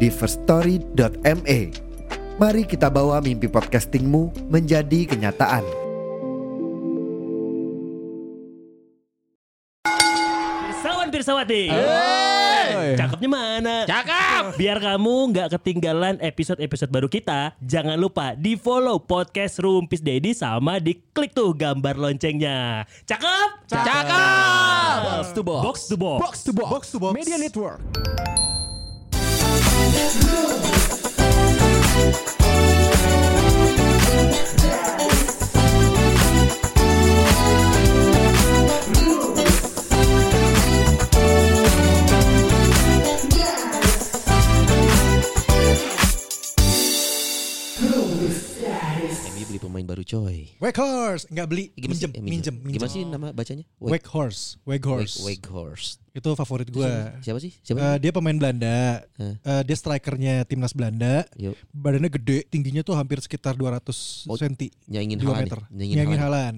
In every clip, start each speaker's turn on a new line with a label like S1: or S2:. S1: di firststory.me. Mari kita bawa mimpi podcastingmu menjadi kenyataan.
S2: Pirsawan Pirsawati. Cakepnya mana?
S3: Cakep.
S2: Biar kamu nggak ketinggalan episode-episode baru kita, jangan lupa di follow podcast Rumpis Dedi sama diklik tuh gambar loncengnya. Cakep?
S3: Cakep.
S2: Box to box. Box to box.
S3: Box to box. Media Network.
S4: MU beli pemain baru coy.
S5: Wake horse, nggak beli,
S4: Gimana sih?
S5: minjem,
S4: Eh,
S5: minjem, minjem.
S4: Gimana sih nama bacanya?
S5: Wake horse, wake
S4: Wake,
S5: horse.
S4: Wake Horse.
S5: Itu favorit gue.
S4: Siapa sih? Siapa?
S5: Eh, dia pemain Belanda.
S4: Eh.
S5: Eh, dia strikernya timnas Belanda.
S4: Yuk.
S5: Badannya gede, tingginya tuh hampir sekitar 200
S4: Oh,
S5: senti
S4: Nyaingin
S5: cm.
S4: Haaland
S5: meter.
S4: ya? Nyaingin
S5: Nyangin, halan.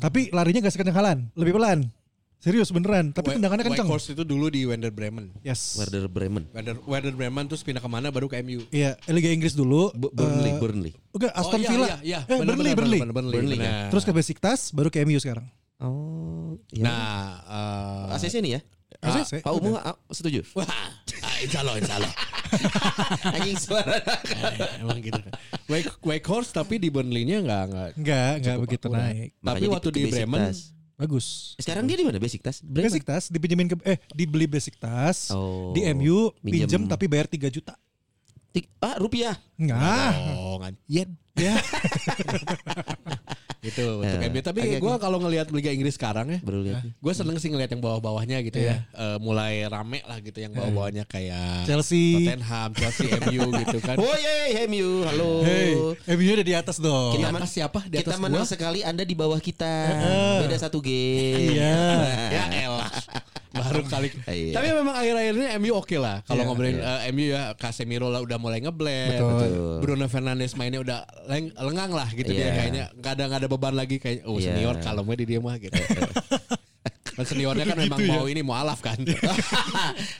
S5: Tapi larinya gak sekencang halan, lebih pelan. Serius beneran, tapi tendangannya kencang.
S6: White Horse itu dulu di Werder Bremen.
S5: Yes.
S4: Werder Bremen.
S6: Werder, Werder Bremen terus pindah kemana baru ke MU.
S5: Iya, Liga Inggris dulu.
S4: Bu- Burnley,
S5: Eh,
S4: Burnley.
S5: Enggak, Aston
S6: Oh, iya,
S5: Villa.
S6: Iya, iya.
S5: Eh,
S6: Bener,
S5: Burnley,
S6: bener,
S5: Burnley. ya.
S6: bener, bener,
S4: Burnley,
S6: bener.
S5: Terus ke Besiktas, baru ke MU sekarang.
S4: Oh,
S6: Nah,
S4: iya.
S6: eh,
S4: ACC nih ya.
S5: Maksudnya
S4: Ah,
S5: saya-
S4: Pak Umu ah, setuju?
S6: wah, ah, insya Allah, insya Allah.
S4: Anjing suara.
S5: Eh,
S6: Emang gitu. Wake, Wake Horse tapi di Burnley-nya nggak nggak.
S5: Enggak, enggak
S4: Cukup
S5: begitu
S4: akurat.
S5: naik.
S6: Tapi
S4: Makanya
S6: waktu
S4: ke
S6: di Bremen,
S4: Besiktas.
S5: Bagus.
S4: Sekarang dia di mana? Besiktas. Bremen.
S5: Besiktas dipinjemin ke eh dibeli Besiktas
S4: Oh.
S5: di MU
S4: Minjem.
S5: pinjem tapi bayar 3 juta.
S4: Tik- Ah, rupiah.
S5: Enggak.
S6: Oh, ngan- yen. Ya. gitu untuk
S4: Eh,
S6: MU. Tapi
S4: agak-
S6: gue kalau ngelihat Liga Inggris sekarang ya,
S4: Baru lihat. nih.
S6: gue seneng sih ngelihat yang bawah-bawahnya gitu ya. Eh, mulai rame lah gitu yang bawah-bawahnya kayak
S5: Iya. Eh. Chelsea.
S6: Tottenham, Chelsea, MU gitu kan.
S4: Oh, yeay, MU. Halo.
S5: Hey, MU udah di atas dong.
S4: Kita
S6: Di atas siapa? Di
S4: kita
S6: atas
S4: menang
S6: gua?
S4: sekali Anda di bawah kita. Beda satu game.
S5: Iya.
S6: ya elah baru kali
S4: Iya.
S6: tapi memang akhir-akhirnya MU oke lah kalau ngobrolin eh, MU ya Casemiro lah udah mulai ngeblend
S4: Betul.
S6: Bruno Fernandes mainnya udah leng- lengang lah gitu
S4: Iya.
S6: dia kayaknya nggak ada nggak ada beban lagi kayak oh
S4: Iya.
S6: senior kalau gue di dia mah gitu Dan seniornya kan memang
S4: Gitu ya.
S6: mau ini mau alaf kan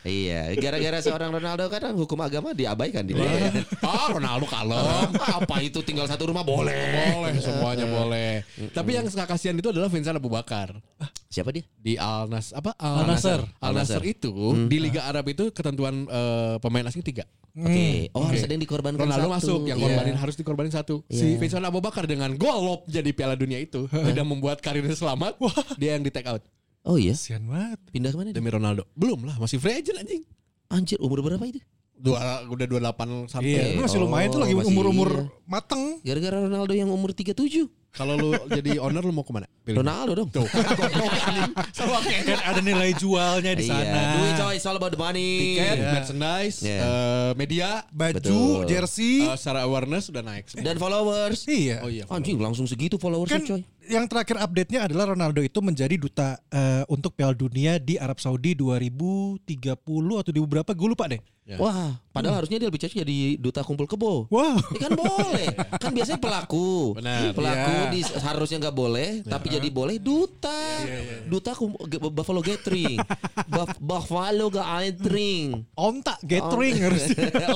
S4: iya, gara-gara seorang Ronaldo kan hukum agama diabaikan di dia.
S6: ah Ronaldo kalau
S4: Apa itu tinggal satu rumah boleh. Iya.
S6: boleh semuanya boleh tapi yang suka kasihan itu adalah Vincent Abu Bakar
S4: Siapa dia?
S6: di Al Nas apa
S5: Al
S6: Al
S5: Nassr.
S6: Al Nassr itu
S4: Hmm.
S6: di Liga Arab itu ketentuan eh, pemain asing tiga
S5: Hmm.
S4: Oke. Oh, harus ada yang dikorbankan
S6: Hmm. Ronaldo
S4: satu.
S6: masuk yang
S4: Iya.
S6: korbanin harus dikorbanin satu. Si Vincent Abu Bakar dengan gol lob jadi Piala Dunia itu tidak membuat karirnya selamat. Dia yang di take out
S4: Oh iya,
S5: Kasihan banget.
S4: pindah kemana dia?
S6: demi Ronaldo. Belum lah, masih free agent anjing.
S4: Anjir, umur berapa itu?
S6: Dua udah 28
S5: Iya,
S6: sampai.
S5: lu masih
S4: oh,
S5: lumayan tuh lagi
S4: masih
S5: umur-umur
S4: iya.
S5: mateng.
S4: Gara-gara Ronaldo yang umur 37.
S6: Kalau lu jadi owner lu mau kemana? Pilih.
S4: Ronaldo dong.
S6: Tuh. Goblok, anjing. Sama
S5: Kan
S6: kayak
S5: ada nilai jualnya di
S4: Iya,
S5: sana.
S4: duit coy, it's all about the money.
S6: tiket, merchandise,
S4: Iya.
S6: eh, media,
S5: Baju,
S4: Betul. Uh,
S5: jersey.
S6: eh, secara awareness udah naik. semua.
S4: Dan followers.
S5: iya.
S6: Oh iya.
S4: Anjing, langsung segitu
S5: Kan
S4: followersnya coy.
S5: yang terakhir update-nya adalah Ronaldo itu menjadi duta eh, untuk Piala Dunia di Arab Saudi 2030 atau di berapa gue lupa deh.
S4: Ya.
S6: Ya.
S4: Wah, padahal harusnya dia lebih cocok jadi duta kumpul kebo.
S5: Wow.
S4: Ya kan boleh. Kan biasanya pelaku.
S6: Benar.
S4: Pelaku
S5: Iya.
S4: di, harusnya nggak boleh,
S5: Ya.
S4: tapi jadi boleh duta.
S5: iya,
S4: Duta kum- ge- Buffalo Gathering. Buff- Buffalo Gathering.
S5: Onta gathering harusnya.
S6: iya.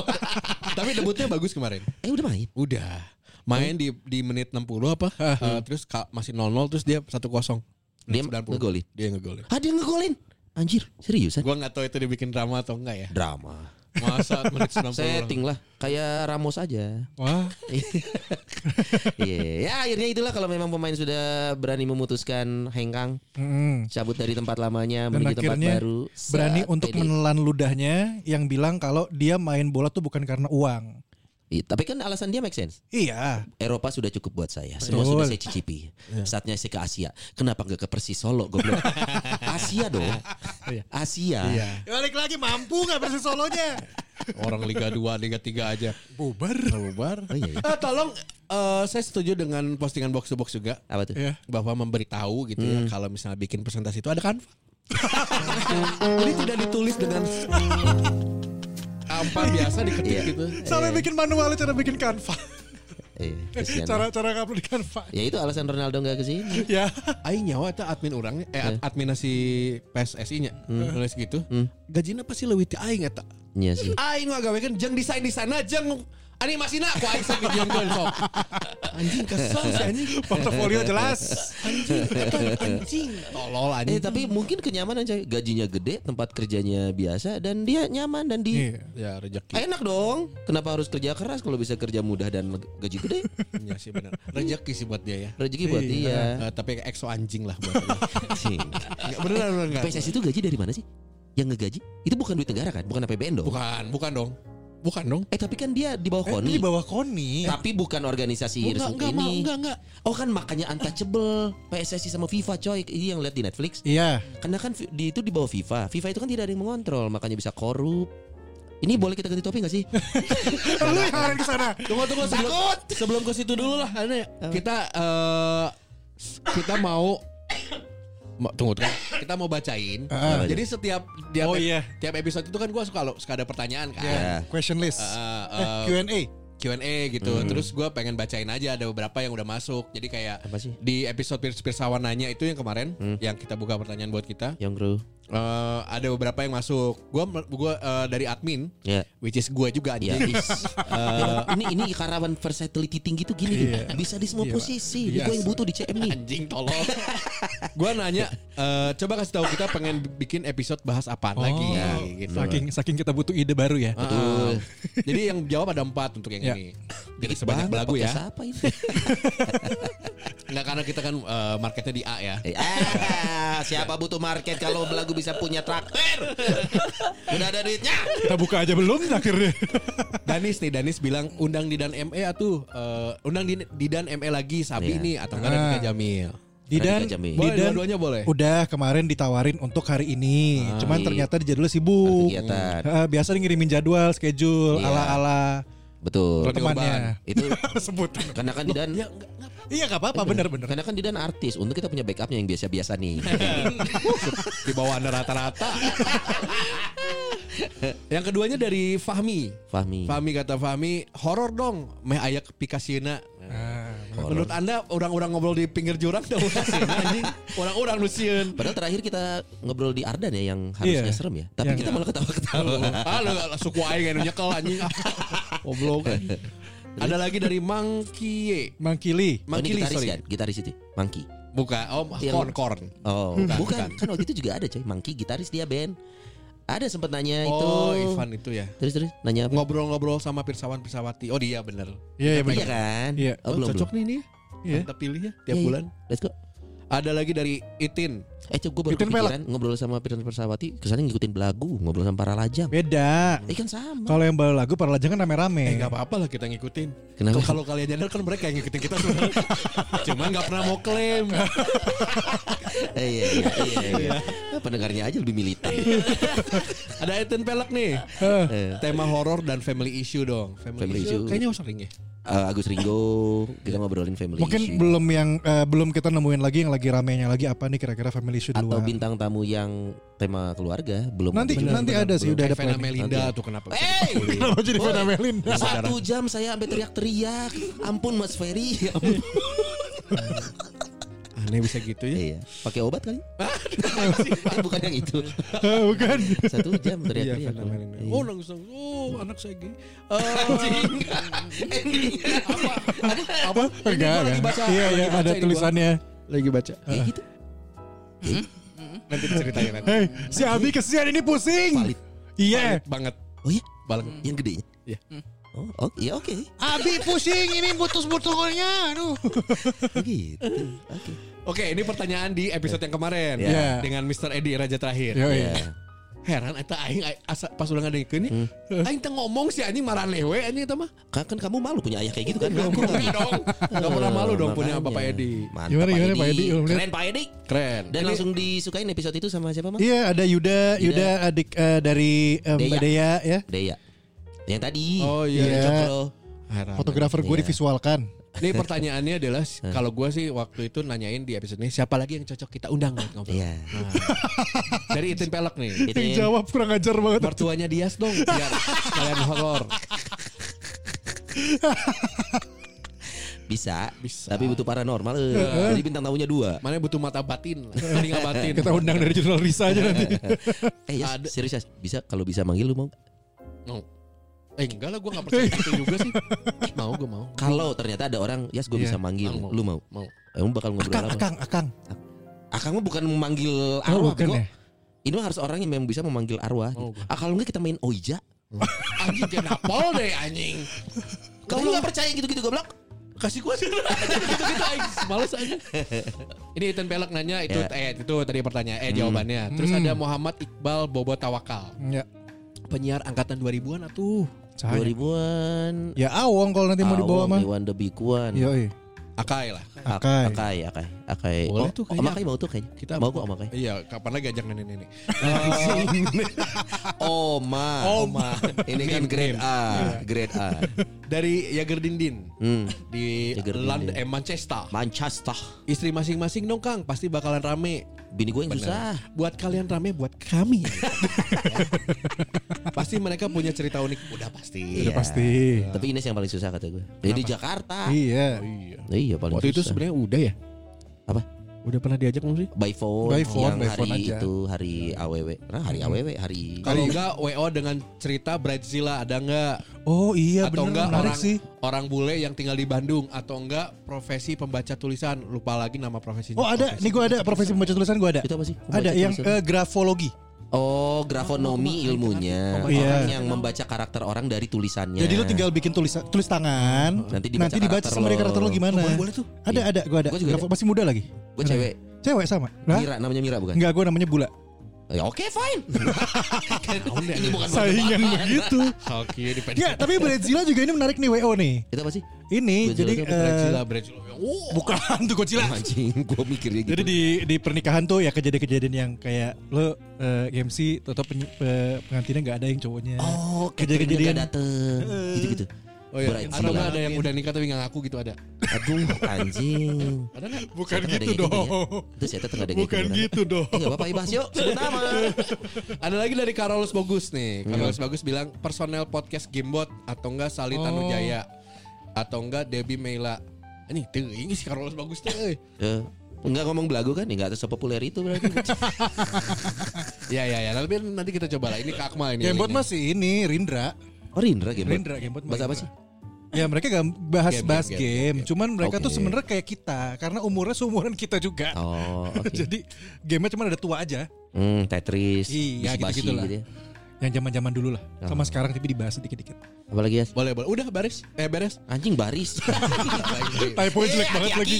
S6: Tapi debutnya bagus kemarin.
S4: Eh udah main.
S6: Udah. Main di di menit 60 apa? Eh, terus ka- masih 0-0 terus dia 1-0.
S4: Hmm. Dia
S6: 90.
S4: ngegolin?
S6: Dia yang ngegolin.
S4: Ah dia ngegolin. Anjir, eh? seriusan?
S6: Gua nggak tahu itu dibikin drama atau enggak ya.
S4: Drama.
S6: Masa menit 90
S4: Setting lah. Kayak Ramos aja.
S5: Wah.
S4: Iya. Ya akhirnya itulah kalau memang pemain sudah berani memutuskan hengkang.
S5: Mm-mm.
S4: Cabut dari tempat lamanya
S5: Dan
S4: menuju tempat
S5: akhirnya
S4: baru.
S5: berani
S4: saat
S5: untuk
S4: pede.
S5: menelan ludahnya yang bilang kalau dia main bola tuh bukan karena uang.
S4: Iya, Tapi kan alasan dia make sense.
S5: Iya.
S4: Eropa sudah cukup buat saya. Semua sudah saya cicipi.
S6: Iya.
S4: Saatnya saya ke Asia. Kenapa nggak ke Persis Solo goblok? Asia dong. Asia.
S6: Iya.
S5: Balik lagi mampu nggak versi solonya?
S6: Orang Liga 2, Liga 3 aja.
S5: Bubar.
S6: Bubar.
S4: Oh, iya,
S6: Eh, tolong eh, saya setuju dengan postingan box to box juga.
S4: Apa tuh?
S5: Ya.
S6: Bahwa memberitahu gitu
S4: Hmm.
S6: ya kalau misalnya bikin presentasi itu ada kan. Jadi tidak ditulis dengan apa biasa diketik
S4: Iya.
S6: gitu.
S5: Sampai bikin manual cara bikin Canva.
S4: Iya, kesian.
S5: Cara-cara ngupload di Canva.
S4: Ya itu alasan Ronaldo nggak kesini.
S5: Ya.
S6: Aing nyawa itu admin orangnya, eh
S4: Iya.
S6: ad- adminnya si PSSI nya
S4: Hmm.
S6: nulis gitu. Gajinya pasti lebih ti aing eta.
S4: Iya sih.
S6: Aing ngagawekeun jeung desain di sana jeung animasina ku aing sok dijieunkeun sok. Anjing kesel sih anjing.
S5: Portofolio jelas.
S6: Anjing, eta anjing. Tolol
S4: Eh
S6: anjing.
S4: tapi mungkin kenyamanan coy. Gajinya gede, tempat kerjanya biasa dan dia nyaman dan di
S5: Iya.
S6: Ya rezeki.
S4: enak dong. Kenapa harus kerja keras kalau bisa kerja mudah dan leg- gaji gede?
S6: Iya sih benar. Rezeki sih buat dia ya.
S4: Rezeki buat dia.
S6: Eh, tapi exo anjing lah buat dia.
S4: Anjing.
S6: Nggak, beneran beneran nggak.
S4: PSSI itu gaji dari mana sih? Yang ngegaji itu bukan duit negara kan? Bukan APBN dong.
S6: Bukan, bukan dong. Bukan dong.
S4: Eh tapi kan dia di bawah
S5: Eh,
S4: KONI.
S5: di bawah Koni.
S4: Tapi bukan organisasi
S6: Enggak,
S4: resmi
S6: enggak,
S4: Iya, ini.
S6: mau, enggak, enggak.
S4: Oh kan makanya untouchable PSSI sama FIFA coy. Ini yang lihat di Netflix.
S5: Iya.
S4: Karena kan fi- di, itu di bawah FIFA. FIFA itu kan tidak ada yang mengontrol, makanya bisa korup. Ini boleh kita ganti topik gak sih?
S5: Lu yang kemarin ke sana.
S6: Tunggu, tunggu. Sebelum, sebelum ke situ dulu lah. Ana. Kita eh kita mau Ma- tunggu tunggu kita mau bacain
S5: Ah.
S6: jadi setiap
S5: Oh,
S6: tiap,
S5: iya.
S6: tiap episode itu kan gue suka lo suka ada pertanyaan kan
S4: Ya.
S5: Question list.
S6: Eh,
S5: Iya. Eh, Hmm.
S6: eh,
S5: Q&A.
S6: Q&A gitu. Terus gue pengen bacain aja ada beberapa yang udah masuk. Jadi kayak
S4: Apa sih?
S6: di episode Pirs Pirsawan nanya itu yang kemarin
S5: Hmm.
S6: yang kita buka pertanyaan buat kita.
S4: Yang bro.
S6: eh, ada beberapa yang masuk. Gua gua eh, dari admin
S4: Ya.
S6: which is gue juga
S4: Ya,
S6: anjing.
S5: Iya.
S4: is. ini ini karawan versatility tinggi tuh gini
S5: Iya.
S4: bisa di semua
S5: Iya, Pak.
S4: posisi.
S5: Iya.
S4: Gue yang butuh di CM nih.
S6: Anjing tolong. gua nanya eh, coba kasih tahu kita pengen bikin episode bahas apaan lagi
S5: Oh,
S6: gitu.
S5: Saking saking kita butuh ide baru ya.
S6: Ah, Jadi yang jawab ada empat untuk yang
S5: Ya.
S6: ini. Jadi
S4: Dikit
S6: sebanyak
S4: banget,
S6: lagu
S4: podcast
S6: ya.
S4: Apa ini?
S6: Enggak karena kita kan eh, marketnya di A ya.
S4: Eh, ah, siapa butuh market kalau lagu bisa punya traktir? Udah ada duitnya.
S5: Kita buka aja belum akhirnya.
S6: Danis nih Danis bilang undang Didan ME atuh Eh, undang Din- Didan ME lagi Sabi
S4: Iya.
S6: nih atau enggak Radika
S5: Ah.
S6: Jamil.
S5: Didan,
S4: Radika Jamil.
S6: Boleh
S5: Didan
S6: dua-duanya boleh.
S5: udah kemarin ditawarin untuk hari ini. Cuman
S4: Iya.
S5: ternyata di jadwal sibuk.
S4: Ada kegiatan.
S5: Eh, biasa dia ngirimin jadwal, schedule
S4: Iya.
S5: ala-ala
S4: Betul.
S6: Rod-
S5: temannya.
S4: Itu
S5: Sebut.
S4: karena kan Didan
S5: Iya gak apa-apa bener-bener.
S4: karena kan Didan artis. Untuk kita punya backupnya yang biasa-biasa nih.
S6: Di bawah Anda rata-rata. Yang keduanya dari Fahmi.
S4: Fahmi.
S6: Fahmi kata Fahmi, horor dong meh ayak pikasieuna. Menurut Anda orang-orang ngobrol di pinggir jurang dah pikasieuna anjing. Orang-orang nu sieun.
S4: Padahal terakhir kita ngobrol di Ardan ya yang harusnya
S5: Iya.
S4: serem ya. Tapi
S5: Yang-
S4: kita malah ketawa-ketawa.
S6: Halo, halo, Ah, suku aing anu nyekel anjing. Goblok. Ada lagi dari Mang Kie.
S5: Mangkili.
S4: Oh, ini
S6: Mangkili,
S4: gitaris
S6: sorry.
S4: kan? Gitaris itu. Mangki.
S6: Buka, oh,
S4: Yang-
S6: korn, korn.
S4: Oh,
S6: Bukan,
S4: bukan. Kan waktu itu juga ada coy. Mangki gitaris dia band. Ada sempat nanya Nah, itu.
S6: Oh, Ivan itu ya.
S4: Terus terus nanya apa?
S6: Ngobrol-ngobrol sama Pirsawan Pirsawati. Oh, dia bener.
S5: Iya iya
S4: Iya
S5: bener.
S4: kan?
S5: Iya.
S4: Oh, belum,
S6: cocok nih nih.
S5: Iya.
S6: Kita pilih ya tiap
S4: Iya, iya.
S6: bulan.
S4: Let's go.
S6: Ada lagi dari Itin.
S4: Eh, coba gue baru
S5: Ikutin pelek.
S4: kepikiran ngobrol sama Piran Persawati, kesannya ngikutin belagu, ngobrol sama para lajang.
S5: Beda.
S4: Eh kan sama.
S5: Kalau yang baru lagu para lajang kan
S6: Eh,
S5: rame-rame.
S6: nggak apa-apa lah kita ngikutin.
S4: Kenapa?
S6: Kalau- Kalau kalian nyadar kan mereka yang ngikutin kita sebenarnya. Cuman nggak pernah mau klaim.
S4: Eh, iya, iya, iya, iya. Nah, pendengarnya aja lebih militan.
S6: Ada Itin pelek nih.
S4: Eh,
S6: Tema horor dan family issue dong. Family,
S4: Family
S6: issue.
S4: issue.
S6: Kayaknya sering ya.
S4: eh, Agus Ringo, kita ngobrolin family
S5: Iya. Mungkin
S4: issue.
S5: belum yang eh, belum kita nemuin lagi yang lagi ramenya lagi apa nih kira-kira family shoot
S4: atau
S5: luar.
S4: bintang tamu yang tema keluarga belum
S5: Nanti
S4: ada.
S5: nanti ada sih udah ada
S6: Kayak Vena
S5: planning.
S6: Melinda
S4: Nanti.
S6: tuh kenapa?
S4: Hey!
S5: Kenapa jadi
S4: Boy,
S5: Vena Melinda?
S4: Nah, Satu jam saya sampai teriak-teriak. Ampun Mas Ferry. Ya ampun.
S6: Aneh bisa gitu ya.
S4: Iya. Pakai obat kali? Eh, Bukan yang itu.
S5: Eh, Bukan.
S4: Satu jam teriak-teriak.
S6: Vena Melinda.
S4: Iya.
S6: Oh langsung. Oh anak saya gini.
S5: Apa? Enggak.
S6: gua lagi
S5: enggak.
S6: baca,
S5: Iya
S6: lagi
S5: iya
S6: baca
S5: ada
S6: ini gua.
S5: tulisannya.
S6: Lagi baca.
S4: Kayak gitu.
S6: Nanti diceritain nanti.
S5: Hei, si Abi kesian ini pusing.
S4: Valid.
S5: Iya.
S6: Banget.
S4: Oh iya,
S6: Banget.
S4: yang gedenya.
S6: Iya.
S4: Oh, oke, ya oke.
S5: Abi pusing ini butus-butulnya. Aduh.
S4: Begitu. Oh, gitu. Oke.
S6: Oke, ini pertanyaan di episode yang kemarin
S5: Iya.
S6: dengan Mr. Edi Raja terakhir.
S5: Yo,
S4: Ya.
S5: iya.
S6: Heran eta aing aing- asa, pas udah ngadengeun nih. Aing teh ngomong sih anjing marah lewe anjing eta mah.
S4: Kan, kan kamu malu punya ayah kayak gitu kan? Aku
S6: Enggak
S4: nggak-
S6: Iya, dong. Enggak pernah malu dong punya
S4: Makanya.
S6: Bapak Edi.
S4: Mantap
S5: Gimana, gimana,
S4: Pak
S5: Pak
S4: Edi.
S5: Edi? Belum lihat.
S4: Keren Pak Edi.
S6: Keren.
S4: Dan
S6: Ini-
S4: langsung disukain episode itu sama siapa, Mas?
S5: Iya ada Yuda, Yuda,
S4: Yuda.
S5: adik eh, dari eh, Mbak
S4: Dea.
S5: Dea ya.
S4: Dea. Yang tadi.
S6: Oh iya.
S4: Yang
S5: Iya.
S4: Cokro.
S6: Heran.
S5: Fotografer gue
S4: Iya.
S5: divisualkan.
S6: Ini pertanyaannya adalah kalau gue sih waktu itu nanyain di episode ini siapa lagi yang cocok kita undang buat ngobrol.
S4: Iya.
S6: Nah, dari Itin Pelek nih.
S4: Itu
S5: Yang jawab kurang ajar banget.
S6: Mertuanya Dias dong biar sekalian horor.
S4: bisa.
S6: Bisa. Iya.
S4: Tapi butuh paranormal. eh. Jadi bintang tamunya dua.
S6: Mana butuh mata batin lah. Telinga batin.
S5: Kita undang dari jurnal Risa aja nanti.
S4: Eh ya
S6: Ada-
S4: serius Yas. bisa kalau bisa manggil lu mau?
S6: No. Eh enggak lah gue gak percaya gitu juga sih. Mau gue mau.
S4: Kalau ternyata ada orang, yes gue bisa manggil,
S6: Mau.
S4: lu mau?
S6: Mau.
S4: Emang bakal ngobrol
S5: Akang,
S4: apa?
S5: akang, akang.
S4: Akang mah bukan memanggil
S5: Oh,
S4: arwah,
S5: bukan
S4: bego.
S5: ya?
S4: Ini mah harus orang yang memang bisa memanggil arwah.
S6: Mau
S4: Ah kalau enggak kita main oija.
S6: Anjing kenapa deh anjing.
S4: Kamu nggak percaya gitu-gitu goblok?
S6: Kasih gue sih. Gitu-gitu aing. Males aja. Ini Itin Pelek nanya itu
S4: Ya.
S6: eh itu tadi pertanyaan eh jawabannya.
S4: Hmm.
S6: Terus ada Muhammad Iqbal Bobo Tawakal.
S5: Ya.
S6: Penyiar angkatan 2000-an atuh.
S4: Dua
S5: Cahaya.
S4: ribuan.
S5: Ya awong kalau nanti mau dibawa mah.
S4: Iwan the big one.
S5: Yoi.
S6: Akai lah.
S4: Ak-
S5: Akai.
S4: Akai, akai, akai.
S6: Boleh
S4: Oh,
S6: tuh
S4: Om
S6: kayaknya.
S4: Akai mau tuh kayaknya.
S6: Kita
S4: mau kok Om Akai.
S6: Iya, kapan lagi ajak nenek-nenek.
S4: Oma. Oma. Oh, Ini kan grade A, grade A.
S6: Dari Yagerdindin
S4: Hmm.
S6: di
S4: Yagerdindin.
S6: London eh, Manchester.
S4: Manchester.
S6: Istri masing-masing dong Kang, pasti bakalan rame.
S4: Bini gue yang susah.
S6: Buat kalian rame buat kami. pasti mereka punya cerita unik, udah pasti.
S4: Iya.
S5: Pasti.
S4: Tapi Ines yang paling susah kata gue. Dia di Jakarta.
S5: Iya.
S6: Iya.
S4: Iya paling
S6: Waktu itu
S4: susah.
S6: sebenarnya udah ya?
S4: Apa?
S6: Udah pernah diajak belum sih?
S4: by phone,
S5: By phone,
S4: yang
S5: by
S4: hari
S5: phone aja. Iya. Hmm.
S4: itu hari AWW. Nah, hari AWW hari
S6: Kalau enggak WO dengan cerita Bridezilla ada enggak?
S5: Oh iya
S6: atau
S5: bener
S6: enggak
S5: menarik
S6: orang
S5: sih.
S6: orang bule yang tinggal di Bandung atau enggak profesi pembaca tulisan lupa lagi nama profesinya.
S5: Oh ada, nih gue ada profesi pembaca tulisan gue ada.
S4: Itu apa sih? Pembaca
S5: Ada yang
S4: tulisan.
S5: eh, grafologi.
S4: Oh, grafonomi ilmunya.
S5: Iya.
S4: Orang yang membaca karakter orang dari tulisannya.
S5: Jadi lu tinggal bikin tulis tulis
S4: Iya. Oh, Nanti
S5: tangan, nanti
S4: dibaca
S5: dibaca,
S4: karakter
S5: sama dia
S4: lo.
S5: karakter lo gimana.
S4: Oh, boleh- boleh tuh.
S5: Ada
S4: Iya.
S5: ada gua ada.
S4: Gua juga Iya,
S5: Grafo- masih muda lagi.
S4: Gue cewek,
S5: Cewek sama. Hah?
S4: Mira namanya Mira bukan?
S5: Enggak, gue namanya Bula.
S4: Ya, Oke, fine. Ini bukan
S5: Saingan
S4: perdebatan.
S5: begitu.
S6: Oke, di
S5: Ya, tapi Bradzilla juga ini menarik nih WO nih.
S4: Itu apa sih?
S5: Ini
S4: Godzilla
S5: jadi
S4: tuh apa?
S5: eh,
S6: Bridezilla, Bridezilla. Oh,
S5: bukan tuh Godzilla.
S4: Anjing, gue mikirnya gitu.
S5: Jadi di di pernikahan tuh ya kejadian-kejadian yang kayak lo eh, MC atau penyi- pe- eh, pengantinnya nggak ada yang cowoknya.
S4: Oh,
S5: Kejadian-kejadian.
S4: kejadian dateng
S5: Eh.
S4: gitu-gitu.
S6: Oh iya,
S4: Bright
S6: atau
S4: Zilla.
S6: enggak ada yang udah nikah tapi nggak ngaku gitu ada.
S4: Aduh, anjing.
S6: Ada nggak?
S5: Bukan
S4: Siapa ada
S5: gitu
S4: kayak gitu
S5: dong.
S4: ya? Itu siapa tengah ada
S5: Bukan gitu dong.
S4: Eh, gak apa-apa Ibas yuk sebut nama.
S6: Ada lagi dari Carolus Bagus nih.
S5: Iya.
S6: Carolus Bagus bilang personel podcast Gamebot atau enggak
S5: Oh.
S6: Salita Nujaya atau enggak Debbie Meila. Ini tuh ini si Carolus Bagus tuh. eh.
S4: Eh, Enggak ngomong belagu kan? Enggak sepopuler itu berarti.
S6: Ya ya ya, tapi nanti kita coba lah. Ini Kak Akmal ini.
S5: Gamebot
S6: linknya.
S5: masih ini Rindra.
S4: Oh Rindra iya, game.
S5: Rindra Gamebot.
S4: Bahasa apa
S5: Rindra.
S4: sih?
S5: Ya mereka gak bahas
S6: Game,
S5: bahas
S6: game,
S5: game,
S6: game, game.
S5: cuman mereka tuh
S4: Oke.
S5: sebenarnya kayak kita karena umurnya seumuran kita juga.
S4: Oh, oke.
S5: Jadi gamenya cuma ada tua aja.
S4: Hmm, Tetris,
S5: Iya,
S4: basi-basi
S5: gitu-gitulah.
S4: ya.
S5: Yang zaman-zaman dulu lah. Sama sekarang tapi dibahas dikit-dikit.
S4: Apalagi ya?
S6: Boleh boleh. Udah baris. Eh beres.
S4: Anjing baris.
S5: Typo jelek banget lagi.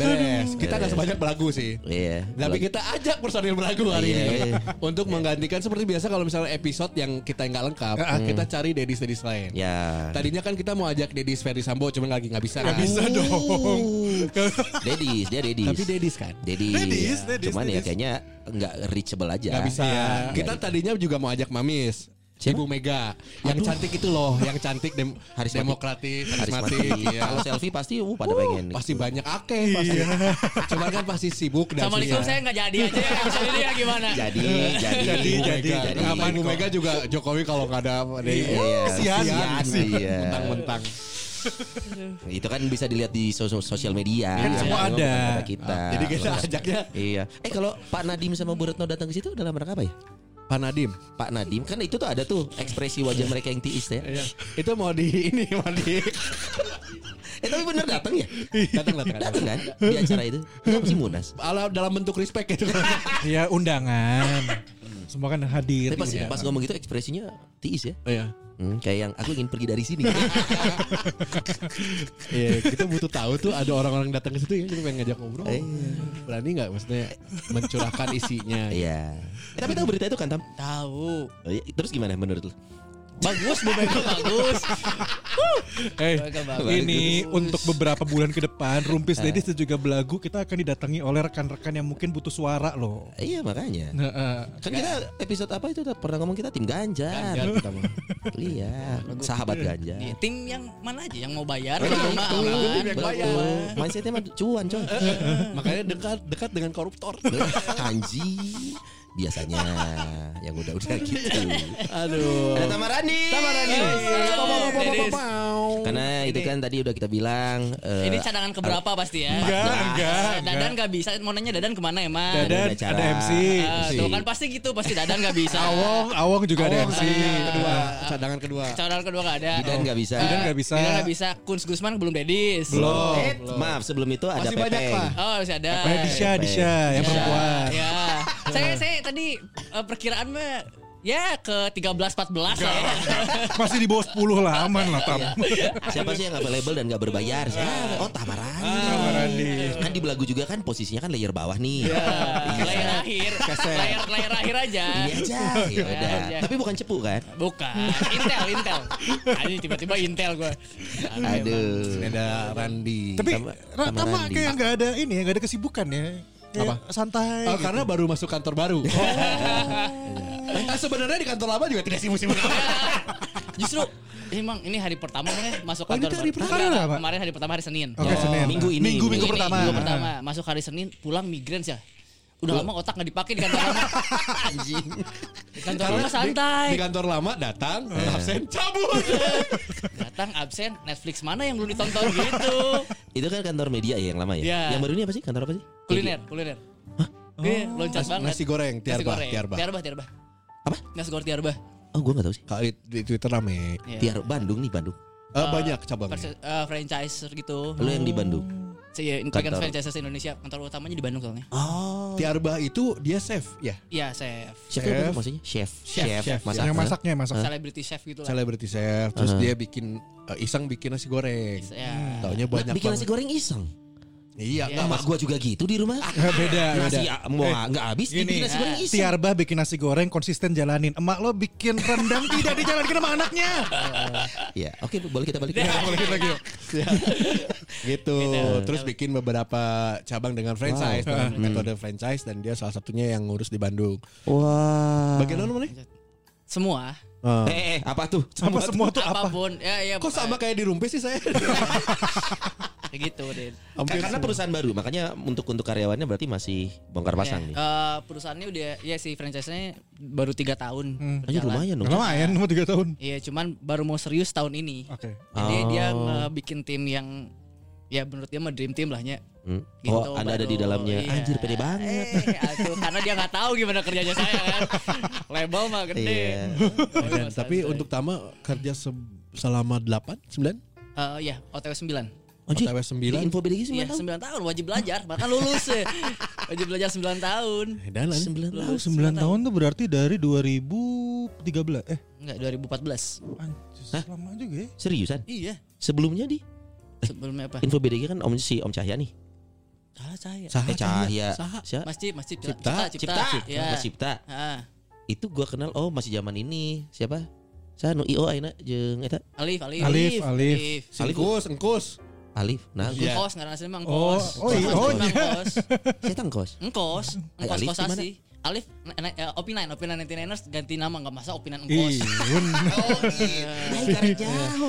S6: Beres. Kita nggak sebanyak belagu sih.
S4: Iya.
S6: Tapi kita ajak personil belagu hari
S4: Iya,
S6: ini
S4: iya.
S6: untuk menggantikan seperti biasa kalau misalnya episode yang kita nggak lengkap, eh, kita cari Dedis Dedis lain.
S4: Ya.
S6: Tadinya kan kita mau ajak Dedis Ferry Sambo, cuman lagi nggak bisa.
S5: Gak
S6: kan?
S5: bisa
S4: Iya.
S5: dong.
S4: Dedis, dia Dedis.
S6: Tapi Dedis kan.
S4: Dedis.
S5: Dedis, Dedis,
S4: Cuman ya
S5: Dedis.
S4: kayaknya enggak reachable aja.
S6: Gak bisa.
S5: Iya.
S6: Kita tadinya juga mau ajak Mamis.
S4: Siapa?
S6: Ibu Mega yang cantik itu loh, yang cantik dem
S4: Harismatik.
S6: demokratis,
S4: Harus mati.
S6: karismatik, iya.
S4: Kalau selfie pasti uh, pada pengen.
S6: pasti banyak ake pasti. Cuman kan pasti sibuk dan
S7: Sama Nikom saya nggak jadi aja ya. Episode ini ya gimana?
S2: Iya,
S4: Jadi, jadi,
S5: Jadi, jadi,
S6: Iya, Jadi, Apa Ibu Mega juga Jokowi kalau nggak ada Oh,
S4: Iya,
S5: Kesian.
S4: kesian, iya.
S6: mentang-mentang.
S4: Itu kan bisa dilihat di sos- sosial media.
S5: Kan semua
S4: Bukan
S5: ada.
S4: kata Kita.
S6: Jadi kita ajaknya
S4: Iya. Eh kalau Pak Nadim sama Bu Retno datang ke situ dalam rangka apa ya?
S6: Pak Nadim.
S4: Pak Nadim kan itu tuh ada tuh ekspresi wajah mereka yang tiis ya.
S6: Iya. Itu mau di ini mau di
S4: Eh tapi bener datang ya?
S6: datang datang. datang.
S4: Datang kan di acara itu? Itu apa sih Munas?
S6: Ala dalam bentuk respect gitu.
S5: Ya undangan. Semua kan hadir.
S4: Tapi pas,
S5: diundang.
S4: pas ngomong gitu ekspresinya tiis ya.
S6: Iya.
S4: Hmm, kayak yang aku ingin pergi dari sini.
S6: Iya, kita butuh tahu tuh ada orang-orang datang ke situ ya, kita pengen ngajak ngobrol.
S4: Iya.
S6: Berani nggak maksudnya mencurahkan isinya?
S4: Iya. Eh, tapi Iya. tahu berita itu kan Tam?
S7: Tahu.
S4: Oh, iya. Terus gimana menurut lu?
S7: Bagus, Bu Mega bagus.
S5: Eh,
S7: Bagus.
S5: ini untuk beberapa bulan ke depan Rumpis Ladies dan juga Belagu kita akan didatangi oleh rekan-rekan yang mungkin butuh suara loh.
S4: Iya makanya.
S5: Nah, eh,
S4: Kan kita episode apa itu udah pernah ngomong kita tim Ganjar.
S6: Ganjar kita mah.
S4: iya, sahabat Ganjar.
S7: Di tim yang mana aja yang mau bayar?
S4: Betul,
S7: yang mah
S4: betul,
S7: aman.
S4: betul. Mindsetnya mah cuan, coy.
S6: Makanya dekat dekat dengan koruptor.
S4: Kanji biasanya yang udah-udah gitu. Aduh. Ada Tamarani.
S6: Iya.
S4: Tamarani.
S7: Ladies,
S4: Karena itu kan tadi udah kita bilang eh,
S7: Ini cadangan keberapa pasti ya?
S5: Enggak, enggak,
S7: Dadan nggak bisa. Mau nanya Dadan kemana emang?
S5: iya. Dadan
S4: ada acara.
S5: ada MC.
S7: Ah, tuh kan pasti gitu, pasti Dadan nggak bisa.
S5: Awong, Awong Oh, juga ada MC.
S6: kedua, cadangan kedua.
S7: Cadangan kedua nggak ada.
S4: Bidan nggak bisa.
S5: Bidan nggak bisa.
S7: Bidan nggak bisa. Kunz Gusman belum dedis.
S5: Belum.
S4: Eh, maaf sebelum itu ada
S6: Masih banyak,
S4: Pepeng.
S6: Pak.
S7: Oh masih ada.
S5: Eh, Disha, Disha yang
S7: Ya,
S5: perempuan. Iya.
S7: Ya. Saya saya tadi eh, perkiraan mah ya ke 13 14 lah ya.
S5: Masih di bawah 10 lah aman lah Tam.
S4: Siapa sih yang gak label dan gak
S7: Ah.
S4: berbayar? Siapa? Oh Tamarani. Kan di belagu juga kan posisinya kan layer bawah nih. Iya.
S7: Layar akhir. Layar layar akhir aja.
S4: Ini aja. Ya
S7: Iya
S4: udah.
S7: aja.
S4: Tapi bukan cepu kan?
S7: Bukan. Intel, Intel. Ini tiba-tiba Intel gue. Iya,
S4: Aduh.
S6: Ada Randi.
S5: Tapi
S4: Tama-
S5: Ra- Tama
S4: Tamarandi.
S5: kayak nggak ada ini ya, nggak ada kesibukan ya. Kayak
S6: Apa?
S5: Santai.
S6: Oh,
S5: gitu.
S6: karena baru masuk kantor baru. Nah, sebenarnya di kantor lama juga tidak sibuk-sibuk.
S7: Justru emang ini hari pertama kan masuk
S5: Oh, ini
S7: kantor.
S5: hari
S7: baru.
S5: pertama,
S7: Enggak,
S5: Pak?
S7: Kemarin hari pertama hari Senin. Iya.
S5: Oke,
S4: Oh,
S5: Senin.
S4: minggu ini, minggu
S5: Minggu, minggu
S7: Ini,
S5: pertama.
S7: minggu pertama. Masuk hari Senin, pulang migran sih. Udah lama otak nggak dipakai di kantor lama.
S4: Anjing.
S7: Di Kantor lama santai.
S6: Di kantor lama datang, absen, cabut.
S7: Datang absen, Netflix mana yang belum ditonton gitu.
S4: Itu kan kantor media ya yang lama ya?
S7: Iya.
S4: Yang baru ini apa sih? Kantor apa sih?
S7: Kuliner, kuliner. Iya, loncat banget.
S6: Nasi goreng, tiarbah, tiarbah.
S7: Tiarbah, tiarbah.
S4: Apa?
S7: Nasi goreng tiarbah.
S4: Oh gue gak tahu sih.
S6: Kalau di, di Twitter rame.
S7: Iya.
S4: Tiar Bandung nih Bandung.
S6: Eh, banyak cabangnya.
S7: Perse- eh, franchise gitu. Iya,
S4: Lu yang di Bandung.
S7: Saya pegang
S4: Kantor.
S7: franchise Indonesia, kantor utamanya di Bandung soalnya.
S4: Oh.
S6: Tiarbah itu dia chef ya,
S7: Iya, chef.
S4: Chef, itu apa sih maksudnya? Chef.
S6: Chef, chef.
S4: ya, Masak.
S5: Yang masaknya yang masak.
S7: Celebrity chef gitu lah.
S6: celebrity chef. Terus
S4: Ah.
S6: dia bikin eh, iseng bikin nasi goreng.
S7: Ya.
S6: Taunya
S4: Lah,
S6: banyak
S4: Nah, bikin nasi
S6: banget.
S4: goreng iseng.
S6: Iya,
S7: Iya.
S6: nggak
S4: Mas gue juga gitu di rumah.
S5: beda, beda.
S4: Nasi ah, mau nggak habis
S5: Ah, Eh, Gini.
S4: dibikin nasi
S7: Iya.
S4: goreng iseng.
S5: Tiarbah bikin nasi goreng konsisten jalanin. Emak lo bikin rendang tidak dijalankan sama anaknya.
S4: Ya, oke boleh kita balik.
S7: Iya.
S6: Balik lagi yuk. Ya. gitu. Terus bikin beberapa cabang dengan franchise, dengan
S4: Hmm.
S6: metode franchise dan dia salah satunya yang ngurus di Bandung.
S4: Wah.
S6: Bagaimana mana?
S7: Semua.
S4: Eh, eh, apa tuh?
S5: Sama semua tuh apa?
S7: Apapun. Ya, ya.
S6: Kok sama kayak di Rumpis sih saya?
S7: kayak gitu, Din.
S6: Hampir
S4: karena
S6: semua.
S4: perusahaan baru, makanya untuk untuk karyawannya berarti masih bongkar pasang
S7: Ya,
S4: nih.
S7: eh, perusahaannya udah ya sih franchise-nya baru tiga tahun.
S4: Aja
S7: berjalan.
S4: Hmm. lumayan dong.
S5: Lumayan, mau 3 tahun.
S7: Iya, cuman baru mau serius tahun ini.
S5: Oke.
S7: Jadi dia
S4: Oh.
S7: eh, bikin tim yang ya menurut dia mah dream team lah nya.
S4: Hmm.
S7: Gitu,
S4: oh, Anda ada
S7: baru-
S4: di dalamnya.
S7: iya.
S4: Anjir, pede banget.
S7: Eh, aduh, karena dia nggak tahu gimana kerjanya saya kan. Label mah gede.
S4: Iya.
S7: Oh,
S6: Dan,
S7: iya,
S6: tapi
S7: santai.
S6: untuk Tama kerja se- selama 8, 9,
S7: Eh, ya OTW 9.
S4: Anjir,
S6: OTW
S4: di
S6: 9.
S4: info BDG
S7: Iya,
S4: 9 tahun.
S7: 9 tahun wajib belajar, bahkan lulus. eh. wajib belajar 9 tahun.
S6: Dan lain.
S4: 9 tahun.
S5: Oh, 9 tahun tuh berarti dari 2013. Eh,
S7: Enggak, 2014.
S5: anjir, lama juga ya.
S4: Seriusan?
S7: Iya,
S4: Sebelumnya di
S7: sebelumnya apa?
S4: info BDG kan om si Om Cahya nih.
S7: Salah saya.
S4: eh Cahya. Siapa?
S7: Masjid, masjid
S4: Cipta, Cipta,
S7: Iya.
S4: Mas Cipta.
S7: Ah,
S4: Itu gua kenal oh masih zaman ini. Siapa? Saya nu IO aina jeung eta
S7: Alif, Alif.
S5: Alif, Alif.
S6: Engkus, engkus.
S4: Alif. Nah, gua
S6: Iya.
S7: Engkos, nggak nasi emang
S5: Oh,
S7: kos.
S5: oh iya,
S7: Engkos,
S5: oh
S7: emang
S5: iya.
S7: kos.
S4: saya tangkos.
S7: Engkos,
S4: Ay,
S7: engkos
S4: Alif
S7: kosan
S4: gimana?
S7: sih. Alif, na- na- eh, Opini Nine, Opini Nine Niners ganti nama nggak masa Opini Nine Engkos.
S5: Ih,
S7: Oh, iya.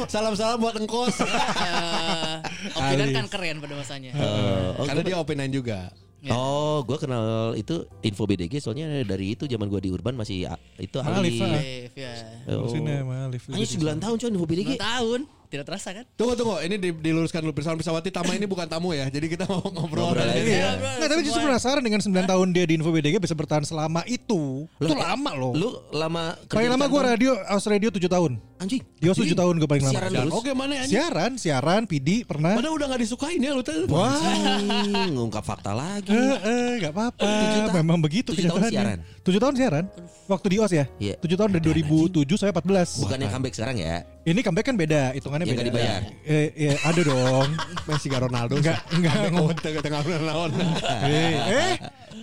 S6: Salam-salam buat engkos.
S7: Eh, Opini Nine
S5: Alif.
S7: kan keren pada masanya.
S4: Eh, oh,
S6: Karena dia openan juga.
S7: Iya.
S4: Oh, gue kenal itu info BDG soalnya dari itu zaman gue di Urban masih ah, itu Alif.
S5: Alif, ah.
S7: Alif, ya.
S4: Oh.
S5: Sini sama Alif.
S4: Hanya 9 tahun cuy info BDG.
S7: Dua tahun, tidak terasa kan?
S6: Tunggu tunggu, ini di- diluruskan dulu Pirsawan Pirsawati Tama ini bukan tamu ya. Jadi kita mau ngobrol.
S4: Ngobrol aja.
S6: Iya.
S4: Iya.
S5: Nggak, tapi justru penasaran dengan 9 tahun dia di Info BDG bisa bertahan selama itu. Itu
S4: Loh,
S5: lama loh.
S4: Lu lama kerja
S5: Paling
S4: di
S5: lama gue
S4: kantor?
S5: radio, Aus Radio 7 tahun.
S4: anjing.
S5: Dia 7 tahun gue paling lama.
S4: Siaran
S6: Dan
S4: terus.
S6: Oke mana ini?
S5: Siaran, siaran, PD pernah.
S6: Padahal udah gak disukain ya lu tadi.
S5: Wah,
S4: Anjing, ngungkap fakta lagi.
S5: Eh, eh, gak apa-apa.
S4: Tujuh tahun-
S5: Memang begitu
S4: tujuh tahun siaran.
S5: kenyataannya. Tujuh tahun siaran. Waktu di OS ya?
S4: Iya.
S5: Tujuh tahun dari 2007 sampai 14.
S4: Bukannya comeback sekarang ya?
S5: Ini comeback kan beda, hitungannya
S4: Ya,
S5: beda.
S4: nggak dibayar.
S5: Eh, ya, ada dong.
S6: Messi gak Ronaldo.
S5: Enggak, enggak.
S6: ngomong tengah lawan.
S5: eh, eh,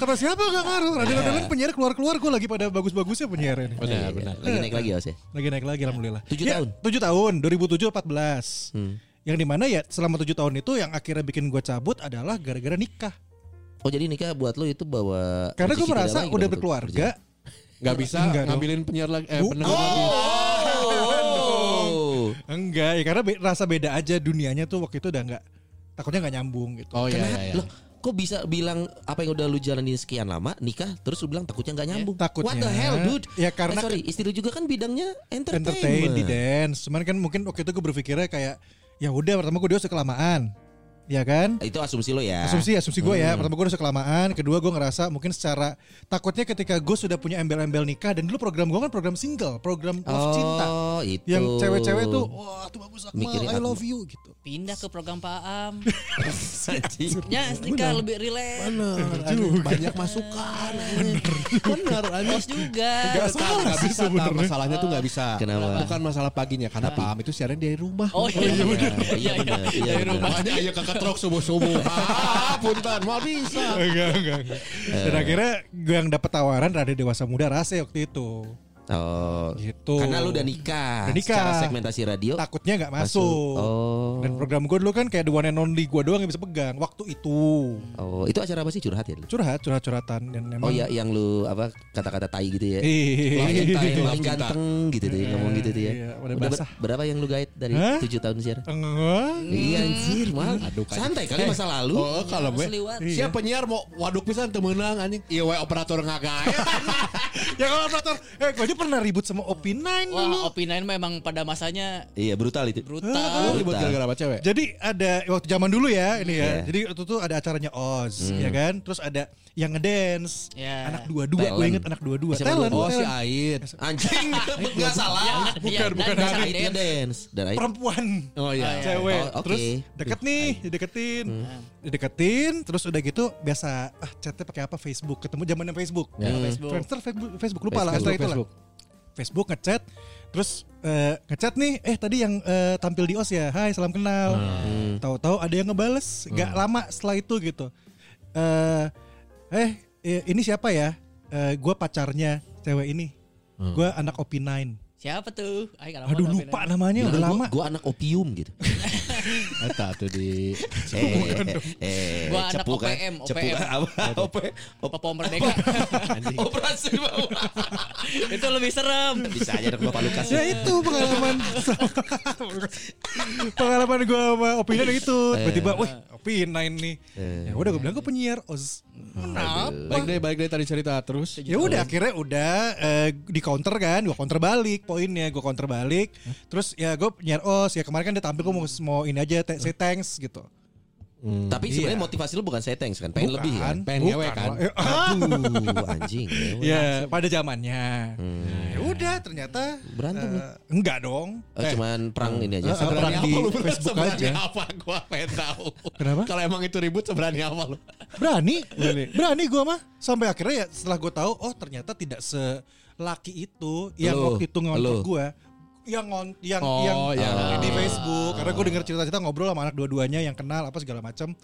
S5: kata siapa gak ngaruh? Radel-radel penyiar keluar-keluar gue lagi pada bagus-bagusnya penyiar ini.
S6: Benar, benar.
S4: Iya, Lagi naik lagi Aus ya.
S5: Lagi naik lagi alhamdulillah.
S4: Tujuh tahun. Hmm.
S5: 7 tahun, 2007 14. Yang dimana ya selama 7 tahun itu yang akhirnya bikin gue cabut adalah gara-gara nikah.
S4: Oh jadi nikah buat lo itu bawa
S5: Karena
S4: rezeki
S5: gue merasa
S4: dari lagi dong,
S5: udah
S4: kerja.
S5: berkeluarga.
S6: Gak bisa
S5: Enggak dong.
S6: ngambilin penyiar lagi. Eh,
S5: Bu-
S6: pendengar lagi.
S4: Oh.
S5: Enggak, ya karena be- rasa beda aja dunianya tuh waktu itu udah enggak takutnya nggak nyambung gitu.
S6: Oh iya,
S4: Kenapa?
S6: iya, iya.
S4: Loh, kok bisa bilang apa yang udah lu jalanin sekian lama nikah terus lu bilang takutnya nggak nyambung?
S5: Takutnya.
S4: What the hell, dude?
S5: Ya, karena-
S4: eh, sorry, istri lu juga kan bidangnya entertainment.
S5: Entertain di dance. Cuman kan mungkin waktu itu gue berpikirnya kayak ya udah pertama gue dewasa kelamaan. Ya kan?
S4: Itu asumsi lo ya.
S5: Asumsi asumsi gue ya. Pertama gue udah kelamaan, kedua gue ngerasa mungkin secara takutnya ketika gue sudah punya embel-embel nikah dan dulu program gue kan program single, program love
S4: Oh,
S5: cinta.
S4: itu.
S5: Yang cewek-cewek tuh oh. wah tuh bagus Akmal,
S4: Mikirin
S5: I
S4: aku.
S5: love you gitu.
S7: Pindah ke program Pak Am.
S4: Anjing.
S7: Ya, nikah lebih relax.
S6: banyak masukan. Benar,
S7: Bos juga.
S6: Gak salah gak bisa Tam. Masalahnya tuh gak bisa
S4: Kenapa?
S6: Bukan masalah paginya Karena Pak Am itu siaran dari rumah
S7: Oh iya.
S4: Iya, benar. Iya,
S7: Dari
S4: benar.
S7: rumah.
S6: Makanya ayo kakak trok subuh-subuh Ah punten Mau bisa
S5: Enggak, enggak, enggak.
S4: Eh.
S5: Dan akhirnya gue yang dapat tawaran Rada Dewasa Muda Rase waktu itu.
S4: Oh.
S5: Gitu.
S4: Karena lu udah nikah.
S5: Udah nikah.
S4: Secara segmentasi radio.
S5: Takutnya nggak
S4: Masuk.
S5: masuk.
S4: Oh.
S5: Dan program gue dulu kan kayak the one and only gue doang yang bisa pegang waktu itu.
S4: Oh, itu acara apa sih curhat ya? lu?
S5: Curhat, curhat-curhatan dan memang
S4: Oh ya, yang lu apa kata-kata tai gitu ya? Paling
S5: Hmm. Iya.
S4: tai, paling
S6: Love cinta.
S4: ganteng gitu deh, ngomong gitu tuh ya.
S5: Iya, udah
S4: Udah ber-
S5: basah.
S4: berapa yang lu gaet dari
S5: Hah? Hmm.
S4: tujuh tahun siaran?
S5: Enggak.
S4: Iya anjir, mal. Santai kali masa lalu.
S6: Oh kalau gue
S7: Seliwat.
S6: Siapa penyiar mau waduk pisan temenang anjing Iya we operator kan? ngagaya
S5: Ya kalau operator, eh gue aja pernah ribut sama OP9 dulu.
S7: Wah, opinain memang pada masanya
S4: Iya, brutal itu.
S5: Ah,
S7: brutal. Iya,
S6: Ribut Oh, gara-gara apa cewek
S5: Jadi ada waktu zaman dulu ya ini ya.
S4: Iya. Hmm.
S5: Jadi waktu itu ada acaranya Oz ya kan. Terus ada yang ngedance.
S7: Iya.
S5: Anak dua-dua, gue
S4: Talent.
S5: inget anak dua-dua.
S4: Siapa
S5: Talent,
S6: Oh si
S5: talent.
S6: Ait
S4: Anjing, enggak salah.
S7: Bukan, bukan.
S4: Dan
S5: Iya.
S4: akhirnya dance. Dan akhirnya
S5: perempuan.
S6: Oh iya
S4: Oh,
S5: cewek
S4: oke. Hmm.
S5: terus deket nih dideketin dideketin terus udah gitu biasa ah chatnya pakai apa Facebook ketemu zaman Facebook
S7: Facebook.
S5: Friendster Facebook Facebook lupa lah
S4: Ya. Facebook,
S5: hashtag itu lah
S6: Facebook.
S5: Facebook ngechat terus eh, ngechat nih eh tadi yang eh, tampil di os ya Hai salam kenal
S4: Hmm.
S5: tahu-tahu ada yang ngebales nggak lama setelah itu gitu eh eh eh, ini siapa ya Eh, gua pacarnya cewek ini
S4: Hmm.
S5: gua anak OP9
S7: Siapa tuh? Ay, kalau
S5: aduh
S7: mau
S5: lupa
S7: ngapain
S5: namanya udah
S4: Gua-
S5: lama
S4: Gua anak opium gitu.
S6: Eta tuh di
S4: eh, eh,
S7: Gua anak
S4: cepu kan?
S7: OPM,
S4: Cepu
S7: OPM.
S4: apa? OP.
S7: aja? Papa Merdeka.
S4: Operasi bawah.
S7: Itu lebih serem.
S4: Bisa aja anak bapak Lukas.
S5: Ya itu pengalaman pengalaman gue sama Opina itu tiba-tiba,
S6: Eh.
S5: wah Opina ini. Ya udah gue bilang gue penyiar Oz.
S6: Baik
S5: Kenapa?
S6: deh Eh. baik deh tadi cerita terus
S5: Ya udah akhirnya udah eh, di counter kan, gue counter balik poinnya, gue counter balik. Terus ya gue penyiar Oz ya kemarin kan dia tampil gue mau, mau ini aja te- say thanks gitu.
S4: Tapi sebenarnya motivasi lu bukan saya thanks kan, pengen lebih kan.
S5: Iya. Bukan.
S6: Pengen
S5: Bukan.
S6: ngewe kan?
S5: Eh, ah.
S4: Aduh, anjing. ngewe.
S5: Ya pada zamannya.
S6: Hmm.
S5: Ya udah ternyata
S4: Berantem
S5: eh,
S4: lu?
S5: enggak dong. Eh,
S4: Oh, cuman perang ini aja.
S5: Seberani apa lu? Seberani
S6: apa gue pengen tahu
S5: Kenapa?
S6: Kalau emang itu ribut seberani apa lu
S5: berani berani gue mah sampai akhirnya ya setelah gue tahu oh ternyata tidak selaki itu yang
S4: Lu,
S5: waktu itu
S4: lu. iya.
S5: ngontrol gue yang ngon, yang
S6: Oh,
S5: yang eh,
S6: ya.
S5: di Facebook karena gue denger cerita-cerita ngobrol sama anak dua-duanya yang kenal apa segala macam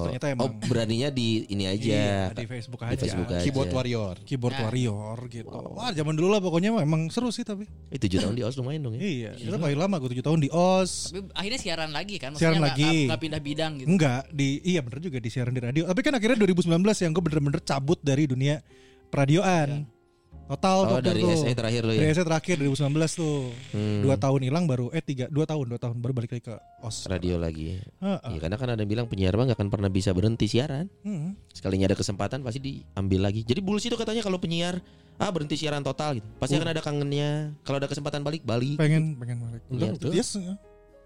S4: Oh, oh,
S5: ternyata emang
S4: beraninya di ini aja.
S5: Iya, di Facebook
S4: Di
S5: aja.
S4: Facebook aja.
S6: Keyboard warrior
S4: Iya,
S5: keyboard warrior gitu wah zaman dulu lah pokoknya mah emang seru sih tapi
S4: Eh, tujuh tahun di Os lumayan dong ya.
S5: iya itu paling lama gue tujuh tahun di os
S7: Tapi akhirnya siaran lagi kan?
S5: Siaran lagi.
S7: nggak- nggak- nggak pindah bidang gitu.
S5: Enggak di iya bener juga di siaran di radio. Tapi kan akhirnya 2019 yang gue bener-bener cabut dari dunia peradioan.
S4: Iya. Oh,
S5: Total
S4: Hmm.
S5: tuh waktu
S4: dari
S5: itu.
S4: SA terakhir lo ya?
S5: Dari SA terakhir 2019 tuh. Dua tahun hilang baru eh tiga dua tahun dua tahun baru balik lagi ke OS.
S4: Radio lagi.
S5: Heeh.
S4: Iya, karena kan ada yang bilang penyiar mah nggak akan pernah bisa berhenti siaran.
S5: Hmm.
S4: Sekalinya ada kesempatan pasti diambil lagi. Jadi bulus itu katanya kalau penyiar ah berhenti siaran
S5: Oh.
S4: total gitu. Pasti akan ada kangennya. Kalau ada kesempatan balik balik.
S5: Pengen pengen balik.
S4: Iya,
S5: Udah,
S4: tuh.
S5: yes.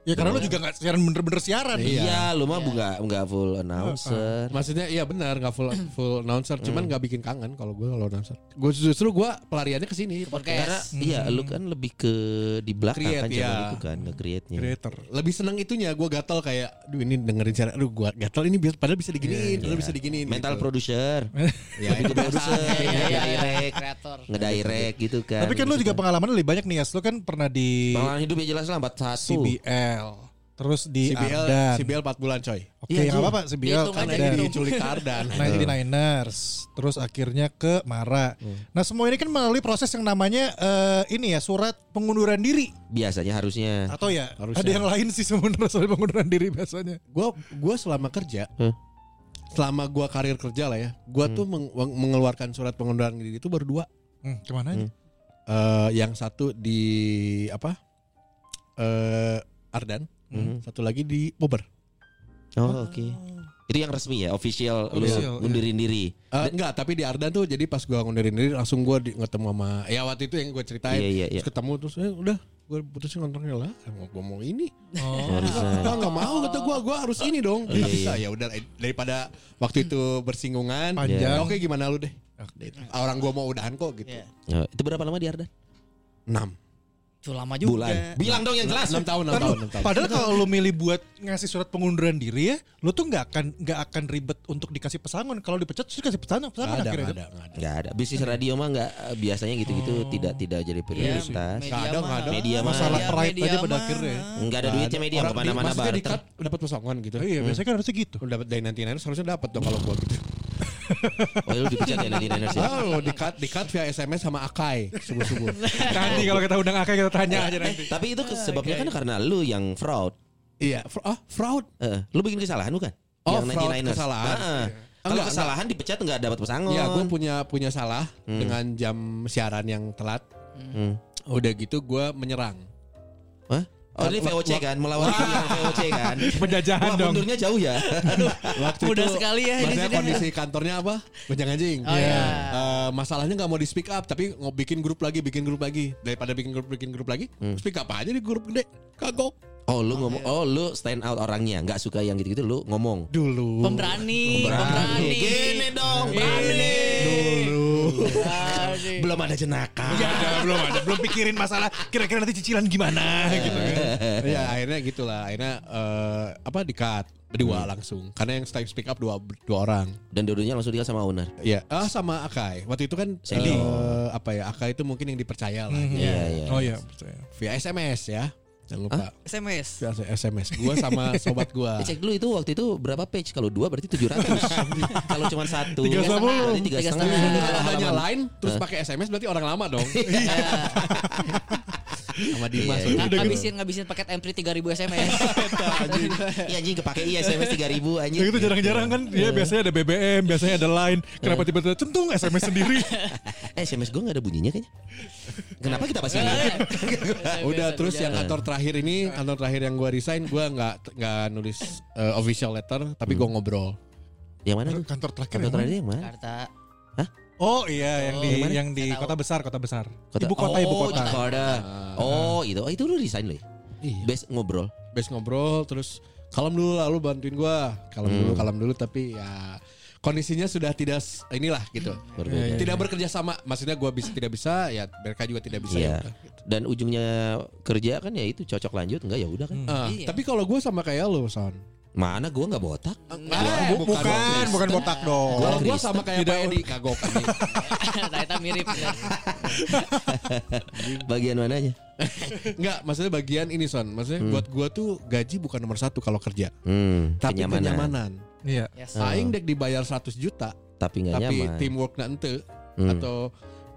S5: Ya karena lu juga gak siaran bener-bener siaran.
S4: Iya, lu mah nggak nggak full announcer.
S6: Maksudnya iya benar nggak full full announcer,
S5: Hmm.
S6: cuman nggak bikin kangen kalau gue kalau announcer. Gue justru gue pelariannya ke
S5: Hmm. Eh,
S6: sini
S4: Karena
S6: podcast.
S4: iya lu kan lebih ke di belakang
S6: Create,
S4: kan jalan
S6: iya.
S4: itu kan nge-create-nya.
S5: Creator.
S6: Lebih seneng itunya gue gatel kayak, duh ini dengerin siaran, aduh gue gatel ini bi- padahal
S5: Iya,
S6: bisa diginiin, padahal bisa diginiin.
S4: Mental
S6: gitu.
S4: producer.
S6: Ya,
S4: Lebih ke produser,
S7: Iya,
S4: ngedirect,
S7: Kreator.
S4: ngedirect gitu kan.
S5: Tapi kan lu juga pengalaman lebih banyak nih ya. Lu kan pernah di
S4: Pengalaman hidup ya jelas lah 41.
S5: CBL. Terus di
S6: CBL,
S5: Ardan.
S6: CBL 4 bulan coy.
S5: Iya,
S6: Iya,
S5: Oke,
S4: Iya, gitu.
S5: nggak
S4: Ji.
S5: apa-apa CBL
S7: Dihitung aja,
S5: Ardan.
S7: dihitung.
S6: Diculik ke Ardan.
S5: Nah, jadi Niners, terus akhirnya ke Mara.
S4: Hmm.
S5: Nah, semua ini kan melalui proses yang namanya eh, ini ya surat pengunduran diri
S4: Biasanya harusnya.
S5: atau ya
S6: Harusnya.
S5: ada yang lain sih sebenarnya soal pengunduran diri biasanya.
S6: Gue gue selama kerja,
S5: Hmm.
S4: Huh?
S6: selama gue karir kerja lah ya, gue tuh meng- meng- mengeluarkan surat pengunduran diri itu baru dua.
S5: Hmm, kemana aja?
S6: Eh, yang satu di apa? Eh Ardan,
S5: Hmm.
S4: Mhm.
S6: satu lagi di Bobber.
S4: Oh, oke. Itu yang resmi ya, official,
S5: Official,
S4: lu ngundurin diri.
S6: Eh, enggak, tapi di Ardan tuh jadi pas gua ngundurin diri langsung gua di, ketemu sama ya waktu itu yang gue ceritain.
S4: Iya, iya, iya.
S6: Terus ketemu terus eh, udah gue putusin kontraknya lah. Eh, Mau gua mau ini.
S5: Oh.
S4: Harusnya.
S6: Enggak enggak mau kata gua, gua harus ini dong.
S4: Iya,
S6: Nggak bisa ya udah eh, daripada waktu itu bersinggungan.
S5: Panjang.
S6: Ya, Oke, gimana lu deh? Orang gua mau udahan kok gitu.
S7: Iya.
S4: Oh, itu berapa lama di Ardan?
S6: 6
S7: Tuh lama juga.
S4: Bulan. Bilang dong yang jelas.
S6: 6 tahun, 6
S5: Ntar
S6: tahun,
S5: lu,
S6: 6 tahun.
S5: Kan padahal kalau lu milih buat ngasih surat pengunduran diri ya, lu tuh nggak akan nggak akan ribet untuk dikasih pesangon. Kalau dipecat terus kasih pesangon,
S6: Nggak
S5: pesangon
S6: ada,
S5: akhirnya.
S6: nggak ada, nggak ada.
S4: Enggak ada. Bisnis radio mah enggak biasanya gitu-gitu tidak tidak jadi prioritas.
S7: Iya. media
S6: Kadang
S7: mah.
S6: ada.
S4: Iya. Media mah.
S5: Masalah
S7: Media-
S5: pride
S7: media
S5: aja pada
S7: mah.
S5: akhirnya. ya.
S4: Enggak ada duitnya media
S6: Orang
S4: kemana mana
S6: di- maksudnya di
S4: barter.
S6: cut dapat pesongan gitu.
S5: Oh, iya, biasanya kan harusnya gitu.
S6: Udah dapat dari nanti Niners harusnya dapat dong kalau gua gitu.
S4: Oh, lu dipecat ya nanti Niners ya.
S6: Oh, di cut, di cut via SMS sama Akai subuh-subuh.
S5: Nanti kalau kita undang Aka kita tanya aja nanti.
S4: Tapi itu ke- sebabnya kan karena lu yang fraud.
S6: Iya, fr- ah, fraud.
S4: Eh, lu bikin kesalahan bukan?
S6: Oh,
S4: yang
S6: fraud,
S4: 99ers.
S6: kesalahan.
S4: Heeh. Kalau
S6: Enggak,
S4: kesalahan dipecat enggak dapat pesangon.
S6: Iya, gue punya punya salah dengan jam siaran yang telat.
S4: Hmm.
S6: Udah gitu gue menyerang.
S4: Hah? Oh, ini VOC kan, melawan tim yang VOC kan.
S5: Penjajahan
S4: Wah,
S5: dong.
S4: mundurnya jauh ya. Aduh.
S6: Waktu
S7: Mudah sekali ya di
S6: Maksudnya
S7: sini.
S6: kondisi kantornya apa? Banyak anjing.
S7: Oh, iya.
S6: Eh, masalahnya nggak mau di speak up, tapi mau bikin grup lagi, bikin grup lagi. Daripada bikin grup, bikin grup lagi, speak up aja di grup gede. Kagok.
S4: Oh, lu ngomong, oh lu stand out orangnya, nggak suka yang gitu-gitu lu ngomong.
S6: Dulu.
S7: Pemberani. Pemberani.
S4: Gini dong, berani.
S7: Pemberani.
S4: Belum ada jenaka.
S5: Nggak ada, belum ada, belum pikirin masalah kira-kira nanti cicilan gimana gitu kan.
S6: ya akhirnya gitulah. Akhirnya eh, apa di cut berdua langsung. Karena yang stay speak up dua dua orang.
S4: Dan dua-duanya langsung dikasih sama owner.
S6: Iya, ah sama Akai. Waktu itu kan
S4: Senior.
S6: eh, apa ya? Akai itu mungkin yang dipercaya lah.
S4: Iya, iya.
S5: Oh iya, percaya.
S6: Via SMS ya. Jangan lupa.
S7: SMS.
S6: Via SMS. Gua sama sobat gua.
S4: Eh,
S5: iya.
S4: Cek dulu itu waktu itu berapa page? Kalau dua berarti 700. Kalau cuma satu
S5: Tiga
S4: berarti
S5: setengah.
S4: tiga
S7: Tiga
S4: setengah. Kalau
S7: setengah.
S6: Kalau
S4: halaman-
S6: adanya lain terus pakai SMS berarti orang lama dong. Iya, sama Dimas.
S4: Iya,
S7: Ng- Ngabisin ngabisin paket MP 3000 SMS.
S4: Iya anjing kepake iya SMS 3000 anjing. Iya.
S5: Ya itu jarang-jarang kan dia biasanya ada BBM, biasanya ada line. Kenapa tiba-tiba centung SMS sendiri?
S4: Eh SMS gue gak ada bunyinya kayaknya. Kenapa kita pasti
S6: Ya Udah terus yang kantor terakhir ini, kantor terakhir yang gua resign, gua nggak nggak nulis eh, official letter, tapi
S5: Hmm.
S6: gua ngobrol.
S4: Yang mana? tuh?
S5: Kantor terakhir.
S4: Kantor
S5: yang mana?
S4: terakhir yang mana?
S7: Jakarta.
S5: Oh iya, yang di
S4: yang mana?
S5: yang di
S7: Nggak tahu.
S5: kota besar, kota besar.
S4: Kota-
S5: Ibu kota, ibu
S4: Oh,
S5: kota. Ah.
S4: Jakarta. Oh, itu. Oh, itu lu resign lu ya?
S6: Iya.
S4: Best ngobrol.
S6: Best ngobrol terus kalem dulu lalu bantuin gua. Kalem dulu,
S4: Hmm.
S6: kalem dulu tapi ya kondisinya sudah tidak s- inilah gitu.
S4: Berbeda.
S6: Tidak bekerja sama. Maksudnya gua bisa tidak bisa, ya mereka juga tidak bisa.
S4: Iya.
S6: ya udah.
S4: Dan ujungnya kerja kan ya itu cocok lanjut enggak ya udah kan.
S6: Ah,
S7: Iya.
S6: Tapi kalau gua sama kayak lu, Son.
S4: Mana gua nggak botak.
S6: Ah,
S5: Bu- bukan, bukan botak dong.
S6: Kalau gua
S4: Kristen.
S6: sama kayak Pak Edi kagok anjing.
S7: Ternyata mirip. ya.
S4: Bagian mananya?
S6: Enggak, maksudnya bagian ini Son. Maksudnya buat gua tuh gaji bukan nomor satu kalau kerja,
S4: Hmm,
S6: tapi kenyamanan.
S5: Iya.
S7: Yes.
S6: Aing dek dibayar 100 juta,
S4: Tapi Oh. nggak
S6: tapi
S4: nyaman.
S6: teamwork na ente
S4: Hmm.
S6: atau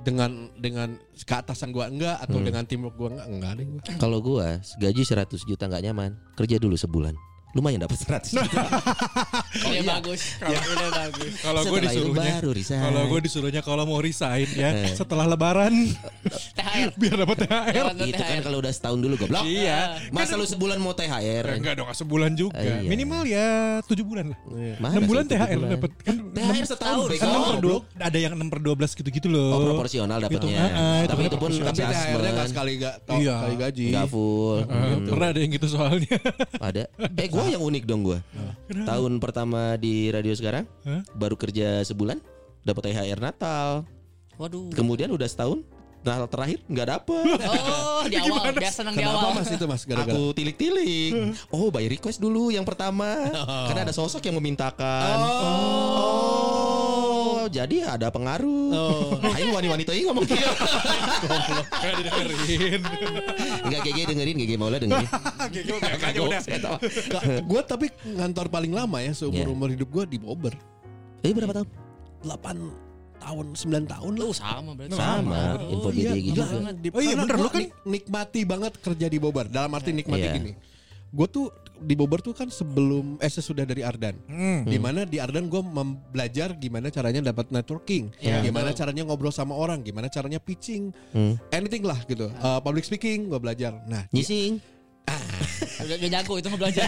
S6: dengan dengan keatasan gua enggak atau
S4: Hmm.
S6: dengan teamwork gua enggak enggak deh gua.
S4: Kalau gua gaji 100 juta nggak nyaman, kerja dulu sebulan. lumayan dapat 100 juta.
S7: Udah bagus. Udah bagus.
S5: Kalau gue
S4: Setelah itu
S5: disuruhnya,
S4: baru resign.
S5: kalau gue disuruhnya kalau mau resign ya setelah Lebaran
S7: THR.
S5: biar dapat THR.
S7: Jalan
S4: Itu kan
S7: THR.
S4: kalau udah setahun dulu goblok.
S5: Iya.
S4: Masa lu sebulan mau THR?
S5: Enggak dong, sebulan juga.
S4: Iya.
S5: Minimal ya 7 bulan lah.
S4: Mana
S5: 6 bulan
S4: sih, tujuh
S5: THR
S4: bulan? Eh,
S5: dapat. Kan
S4: THR setahun.
S5: kan
S4: bego.
S5: 6 per 2, ada yang 6 per 12 gitu-gitu loh.
S4: Oh proporsional
S5: Gitu,
S4: dapatnya.
S5: ah, ah,
S4: Tapi itu pun
S5: proporsional.
S6: Tapi THR-nya nggak
S4: adjustment.
S6: sekali gak,
S5: Iya.
S6: sekali gaji.
S4: Enggak full. gitu.
S5: Pernah ada yang gitu soalnya.
S4: Ada. Eh gue yang unik dong gue. Tahun pertama di radio sekarang
S5: Hah?
S4: baru kerja sebulan dapat THR Natal.
S7: Waduh.
S4: Kemudian udah setahun Natal terakhir nggak dapet.
S7: Oh, di awal. Dia senang di
S6: Kenapa
S7: awal.
S6: mas itu mas? Gara-gara.
S4: Aku tilik-tilik. Oh, by request dulu yang pertama. Karena ada sosok yang memintakan. Oh. jadi ada pengaruh. Ayo wanita-wanita ini ngomong gitu. Enggak GG dengerin, GG Maula dengerin. Saya tahu.
S6: Gue tapi ngantor paling lama ya seumur umur hidup gue di Bobber.
S4: Eh berapa tahun?
S6: 8 tahun, 9 tahun lah.
S7: Lu Oh, sama berarti.
S4: Sama, info BD gitu.
S6: iya, gila banget.
S5: Oh iya,
S6: Karena
S5: bener,
S6: gua
S5: lu kan-
S6: nik- nikmati banget kerja di Bobber. Dalam arti nikmati
S4: Iya.
S6: gini. Gue tuh di Bobber tuh kan sebelum eh sesudah dari Ardan. Dimana di Ardan gue mem- belajar gimana caranya dapat networking,
S4: Iya.
S6: gimana caranya ngobrol sama orang, gimana caranya pitching,
S4: Hmm.
S6: anything lah gitu. Eh, public speaking gue belajar. Nah di,
S4: Nyising.
S7: Udah udah jago itu mau belajar.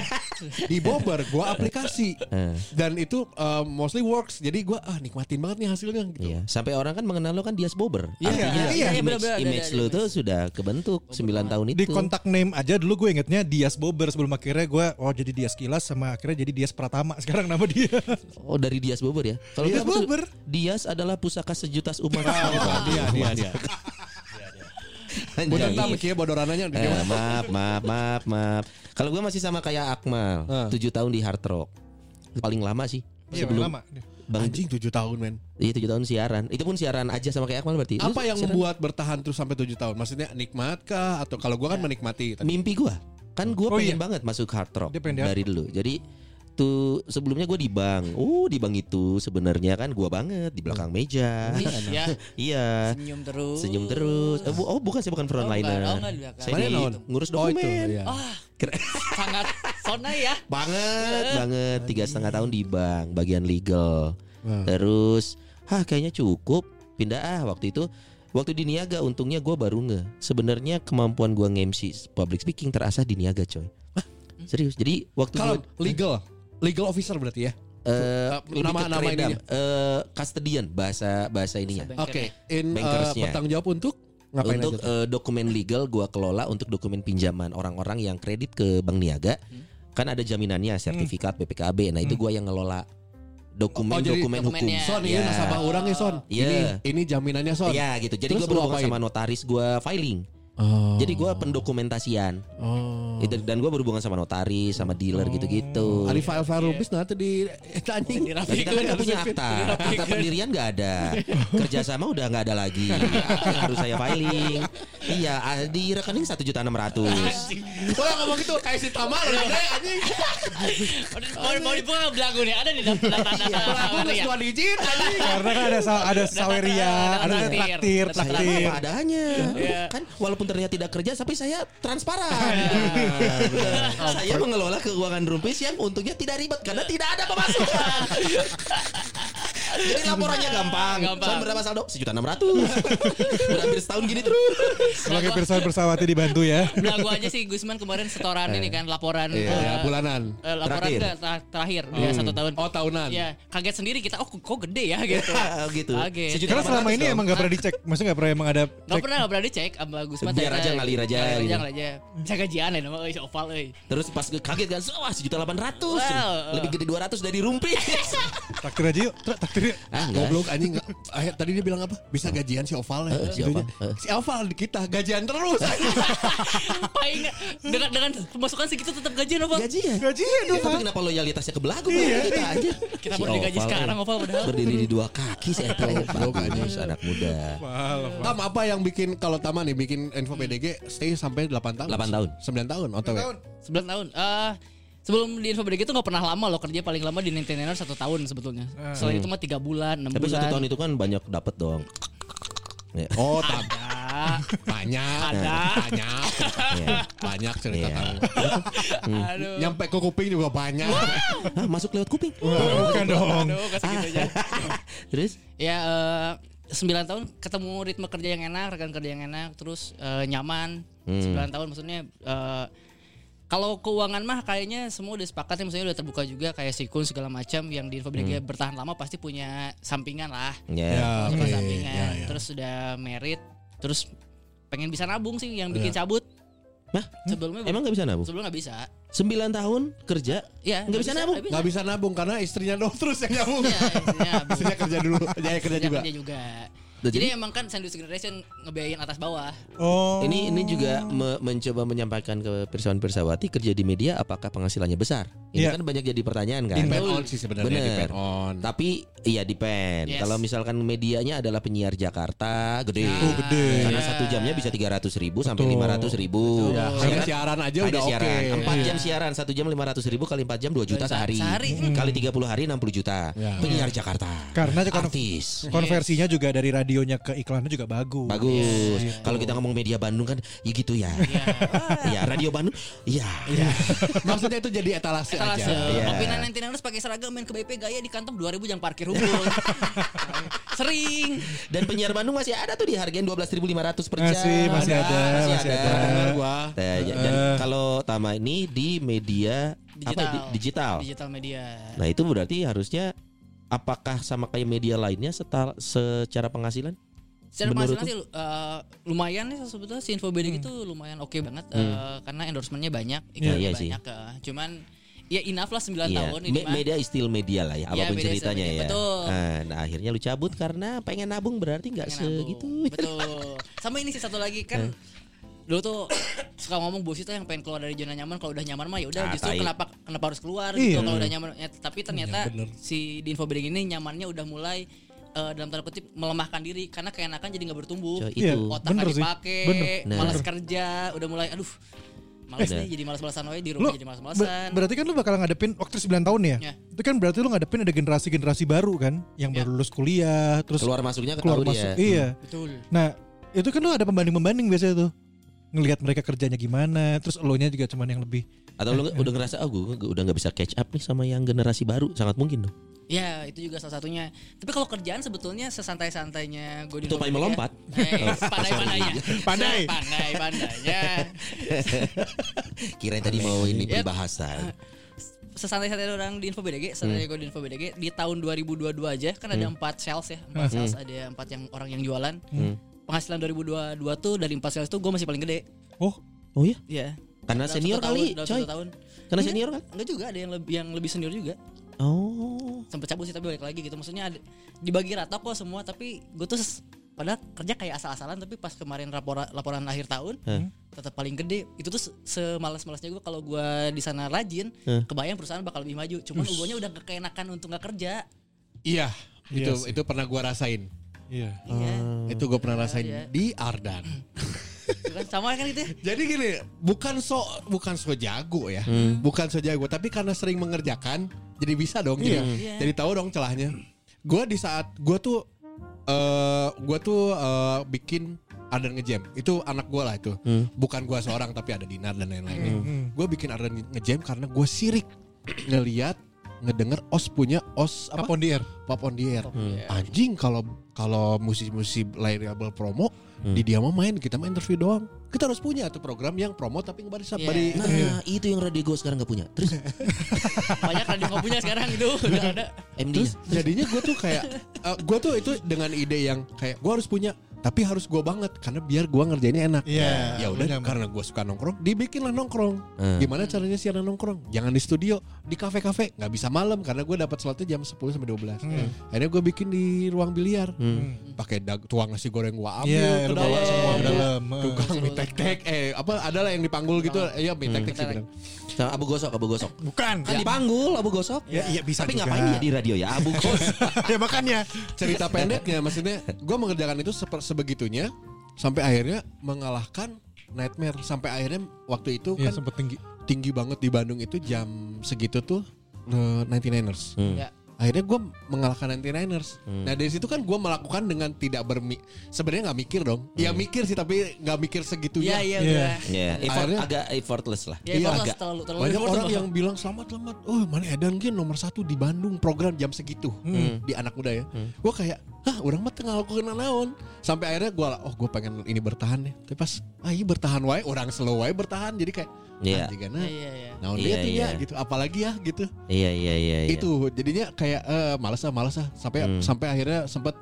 S6: di Bobber gue aplikasi
S4: Eh.
S6: dan itu eh, mostly works. Jadi gue ah nikmatin banget nih hasilnya gitu.
S4: Iya, sampai orang kan mengenal lo kan Dias Bober.
S7: Iya,
S4: Artinya
S7: iya, iya,
S4: image,
S7: bener-bener, ada,
S4: image
S7: ada,
S4: lo
S7: ada.
S4: tuh sudah kebentuk 9 tahun itu.
S5: Di kontak name aja dulu gue ingetnya Dias Bober sebelum akhirnya gue oh jadi Dias Kilas sama akhirnya jadi Dias Pratama sekarang nama dia.
S4: Oh dari Dias Bober ya? Kalau
S5: Dias
S6: Iya,
S4: nggak, betul.
S5: Bober. Oh, iya,
S4: Dias adalah pusaka sejutas umat.
S6: Dia dia dia.
S4: Anjay.
S6: Gue tentang mikirnya bodorananya di
S4: Eh, maaf, maaf, maaf, maaf. Kalau gue masih sama kayak Akmal, tujuh tahun di Hard Rock. Paling lama sih. Sebelum
S5: Iya, lama.
S4: Bang,
S6: Anjing 7 tahun men.
S4: iya tujuh tahun siaran. Itu pun siaran aja sama kayak Akmal berarti. Lu
S6: Apa yang
S4: Iya, siaran-
S6: membuat bertahan terus sampai 7 tahun? Maksudnya nikmat kah atau kalau
S4: Ya.
S6: gua kan menikmati tadi.
S4: mimpi gue? Kan gue
S5: Oh,
S4: pengen
S5: iya.
S4: banget masuk Hard Rock
S5: Dia pengen di Hard
S4: dari dulu. Jadi tuh sebelumnya gue di bank. Oh di bank itu sebenarnya kan gue banget di belakang meja.
S7: Iya.
S4: iya.
S7: Senyum terus.
S4: Senyum terus. Eh, bu- Oh, bukan saya bukan
S7: Oh,
S4: frontliner.
S7: bukan. Oh, enggak di belakang.
S4: saya
S6: Mana
S4: di-
S6: naon?
S4: ngurus
S6: Oh
S4: dokumen.
S6: itu. iya.
S7: Sangat sona ya.
S4: banget banget tiga setengah tahun di bank bagian legal terus hah kayaknya cukup pindah ah waktu itu waktu di niaga untungnya gue baru nge sebenarnya kemampuan gue nge-MC public speaking terasah di niaga coy serius jadi waktu
S6: Kalau
S4: gua-
S6: legal legal officer berarti ya.
S4: eh, lebih
S6: nama-
S4: ke
S6: nama
S4: kerendam,
S6: ininya.
S4: eh, custodian bahasa bahasa ininya
S6: Oke, in eh,
S4: Bankersnya.
S6: bertanggung jawab untuk ngapain
S4: untuk
S6: aja?
S4: eh, dokumen legal gua kelola untuk dokumen pinjaman orang-orang yang kredit ke bank niaga
S6: Hmm.
S4: kan ada jaminannya sertifikat BPKB nah itu gua yang ngelola dokumen
S6: Oh, jadi
S4: dokumen hukum
S7: dokumennya.
S6: Son, ini
S4: Iya.
S6: nasabah orang ya Son.
S4: Iya.
S6: Ini ini jaminannya Son.
S4: Iya gitu jadi
S6: Terus
S4: gua
S6: lu
S4: berhubungan
S6: ngapain?
S4: sama notaris gua filing
S6: Oh.
S4: jadi gua pendokumentasian
S6: Oh.
S4: Itu- dan gua berhubungan sama notaris sama dealer gitu-gitu
S6: Ada file-file
S4: Iya.
S6: rumpis nanti di anjing.
S4: Nah, kita
S7: Iya,
S4: kan nggak punya akta, akta pendirian nggak ada, kerjasama udah nggak ada lagi. Yang harus saya filing. Iya, ah, di rekening satu juta enam ratus.
S6: Kalau ngomong gitu kayak si Tamar anjing.
S7: Mau mau dibuka belagu nih. Ada di dalam Iya. data-data.
S6: Aku nggak dua digit anjing.
S5: Karena kan ada sa- ada saweria,
S7: Ada
S5: Iya. ada
S7: traktir.
S5: traktir,
S7: Iya. Ada
S4: Saya
S5: traktir.
S4: apa adanya.
S7: Iya.
S4: Kan walaupun terlihat tidak kerja tapi saya transparan. Nah, saya mengelola keuangan rumpis yang untungnya tidak ribet karena tidak ada pemasukan. Jadi laporannya gampang.
S7: Nah, Gampang.
S4: Soal berapa saldo? Sejuta enam ratus. Hampir setahun gini terus.
S5: Kalau kayak Pirsawan Bersawati dibantu ya.
S7: Belagu aja sih Gusman kemarin setoran ini kan laporan
S6: Iya,
S7: eh,
S6: ya, bulanan.
S7: eh, laporan
S4: Terakhir.
S7: nggak, ter- terakhir ya satu tahun.
S6: Oh, tahunan.
S7: Ya, kaget sendiri kita oh kok gede ya gitu.
S4: gitu.
S7: Kaget.
S4: Sejuta
S5: Karena
S4: 800
S5: selama ini
S4: dong.
S5: emang gak pernah dicek, maksudnya gak pernah emang ada
S7: Gak
S5: cek.
S7: pernah gak pernah dicek sama Gusman
S4: Biar
S7: ternyata-
S4: aja, ngalir aja,
S7: Ngalir aja
S4: gitu.
S7: ngalir aja Bisa gajian ya nama euy, si Opal euy
S4: Terus pas gue kaget kan, wah sejuta delapan ratus.
S7: Wow.
S4: Lebih gede dua ratus dari rumpis.
S5: Traktir aja yuk, Tra- traktir yuk.
S4: ah, enggak.
S6: Goblok anjing nggak- ah, tadi dia bilang apa? Bisa gajian si Oval ya.
S4: Eh, si
S6: Gitunya.
S4: Oval, eh.
S6: Si Oval di kita gajian terus.
S7: Paling dengan, dengan pemasukan segitu tetap gajian Opal
S4: Gajian.
S5: Gajian
S4: Iya, tapi kenapa loyalitasnya ke belagu kita aja.
S7: Iya. Kita
S4: Si
S7: baru digaji
S4: Oval,
S7: sekarang,
S4: eh.
S7: Oval, padahal.
S4: Berdiri di dua kaki saya tahu bagus anak muda.
S6: Tam apa yang bikin kalau Tama nih bikin info PDG stay sampai 8 tahun?
S4: 8 tahun.
S6: 9 tahun otw.
S7: 9 tahun Eh, Sebelum di Info BDG itu gak pernah lama loh Kerja paling lama di Nintendo satu tahun sebetulnya Setelah itu mah 3 bulan 6
S4: Tapi
S7: bulan
S4: satu tahun itu kan banyak dapat dong. Ya.
S6: Oh, Tam.
S7: Ada ada.
S6: banyak
S7: Ada.
S6: banyak
S4: Iya.
S6: banyak cerita
S4: Iya.
S6: kamu
S7: Aduh.
S6: nyampe ke kuping juga banyak
S4: Iya. Hah, Ah, masuk lewat kuping.
S5: Bukan dong.
S7: Aduh, gitu gak segitunya.
S4: Terus
S7: Ya sembilan 9 tahun ketemu ritme kerja yang enak, rekan kerja yang enak, terus eh, nyaman.
S4: Hmm.
S7: sembilan 9 tahun maksudnya eh, kalau keuangan mah kayaknya semua udah sepakat ya, maksudnya udah terbuka juga kayak sikun segala macam yang di
S4: Hmm.
S7: Infobreaking bertahan lama pasti punya sampingan lah.
S4: ya.
S7: Punya
S6: oke.
S7: sampingan.
S6: Ya,
S4: iya.
S6: ya.
S7: Terus udah merit, terus pengen bisa nabung sih yang bikin cabut.
S4: Iya. Hah?
S7: Sebelumnya
S4: Emang nggak bisa nabung?
S7: sebelum nggak bisa.
S4: 9 tahun kerja
S7: Iya,
S4: nggak bisa nabung.
S7: nggak
S6: nggak bisa nabung karena istrinya doang terus yang nabung
S7: Iya, istrinya nabung.
S6: istrinya kerja dulu dia kerja juga
S7: Kerja juga.
S4: Nah,
S7: Jadi,
S4: jadi-
S7: emang kan sandwich generation ngebiayain atas bawah.
S5: Oh.
S4: Ini ini juga me- mencoba menyampaikan ke Pirsawan Pirsawati kerja di media apakah penghasilannya besar? Ini
S5: Iya.
S4: kan banyak jadi pertanyaan kan.
S6: depend on sih sebenarnya
S4: Bener.
S6: depend on
S4: Tapi iya depend.
S7: Yes.
S4: Kalau misalkan medianya adalah penyiar Jakarta gede.
S7: Oh, gede.
S4: Karena
S7: Iya.
S4: satu jamnya bisa 300 ribu sampai
S5: Betul.
S4: 500 ribu. Nah,
S6: Ya,
S7: Oh,
S6: hanya
S7: kan?
S6: siaran aja udah oke
S4: Iya. siaran. Empat
S7: Iya.
S4: jam siaran, satu jam 500 ribu kali empat jam 2 juta
S7: Sehari.
S4: sehari. Hmm.
S7: Sehari. Hmm.
S4: Kali 30 hari 60 juta.
S6: Iya.
S4: Penyiar Jakarta.
S5: Ya. Karena kan
S4: Artis.
S5: konversinya juga dari radionya ke iklannya juga bagus.
S4: Bagus. Kalau kita ngomong media Bandung kan ya gitu ya. Iya, radio Bandung. Iya.
S6: maksudnya itu jadi etalase,
S7: Etalase.
S6: aja
S4: Iya.
S7: Opinan nanti harus pakai seragam main ke BP gaya di kantong 2000 jangan parkir hukum. Sering.
S4: Dan penyiar Bandung masih ada tuh di harganya 12.500 per jam.
S5: Masih masih
S6: Iya,
S5: ada, masih ada.
S6: Dengar gua
S4: Nah, ya, dan kalau Tama ini di media apa ya,
S7: Digital.
S4: di, digital.
S7: Digital media.
S4: Nah, itu berarti harusnya apakah sama kayak media lainnya setal- secara penghasilan?
S7: Secara
S4: Menurut Hmm.
S7: penghasilan sih eh, lumayan nih sebetulnya si info Bidik itu lumayan oke banget eh, karena endorsementnya banyak, iklannya
S4: Iya, iya sih.
S7: banyak. eh, cuman ya enough lah 9
S4: Iya,
S7: tahun ini
S4: me-
S7: mah.
S4: media still media lah ya,
S7: Iya,
S4: apapun
S7: media still
S4: ceritanya
S7: media,
S4: ya.
S7: betul.
S4: Ah, Nah, akhirnya lu cabut karena pengen nabung berarti nggak
S7: Pengen nabung.
S4: segitu.
S7: Betul. Sama ini sih satu
S4: Eh.
S7: lagi kan dulu tuh suka ngomong bos itu yang pengen keluar dari zona nyaman kalau udah nyaman mah ya
S4: Ah,
S7: udah justru
S4: tai.
S7: kenapa kenapa harus keluar
S5: Iya.
S7: gitu kalau udah nyaman Ya, tapi ternyata si di info bidding ini nyamannya udah mulai eh, dalam tanda kutip melemahkan diri karena keenakan jadi nggak bertumbuh
S4: Coy,
S5: Iya.
S4: itu.
S7: otak
S5: Bener
S7: nggak
S5: sih.
S7: dipakai
S5: Bener.
S4: Nah.
S7: malas kerja udah mulai aduh malas
S4: Bener.
S7: nih jadi malas-malasan aja di
S5: Lu
S7: rumah jadi
S5: ber-
S7: malas-malasan
S5: berarti kan lu bakal ngadepin waktu 9 tahun ya?
S7: Ya.
S5: Itu kan berarti lu ngadepin ada generasi-generasi baru kan yang
S7: Ya.
S5: baru lulus kuliah, terus keluar,
S4: Keluar masuknya ya. ketahui
S5: masuk.
S4: dia.
S5: Iya.
S7: betul
S5: Nah, itu kan lu ada pembanding-pembanding biasanya tuh. Ngelihat mereka kerjanya gimana, terus elunya juga cuman yang lebih
S4: Atau lu udah ngerasa oh gue gue udah nggak bisa catch up nih sama yang generasi baru sangat mungkin dong.
S7: ya itu juga salah satunya tapi kalau kerjaan sebetulnya sesantai-santainya gue di
S4: Tupai
S7: Info Bidik ya,
S4: melompat.
S7: Eh, pandai-pandainya. Pandai. Pandai-pandainya.
S4: Kirain tadi mau ini
S7: Yap. Ah.
S4: peribahasa.
S7: Sesantai-santai orang di Info BDG,
S4: Hmm.
S7: santai gue di Info BDG di tahun 2022 aja kan ada empat sales ya, empat
S4: Hmm.
S7: sales ada empat yang orang yang jualan. Penghasilan 2022 tuh dari empat sales tuh gue masih paling gede.
S5: oh,
S4: Oh iya,
S7: Iya.
S4: karena
S7: Dalam
S4: senior
S7: satu tahun-
S4: kali,
S7: dalam
S4: coy.
S7: satu tahun.
S4: Karena
S7: Iya,
S4: senior kan?
S7: Enggak juga ada yang lebih yang lebih senior juga.
S4: Oh.
S7: Sempet cabut sih tapi balik lagi gitu. Maksudnya ada, dibagi rata kok semua tapi gue tuh ses- padahal kerja kayak asal-asalan tapi pas kemarin laporan laporan akhir tahun
S4: Hah.
S7: tetap paling gede itu tuh se- semalas-malasnya gue kalau gue di sana rajin
S4: Hah.
S7: kebayang perusahaan bakal lebih maju cuman gue udah kekeenakan untuk nggak kerja
S6: iya
S5: Iya
S6: itu
S5: sih.
S6: itu pernah gua rasain
S5: iya.
S7: iya
S6: itu gua pernah
S7: Iya.
S6: rasain di Ardan
S7: itu kan sama kan itu ya?
S6: jadi gini bukan so bukan so jago ya bukan so jago tapi karena sering mengerjakan jadi bisa dong jadi
S7: Iya.
S6: jadi tahu dong celahnya gua di saat gua tuh eh gua tuh eh, bikin Ardan ngejam itu anak gua lah itu bukan gua seorang tapi ada Dinar dan lain-lainnya gua bikin Ardan ngejam karena gua sirik ngeliat ngedenger os punya os
S5: Apa?
S6: apa
S5: Air.
S6: Pop on the air. Anjing kalau kalau musisi-musisi label promo di dia mah main kita mah interview doang. Kita harus punya tuh program yang promo tapi nggak bisa
S7: Iya.
S6: bari-
S4: Nah, itu yang Radio Go sekarang nggak punya. Terus
S7: banyak radio nggak punya sekarang itu udah ada
S4: MD
S6: Terus Iya. jadinya gue tuh kayak eh, gua gue tuh itu dengan ide yang kayak gue harus punya tapi harus gue banget karena biar gue ngerjainnya enak.
S5: Iya,
S6: Ya udah
S5: benar.
S6: karena gue suka nongkrong dibikinlah nongkrong.
S5: Eh.
S4: Hmm.
S6: Gimana caranya siaran nongkrong? Jangan di studio di kafe-kafe nggak bisa malam karena gue dapat slotnya jam 10 sampai 12.
S5: Hmm.
S6: Akhirnya gue bikin di ruang biliar. Pakai dag- tuang nasi goreng gue ambil
S5: Iya, lu
S6: ke
S5: bawa
S6: dalam.
S5: semua ke dalam.
S6: tukang mie tek tek eh apa adalah yang dipanggul gitu
S5: Oh.
S6: ya mie
S5: Hmm.
S6: tek tek sih bener.
S4: sama Abu Gosok, Abu Gosok.
S5: Bukan. Iya.
S4: Kan dipanggul Abu Gosok.
S5: Ya, iya, bisa
S4: Tapi
S5: juga.
S4: ngapain dia di radio ya Abu Gosok?
S5: ya makanya.
S6: cerita pendeknya maksudnya gue mengerjakan itu seper- sebegitunya sampai akhirnya mengalahkan nightmare sampai akhirnya waktu itu
S5: Iya,
S6: kan
S5: sempat tinggi.
S6: tinggi banget di Bandung itu jam segitu tuh eh, 99ers
S7: ya
S6: akhirnya gue mengalahkan 99ers nah dari situ kan gue melakukan dengan tidak bermi sebenarnya nggak mikir dong ya mikir sih tapi nggak mikir
S7: Iya
S6: segitunya
S5: Iya.
S7: iya udah.
S4: Ya, effort-
S6: Akhirnya-
S4: agak effortless lah.
S7: Ya
S6: Iya,
S7: kalau
S6: agak.
S7: terlalu
S4: Oh,
S7: terlalu
S6: banyak
S7: effort
S4: iya.
S6: orang
S7: lah.
S6: yang bilang selamat selamat oh mana Edan Gin nomor satu di Bandung program jam segitu
S4: Hmm.
S6: di anak muda ya gue kayak hah orang mah tengah aku kena naon sampai akhirnya gue oh gue pengen ini bertahan ya tapi pas ah iya bertahan wae orang slow wae bertahan jadi kayak
S4: Iya.
S6: anjing
S7: Iya,
S6: nah
S7: iya iya.
S6: naon
S4: Iya,
S6: dia tuh
S4: iya.
S6: ya gitu apalagi ya gitu
S4: Iya iya iya. iya.
S6: itu jadinya kayak eh, malas ah malas ah sampai
S4: Hmm.
S6: sampai akhirnya sempat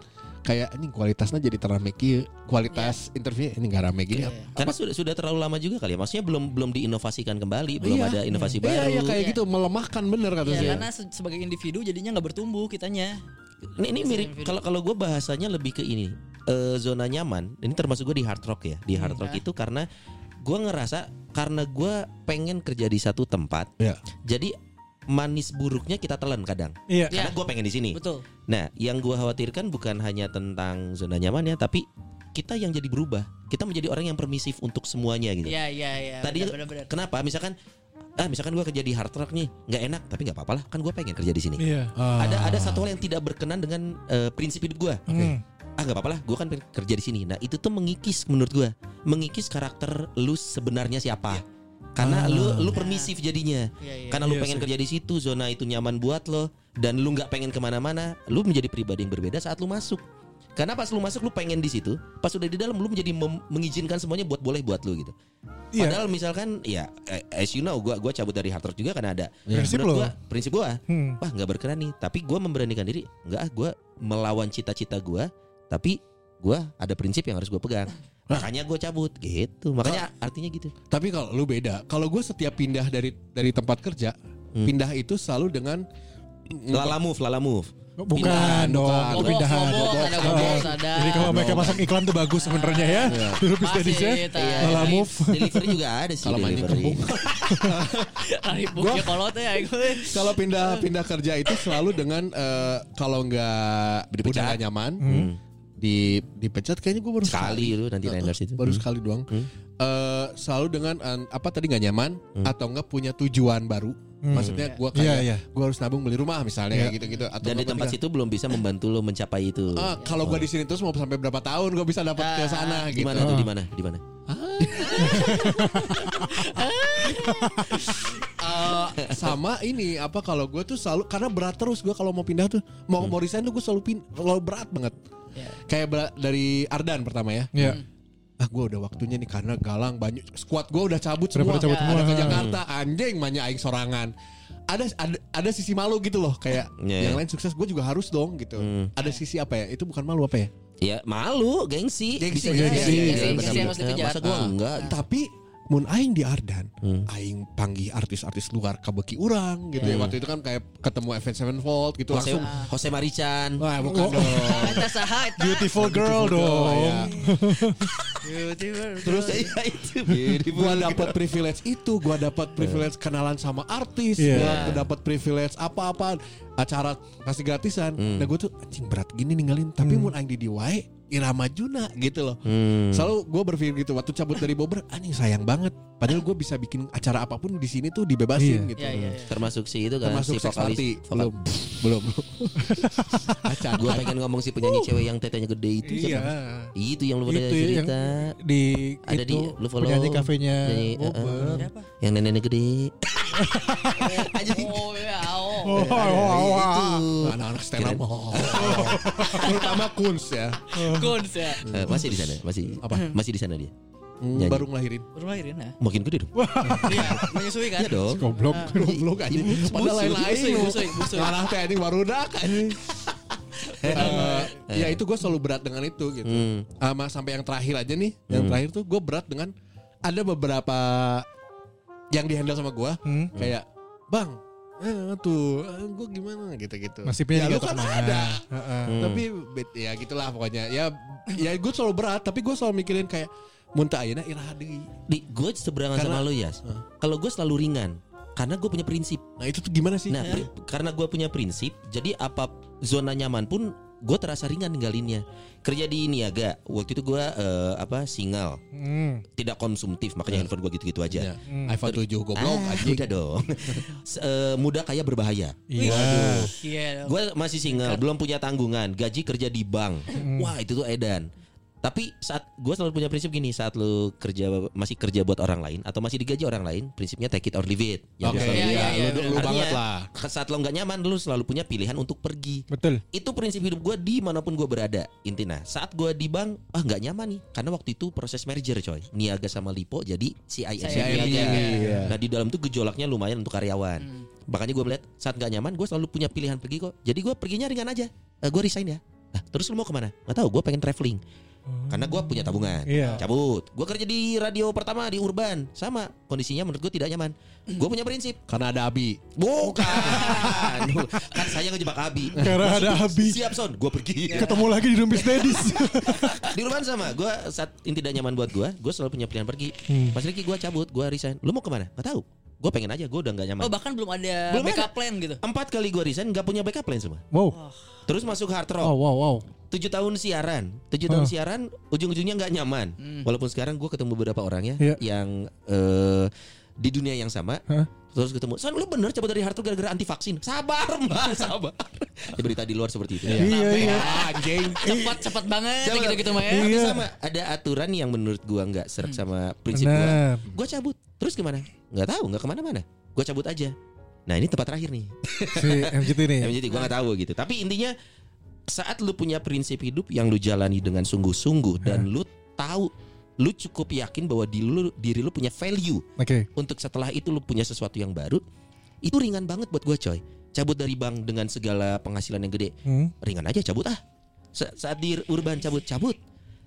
S6: kayak ini kualitasnya jadi terame kieu. kualitas
S4: Iya.
S6: interview ini gak rame gini
S7: Iya,
S6: apa-
S7: iya.
S4: Karena sudah sudah terlalu lama juga kali ya. Maksudnya belum belum diinovasikan kembali, belum
S6: Iya.
S4: ada inovasi
S6: Iya,
S4: baru.
S6: iya kayak
S7: Iya.
S6: gitu melemahkan bener kata
S7: Iya,
S6: saya.
S7: karena se- sebagai individu jadinya nggak bertumbuh kitanya.
S4: Ini, ini mirip kalau kalau gue bahasanya lebih ke ini eh, zona nyaman. Ini termasuk gue di hard rock ya. Di hard rock itu karena gue ngerasa karena gue pengen kerja di satu tempat.
S6: Iya.
S4: Jadi manis buruknya kita telan kadang.
S5: Iya.
S4: Karena gue pengen di sini.
S7: Betul.
S4: Nah, yang gue khawatirkan bukan hanya tentang zona nyaman ya, tapi kita yang jadi berubah. Kita menjadi orang yang permisif untuk semuanya gitu.
S7: Iya iya iya.
S4: Tadi
S7: benar benar.
S4: kenapa? Misalkan ah misalkan gue kerja di hard rock nih, nggak enak, tapi nggak apa-apa lah. Kan gue pengen kerja di sini.
S5: Iya.
S4: Ada ada satu hal yang tidak berkenan dengan eh, prinsip hidup gue.
S5: Hmm.
S4: Ah nggak apa-apa lah, gue kan pengen kerja di sini. Nah itu tuh mengikis menurut gue, mengikis karakter lu sebenarnya siapa. Karena
S5: Ah.
S4: lu lu permisif jadinya.
S7: Iya iya.
S4: Karena lu
S5: Iya
S4: pengen kerja di situ, zona itu nyaman buat lo, dan lu nggak pengen kemana-mana, lu menjadi pribadi yang berbeda saat lu masuk. Karena pas lu masuk lu pengen di situ, pas udah di dalam lu menjadi mem- mengizinkan semuanya buat boleh buat lu gitu.
S5: Iya.
S4: Padahal misalkan ya eh, as you know gua gua cabut dari hard rock juga karena ada
S5: Iya. Prinsip
S4: Menurut
S5: lo.
S4: gua, prinsip gua
S5: Hmm.
S4: wah nggak berkenan nih, tapi gua memberanikan diri, nggak ah gua melawan cita-cita gua, tapi gua ada prinsip yang harus gua pegang.
S5: Nah.
S4: Makanya gua cabut gitu. Makanya artinya gitu.
S6: Tapi kalau lu beda, kalau gue setiap pindah dari dari tempat kerja,
S4: Hmm.
S6: pindah itu selalu dengan
S4: Lala move, lala move.
S5: Bukan dong,
S6: bukan.
S5: itu
S7: Ngobok,
S5: pindahan.
S7: ngobok,
S5: Ngobok.
S7: ada ngobok,
S5: Ah,
S7: ada.
S5: Jadi kalau mereka masang iklan tuh bagus sebenarnya ya. Dulu bis
S7: Masih,
S5: dari ya.
S7: iya,
S5: Malah
S7: iya.
S5: move.
S4: Delivery juga ada sih.
S6: Kalau mancing
S4: delivery.
S6: kembung.
S7: Tarik buku kalau teh ya gue.
S6: kalau pindah pindah kerja itu selalu dengan eh, kalau nggak udah nggak nyaman
S4: Hmm.
S6: di dipecat kayaknya gue baru
S4: Sekali lu nanti Niners itu.
S6: baru
S4: Hmm.
S6: sekali doang.
S4: Hmm.
S6: Eh, selalu dengan eh, apa tadi nggak nyaman
S4: Hmm.
S6: atau nggak punya tujuan baru. Maksudnya gue kayak
S5: Iya, iya.
S6: gue harus nabung beli rumah misalnya kayak gitu-gitu atau
S4: Dan di
S6: nggak
S4: Iya. tempat
S6: penting.
S4: situ Hmm. belum bisa membantu lu mencapai itu.
S6: Ah, kalau gue di sini terus mau sampai berapa tahun gue bisa dapat ke sana
S4: Di
S6: gitu.
S4: mana tuh? Di mana? Di mana?
S6: Eh, sama ini apa kalau gue tuh selalu karena berat terus gue kalau mau pindah tuh
S5: Hmm.
S6: mau mau resign tuh gue selalu pin selalu berat banget
S7: Iya.
S6: kayak berat- dari Ardan pertama ya
S5: Iya.
S6: ah gue udah waktunya nih karena galang banyak squad gue udah cabut
S5: Udah
S6: semua
S5: pada cabut semua. Hmm.
S6: ada ke Jakarta anjing banyak aing sorangan ada, ada ada sisi malu gitu loh kayak
S4: Iya.
S6: yang lain sukses gue juga harus dong gitu
S4: Hmm.
S6: ada sisi apa ya itu bukan malu apa ya
S4: Ya malu, gengsi.
S6: Gengsi,
S4: jadi.
S6: gengsi,
S4: Iya,
S6: gengsi,
S4: benar,
S7: gengsi
S4: benar.
S7: harus dikejar.
S4: Masa gua
S6: Ah.
S4: enggak?
S6: tapi mun aing di Ardan
S4: Hmm.
S6: aing panggil artis-artis luar kabeki urang gitu
S5: Hmm.
S6: ya waktu itu kan kayak ketemu Event Sevenfold gitu
S4: Jose,
S6: langsung
S4: Jose Marican.
S6: Wah, bukan dong.
S7: Kita saha eta.
S5: Beautiful girl
S6: Ya.
S5: dong.
S4: Terus ya itu.
S6: Gua dapat privilege itu, gua dapat privilege kenalan sama artis,
S5: Iya.
S6: gua dapat privilege apa-apa acara pasti gratisan. Nah, gua tuh anjing berat gini ninggalin, tapi mun aing di wae Irama Juna gitu loh.
S4: Hmm.
S6: Selalu gua berpikir gitu waktu cabut dari Bobber, anjing sayang banget. Padahal gua bisa bikin acara apapun di sini tuh dibebasin
S5: Iya.
S6: gitu.
S7: Iya iya. iya.
S4: Termasuk si itu kan si
S6: Termasuk seks
S4: vokalis.
S6: party
S4: vokal-
S6: belum belum. Acan.
S4: Gua pengen ngomong si penyanyi cewek yang tetenya gede itu
S5: Iya.
S4: siapa? Itu yang lu pernah
S5: Itu ya, yang-
S4: cerita.
S5: Di
S4: Ada di-
S5: itu
S4: lu follow.
S5: penyanyi kafenya
S4: Penyanyi,
S5: Bobber.
S7: Siapa?
S4: uh. Yang nenek-nenek gede.
S7: Oh ya, oh.
S5: Oh, oh, oh, oh.
S6: Anak-anak stand up. Terutama Kunz ya.
S7: Guns ya.
S4: Eh, masih di sana, masih.
S6: Hmm,
S4: Apa? Masih di sana dia. Nyanyi.
S6: Baru ngelahirin.
S7: Baru lahirin ya.
S4: Makin gede dong.
S7: Iya, menyusui kan?
S4: Iya dong.
S5: Goblok.
S6: goblok anjing padahal
S7: Busui,
S6: lain-lain
S7: busui,
S6: lu
S7: busui, busui.
S6: ngarah teh anjing baru dak anjing Eh, ya itu gue selalu berat dengan itu gitu
S4: Hmm.
S6: sama sampai yang terakhir aja nih yang terakhir tuh gue berat dengan ada beberapa yang dihandle sama gue
S5: Hmm.
S6: kayak bang eh, tuh gue gimana gitu-gitu
S5: Masih
S6: ya
S5: penyanyi
S6: lu
S5: atau
S6: kan
S5: kemana?
S6: ada
S5: Heeh.
S4: Hmm.
S6: tapi bet- ya gitulah pokoknya ya ya gue selalu berat tapi gue selalu mikirin kayak muntah nah, ayeuna iraha deui
S4: Di gue seberangan
S6: Karena-
S4: sama lo ya. Kalau gue selalu ringan, karena gue punya prinsip.
S6: nah itu tuh gimana sih
S4: Nah, pri- karena gue punya prinsip, jadi apa zona nyaman pun gue terasa ringan ninggalinnya kerja di niaga waktu itu gue eh, apa single
S6: Hmm.
S4: tidak konsumtif makanya handphone gue gitu-gitu aja
S6: Ya. iPhone 7 goblok
S4: Iya. Ah,
S6: anjing.
S4: udah dong S- eh, muda kaya berbahaya
S7: Waduh. Iya.
S4: gue masih single belum punya tanggungan gaji kerja di bank wah itu tuh edan tapi saat gue selalu punya prinsip gini saat lu kerja masih kerja buat orang lain atau masih digaji orang lain prinsipnya take it or leave it Ya, gua
S6: Oke,
S4: selalu
S6: iya,
S7: iya,
S6: lu,
S7: iya, iya.
S6: lu banget
S4: Artinya-
S6: lah.
S4: saat lo nggak nyaman lo selalu punya pilihan untuk pergi
S5: Betul.
S4: itu prinsip hidup gue dimanapun gue berada intinya saat gue di bank ah nggak nyaman nih karena waktu itu proses merger coy niaga sama lipo jadi CIS
S7: CIS.
S4: niaga
S6: Iya.
S4: nah di dalam tuh gejolaknya lumayan untuk karyawan
S7: Hmm.
S4: makanya gue melihat saat nggak nyaman gue selalu punya pilihan pergi kok jadi gue perginya ringan aja Eh, gue resign ya nah, terus lu mau kemana nggak tahu gue pengen traveling karena gue punya tabungan
S5: Hmm. Iya.
S4: cabut gue kerja di radio pertama di urban sama kondisinya menurut gue tidak nyaman gue punya prinsip
S6: Karena ada Abi.
S4: Bukan. kan saya ngejebak Abi.
S5: Karena
S4: Maksudnya,
S5: ada Abi.
S4: Siap son, gue pergi.
S5: Ketemu lagi di Rumpis Daddies.
S4: Di rumah sama. Gue saat ini tidak nyaman buat gue. Gue selalu punya pilihan pergi.
S5: Hmm.
S4: Mas Riki gue cabut, gue resign. Lu mau kemana? Gak tahu. Gue pengen aja. Gue udah gak nyaman.
S7: Oh bahkan belum ada
S4: Belum
S7: backup
S4: ada.
S7: plan gitu.
S4: Empat kali gue resign, gak punya backup plan semua.
S5: wow.
S4: Terus masuk hard rock.
S3: Oh wow wow.
S4: Tujuh tahun siaran, tujuh tahun siaran, ujung-ujungnya nggak nyaman. Walaupun sekarang gue ketemu beberapa orang ya
S5: Iya.
S4: yang eh, di dunia yang sama.
S5: Hah?
S4: Terus ketemu, Son lu bener coba dari Harto gara-gara anti vaksin. Sabar mbak, sabar. Ya, berita di luar seperti itu.
S5: Iya iya.
S6: Ah, Anjing.
S7: Cepat cepat banget
S4: Cepat.
S7: gitu gitu mah ya.
S4: Tapi
S5: Iya.
S4: sama ada aturan yang menurut gua nggak serak sama prinsip gua.
S5: Benar.
S4: Gua cabut. Terus kemana? Nggak tahu, nggak kemana-mana. Gua cabut aja. Nah ini tempat terakhir nih.
S5: Si MGT nih.
S4: Ya, jadi gue nggak tahu gitu. Tapi intinya saat lu punya prinsip hidup yang lu jalani dengan sungguh-sungguh dan lu tahu lu cukup yakin bahwa diri lu, diri lu punya value
S5: Oke.
S4: untuk setelah itu lu punya sesuatu yang baru itu ringan banget buat gue coy cabut dari bank dengan segala penghasilan yang gede
S5: Hmm.
S4: ringan aja cabut ah Sa- saat di urban cabut cabut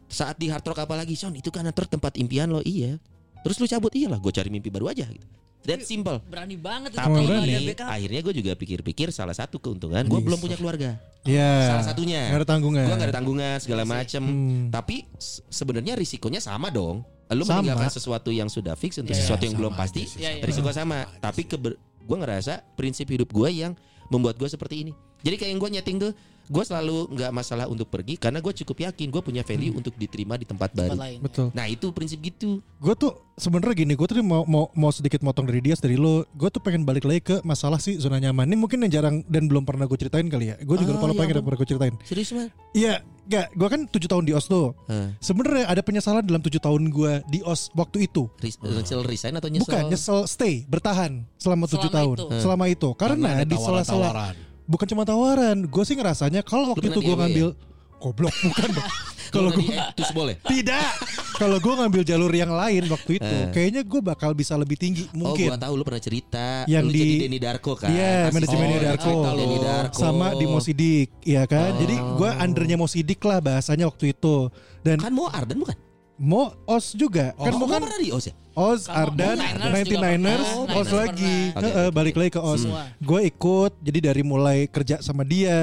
S4: saat di hard rock apa lagi son itu kan antar tempat impian lo iya terus lu cabut iyalah gue cari mimpi baru aja gitu. that simple
S7: Berani banget itu
S4: tapi
S7: belum ada
S4: ini
S7: backup.
S4: akhirnya gue juga pikir-pikir salah satu keuntungan gue belum punya keluarga
S5: Iya.
S4: salah satunya
S5: Nggak ada tanggungan.
S4: gue gak ada tanggungan segala macem
S5: Hmm.
S4: tapi se- sebenarnya risikonya sama dong lu
S5: Sama.
S4: meninggalkan sesuatu yang sudah fix untuk
S7: Iya,
S4: sesuatu yang
S6: sama
S4: belum
S6: aja
S4: pasti
S6: sih,
S7: Iya, iya.
S4: risiko sama tapi gue ngerasa prinsip hidup gue yang membuat gue seperti ini jadi kayak yang gue nyeting tuh gue selalu nggak masalah untuk pergi karena gue cukup yakin gue punya value untuk diterima di tempat
S7: Tempat
S4: baru
S7: lain.
S5: Betul.
S4: nah itu prinsip gitu
S5: Gue tuh sebenarnya gini, gue tuh mau mau mau sedikit motong dari dia dari lo. Gue tuh pengen balik lagi ke masalah sih zona nyaman. Ini mungkin yang jarang dan belum pernah gue ceritain kali ya. Gue juga
S4: Ah,
S5: lupa lupa
S4: iya,
S5: yang
S4: Bang.
S5: pernah gue ceritain.
S4: serius man
S5: Iya, gak. Gue kan tujuh tahun di Oslo.
S4: Heeh.
S5: Sebenarnya ada penyesalan dalam tujuh tahun gue di Os waktu itu.
S4: Ris- nyesel resign atau nyesel
S5: Bukan nyesel stay bertahan selama tujuh
S7: Selama
S5: tahun
S7: itu.
S5: selama itu karena,
S6: Karena ada
S5: di sela-sela
S6: tawaran-tawaran.
S5: bukan cuma tawaran gue sih ngerasanya kalau waktu
S4: pernah
S5: itu gue
S4: di EW
S5: ngambil goblok bukan Bang. kalau gue
S4: terus boleh
S5: tidak kalau gue ngambil jalur yang lain waktu itu kayaknya gue bakal bisa lebih tinggi
S4: Eh. Oh gua
S5: mungkin
S4: tahu lu pernah cerita
S5: Yang
S4: lu
S5: di-
S4: jadi Denny Darko kan.
S5: Iya,
S4: Asisten
S5: manajemennya
S4: lu
S5: Darko. Oh.
S4: cerita lu. Denny Darko. Oh.
S5: sama di Mosidik ya kan jadi gue undernya Mosidik lah bahasanya waktu itu dan
S4: Kan mau Arden bukan?
S5: Mo Os juga kan
S4: Kamu
S5: bukan
S4: pernah di OS ya?
S5: Oz
S7: Kamu-
S5: Ardan
S7: Niners juga
S5: 99ers
S7: pernah.
S5: Oz
S7: Niners
S5: lagi
S7: pernah.
S4: Oke,
S5: Heeh,
S4: oke,
S5: balik lagi ke Oz
S7: Semua.
S5: gue ikut jadi dari mulai kerja sama dia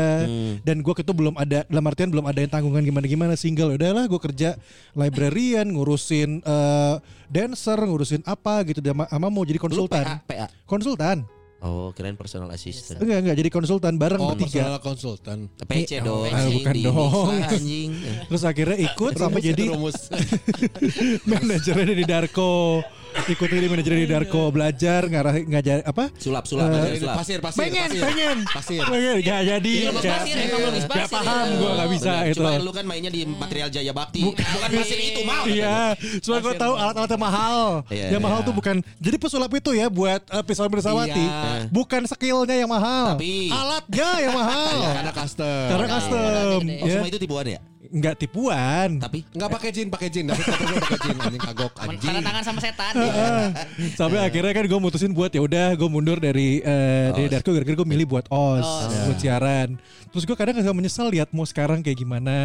S5: dan gue itu belum ada dalam artian belum ada yang tanggungan gimana gimana single udahlah gue kerja librarian ngurusin eh, dancer ngurusin apa gitu sama, sama mau jadi
S4: Lu
S5: konsultan
S4: PA, PA.
S5: konsultan
S4: Oh, keren personal assistant.
S5: enggak enggak jadi konsultan bareng
S6: Oh,
S5: bertiga
S6: personal konsultan.
S4: PC dong,
S5: Ah,
S4: anjing,
S5: bukan
S4: di
S5: dong.
S4: mix lah, anjing.
S5: terus akhirnya ikut sampai jadi
S6: rumus.
S5: manajernya di Darko ikutin di manajernya di Darko belajar ngarah ngajar apa
S4: Sulap, sulap,
S5: Eh,
S4: anjing, sulap.
S6: pasir, pasir,
S5: pengen
S6: pasir.
S5: pengen
S6: Pasir.
S5: pengen gak jadi
S7: Iya, emang
S5: gak-
S7: pasir, emang logis
S5: gak
S7: pasir
S5: paham
S7: itu.
S5: gue gak bisa
S4: Bener.
S5: itu
S4: Cuma lu kan mainnya di material Jaya Bakti. Bukan mesin itu mau.
S5: Iya, cuma gue tahu alat-alatnya mahal.
S4: Iya,
S5: yang mahal
S4: iya.
S5: tuh bukan. Jadi pesulap itu ya buat eh, pisau bersawati,
S4: Iya.
S5: bukan skillnya yang mahal,
S4: Tapi-
S5: alatnya yang mahal.
S6: Karena custom.
S5: Karena
S4: Iya,
S5: custom,
S7: iya,
S4: Oh,
S5: ya.
S4: semua itu tipuan ya?
S5: nggak tipuan.
S4: Tapi
S6: Enggak pakai jin, pakai jin. Dapat foto pakai jin anjing kagok
S7: Men-
S6: anjing.
S7: Tanda tangan sama setan.
S5: Ah, sampai akhirnya kan gue mutusin buat ya udah gue mundur dari eh, dari Darko gara-gara gue milih buat os buat siaran terus gue kadang agak menyesal lihat mau sekarang kayak gimana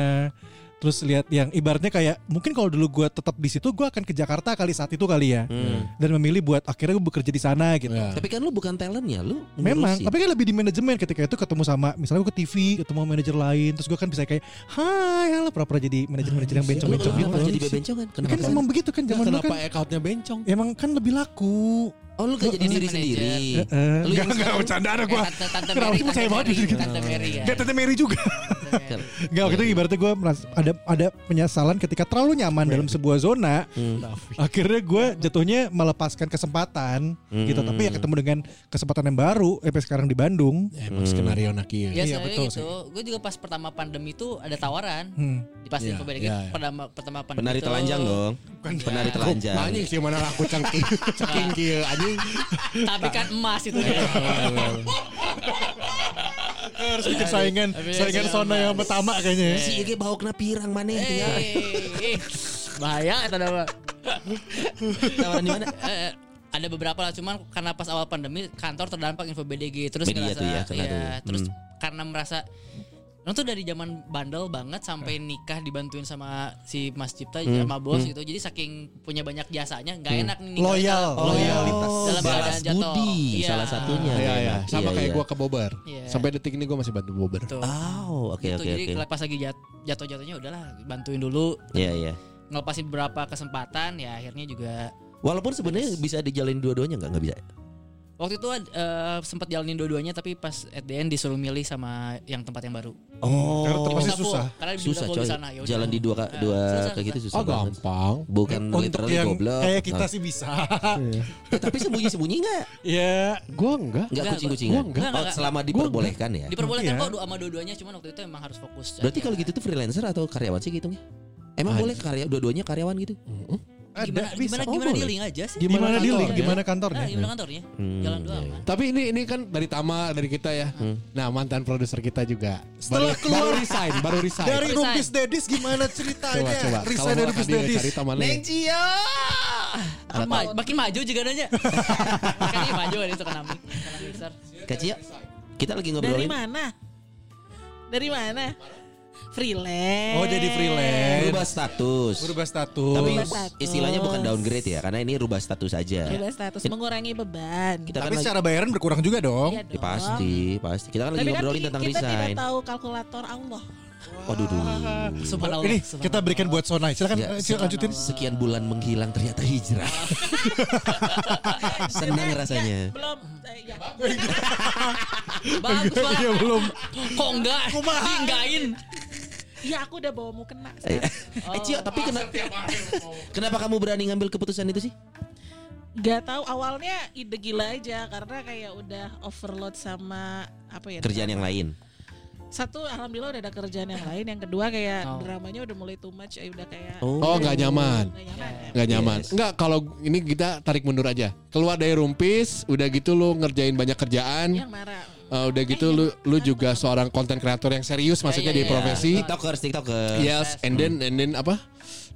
S5: terus lihat yang ibaratnya kayak mungkin kalau dulu gue tetap di situ gue akan ke Jakarta kali saat itu kali ya
S4: Hmm.
S5: dan memilih buat akhirnya gue bekerja di sana gitu
S6: Iya,
S4: tapi kan lu bukan talentnya, lu
S5: Memang,
S4: ngurusin.
S5: tapi kan lebih di manajemen ketika itu ketemu sama misalnya gue ke TV, ketemu manajer lain, terus gue kan bisa kayak, hai, halo pura-pura jadi manajer-manajer yang
S4: lu
S5: bencong-bencong
S4: kenapa
S5: gitu.
S4: Iya, jadi bebencongan? Kenapa?
S5: Kan emang begitu kan zaman dulu
S6: Kenapa
S5: kan,
S6: accountnya bencong?
S5: emang kan lebih lalu.
S4: Oh, lu gak jadi
S7: Lu-
S4: diri
S7: lu
S4: sendiri.
S5: Eh,
S4: Iya. Lu yang
S5: enggak, enggak, bercanda ada
S7: Eh,
S5: gue.
S7: Tante, tante
S5: Kenapa
S7: Mary,
S5: sih percaya
S7: Tante
S5: banget
S7: Mary,
S5: gitu?
S7: Tante Mary ya.
S5: Gak Tante Mary juga.
S7: udah kayak gitu.
S5: Enggak waktu itu ibaratnya gue ada ada penyesalan ketika terlalu nyaman dalam sebuah zona. Akhirnya gue jatuhnya melepaskan kesempatan gitu. Tapi ya ketemu dengan kesempatan yang baru. Eh sekarang di Bandung. Iya,
S6: Emang skenario Naki
S7: Ya,
S6: ya.
S7: sebenarnya gitu. Gue juga pas pertama pandemi itu ada tawaran
S5: Hmm.
S7: di pas
S6: Iya,
S7: info BDG
S6: iya, iya.
S7: pertama pertama pandemi.
S4: Penari
S7: itu-
S4: telanjang dong. Penari telanjang.
S6: Anjing sih mana aku cengking cengking kieu anjing.
S7: Tapi kan emas itu. ya.
S5: Harus bikin saingan
S7: Tapi
S5: saingan
S7: iya,
S5: zona
S7: Mas.
S5: yang pertama kayaknya.
S7: Iya,
S4: Si Ige bawa kena pirang mana dia.
S7: Eh, eh, bahaya kata nama.
S4: Tawaran di mana?
S7: Eh, eh, ada beberapa lah cuman karena pas awal pandemi kantor terdampak info BDG terus
S4: Media
S7: ngerasa iya,
S4: tuh ya, kena tuh.
S7: terus karena merasa Lo tuh dari zaman bandel banget sampai nikah dibantuin sama si Mas Cipta
S4: Hmm.
S7: sama bos gitu. Jadi saking punya banyak jasanya nggak enak nih. nikah
S5: Loyal.
S7: dalam-
S5: Loyalitas.
S1: Oh,
S7: Dalam
S4: balas
S7: keadaan jatuh.
S4: budi
S7: Iya.
S4: salah satunya.
S6: Iya ya,
S4: memang.
S6: sama
S4: Iya,
S6: kayak
S4: iya.
S6: gua ke Bobber.
S7: Iya.
S6: Sampai detik ini gua masih bantu Bobber.
S7: Tuh.
S4: Oh, oke oke
S7: Gitu, jadi
S4: oke.
S7: pas lagi jat- jatuh-jatuhnya udahlah bantuin dulu
S4: Iya iya.
S7: ngelepasin beberapa kesempatan ya akhirnya juga
S4: Walaupun sebenarnya bisa dijalin dua-duanya nggak nggak bisa. ya?
S7: waktu itu eh, sempat jalanin dua-duanya tapi pas at the end disuruh milih sama yang tempat yang baru.
S4: Oh.
S5: Karena terpaksa
S7: Full,
S5: susah.
S7: Karena di
S4: susah
S7: full
S4: coy.
S7: di sana ya udah.
S4: Jalan di dua ka-
S7: Nah,
S4: dua
S7: susah,
S4: kayak gitu
S7: susah.
S4: susah
S6: Oh
S4: banget.
S6: gampang.
S4: Bukan
S5: Untuk
S4: literally
S5: yang
S4: goblok.
S5: kayak kita
S4: Nah.
S5: sih bisa.
S4: Eh, tapi sembunyi-sembunyi nggak?
S5: ya.
S6: Gua enggak.
S4: Nggak
S7: Nggak,
S4: kucing-kucingan.
S6: gua nggak.
S4: Oh, selama diperbolehkan ya.
S7: Diperbolehkan
S5: Iya.
S7: kok dua sama dua-duanya cuman waktu itu emang harus fokus.
S4: Berarti kalau gitu tuh freelancer atau karyawan sih hitungnya? Emang boleh karya dua-duanya karyawan gitu?
S5: Ada bisa.
S7: gimana
S5: Oh,
S7: gimana gimana dealing aja sih?
S5: Gimana
S6: Gimana
S5: dealing?
S6: kantornya?
S5: Gimana
S7: Nah,
S5: kantornya?
S7: gimana kantornya? Jalan dua
S4: iya,
S7: sama.
S6: Tapi ini ini kan dari Tama dari kita ya. Nah, mantan produser kita juga.
S5: Setelah
S6: baru,
S5: keluar-
S6: baru resign, baru resign.
S5: Dari
S7: Resign.
S5: Rumpis Dedis gimana ceritanya?
S6: Nah, coba coba.
S5: iya, Resign dari Rumpis Dedis.
S6: Cari Tama Neng.
S4: Cio.
S7: Kan ma- makin maju juga nanya. Makanya maju kan, ada itu kenami. Kenami besar.
S4: Kacio. Kita lagi
S8: Dari
S4: ngobrolin.
S8: mana? Dari mana? Freelance.
S5: Oh jadi freelance.
S4: Berubah status.
S5: Berubah status.
S4: Tapi
S8: Berubah status.
S4: istilahnya bukan downgrade ya, karena ini rubah status aja.
S8: Freelance status mengurangi beban.
S4: Kita kan
S5: Tapi
S4: lagi-
S5: secara bayaran berkurang juga dong.
S8: Iya
S4: Ya,
S8: dong.
S4: pasti, pasti. Kita kan lagi
S8: Tapi kan
S4: ngobrolin
S8: kita,
S4: tentang
S8: kita
S4: resign.
S8: tidak tahu kalkulator Allah.
S4: Waduh, duh.
S7: Subhanallah.
S5: Ini
S7: subhanallah.
S5: kita berikan buat Sonai.
S8: kan,
S5: Silakan
S4: Ya,
S5: eh, silakan lanjutin.
S4: sekian bulan menghilang ternyata hijrah. Senang rasanya.
S8: Belum. eh, ya.
S7: bagus banget.
S5: Iya belum.
S7: Kok enggak? Dienggain.
S8: Iya, aku udah bawa mu kena. sekarang.
S4: Eh Cio, tapi kenapa kenapa kamu berani ngambil keputusan itu sih?
S8: Gak tahu awalnya ide gila aja karena kayak udah overload sama apa ya?
S4: Kerjaan yang lain.
S8: Satu alhamdulillah udah ada kerjaan yang lain. Yang kedua kayak
S7: Oh.
S8: dramanya udah mulai too much. eh, Udah kayak Iya,
S6: Oh, nggak nyaman. Iya.
S8: nggak nyaman. ya.
S6: Gak nyaman.
S4: Yes.
S6: Enggak, kalau ini kita tarik mundur aja. Keluar dari rumpis, udah gitu lu ngerjain banyak kerjaan.
S7: Iya.
S8: Yang marah.
S6: Eh, udah gitu lu lu juga seorang konten kreator yang serius maksudnya di
S7: iya, iya.
S6: profesi.
S4: TikTokers, TikTokers.
S6: Yes, and then and then apa?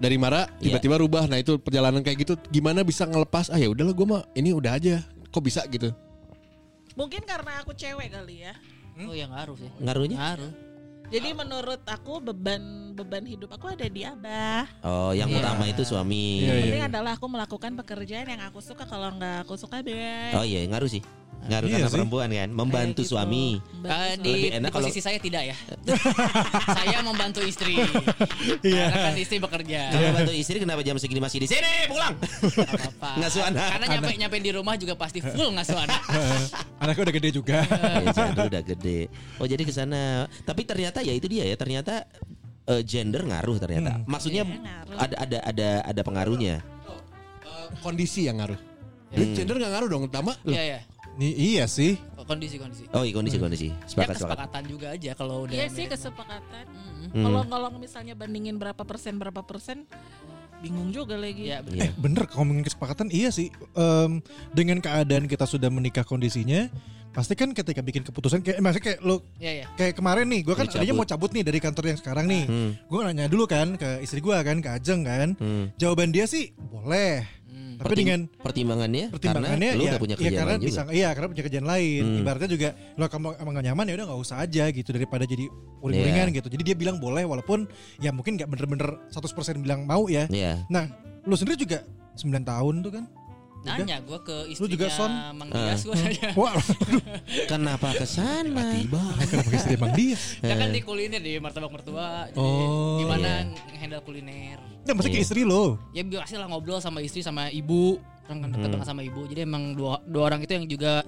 S6: Dari Mara tiba-tiba rubah. Nah, itu perjalanan kayak gitu gimana bisa ngelepas? Ah ya udahlah gua mah ini udah aja. Kok bisa gitu?
S8: Mungkin karena aku cewek kali ya.
S7: Oh ya ngaruh sih.
S4: Ngaruhnya?
S7: Ngaruh.
S8: Jadi menurut aku beban beban hidup aku ada di abah.
S4: Oh, yang
S8: Iya.
S4: utama itu
S6: Iya,
S4: suami.
S8: Yang penting adalah aku melakukan pekerjaan yang aku suka. Kalau nggak aku suka
S7: Eh.
S8: bebas.
S4: Oh iya, ngaruh sih. Ngaruh
S5: Iya
S4: karena
S5: sih.
S4: perempuan kan, membantu
S8: Kayak gitu.
S4: suami.
S8: Membantu
S7: Eh,
S8: suami.
S7: di,
S4: Lebih enak
S7: di posisi saya tidak ya. saya membantu istri. Karena kan istri bekerja.
S4: Kalau bantu istri kenapa jam segini masih di sini? Pulang.
S7: Nggak apa-apa.
S4: Ngasuh anak.
S7: Ah, Karena nyampe nyampe di rumah juga pasti full ngasuh anak.
S5: Eh, Anaknya udah gede juga.
S4: Ya, Jadul udah gede. Oh jadi ke sana. Tapi ternyata ya itu dia ya. Ternyata eh, gender ngaruh ternyata.
S5: Hmm.
S4: Maksudnya
S8: Iya, ngaruh.
S4: ada ada ada ada pengaruhnya.
S6: Eh, Kondisi yang ngaruh. Jadi Gender nggak ngaruh dong, Tama.
S7: Iya ya.
S5: Nih, iya sih.
S7: Kondisi kondisi.
S4: Oh iya
S5: Hmm.
S4: kondisi kondisi.
S7: Ya
S4: Sepakat sepakat.
S7: kesepakatan juga aja kalau udah.
S8: Iya sih
S7: married.
S8: kesepakatan.
S7: Mm-mm.
S4: Hmm.
S8: Kalau kalau misalnya bandingin berapa persen berapa persen, bingung juga lagi.
S7: Iya bener.
S4: Iya.
S5: Eh bener kalau ngomongin kesepakatan iya sih Em, Dengan keadaan kita sudah menikah kondisinya Pasti kan ketika bikin keputusan kayak, eh, Maksudnya kayak lo
S7: Iya ya.
S5: Kayak kemarin nih Gue kan
S4: Lu cabut.
S5: adanya mau cabut nih dari kantor yang sekarang nih
S4: Hmm.
S5: Gue nanya dulu kan ke istri gue kan Ke Ajeng kan
S4: Hmm.
S5: Jawaban dia sih boleh Tapi
S4: Pertim-
S5: dengan
S4: pertimbangannya,
S5: pertimbangannya
S4: karena lu
S5: ya,
S4: udah punya
S5: ya
S4: kerjaan
S5: karena
S4: lain juga.
S5: bisa iya karena punya kerjaan lain
S4: Hmm.
S5: ibaratnya juga lo kamu emang gak nyaman ya udah nggak usah aja gitu daripada jadi uring-uringan
S4: Iya.
S5: gitu jadi dia bilang boleh walaupun ya mungkin nggak bener-bener 100% bilang mau ya
S4: Iya.
S5: nah lu sendiri juga 9 tahun tuh kan
S7: Nanya gue ke istrinya
S5: juga, Son?
S7: Mang Dias gue nanya.
S5: wah
S4: Kenapa ke sana?
S5: kenapa istri emang dia
S7: Dia kan di kuliner di martabak mertua. Jadi
S5: Oh,
S7: gimana handle kuliner?
S5: nggak mesti ke
S4: Iya.
S5: istri lo
S7: Ya biasa lah ngobrol sama istri sama ibu. Orang kan deket banget sama ibu. Jadi emang dua dua orang itu yang juga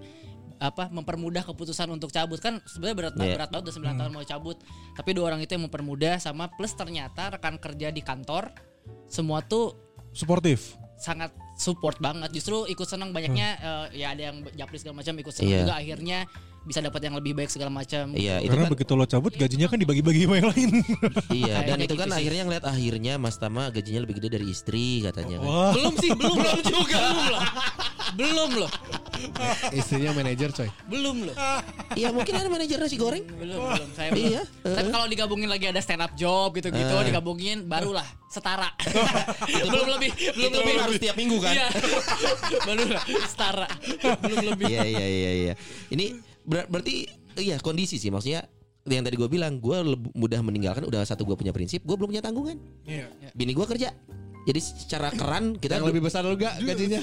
S7: eh, apa mempermudah keputusan untuk cabut kan sebenarnya berat banget
S4: Iya.
S7: berat banget udah 9 tahun mau cabut tapi dua orang itu yang mempermudah sama plus ternyata rekan kerja di kantor semua tuh
S5: Suportif.
S7: sangat support banget justru ikut senang banyaknya eh, ya ada yang japri segala macam ikut senang
S4: Iya.
S7: juga akhirnya bisa dapat yang lebih baik segala macam
S4: Iya, itu
S5: Karena
S4: kan
S5: begitu lo cabut gajinya kan dibagi-bagi sama yang lain.
S4: iya dan
S7: Kayak
S4: itu kan
S7: gitu sih.
S4: akhirnya ngeliat akhirnya Mas Tama gajinya lebih gede dari istri katanya kan.
S5: Wah.
S7: belum sih belum belum juga belum loh belum loh
S6: Istrinya manajer coy.
S7: belum loh
S4: Iya, mungkin ada manajer nasi goreng.
S7: belum belum saya belum.
S4: Iya.
S7: Tapi kalau digabungin lagi ada stand up job gitu-gitu, digabungin barulah setara. belum lebih, belum
S4: itu
S7: lebih
S4: harus tiap minggu kan?
S7: Iya. Baru lah, setara. Belum lebih.
S4: Iya iya iya iya. Ini ber- berarti iya kondisi sih maksudnya yang tadi gue bilang gue leb- mudah meninggalkan udah satu gue punya prinsip gue belum punya tanggungan
S5: Iya.
S4: bini gue kerja jadi secara keran kita
S6: Yang lebih besar lu gak gajinya?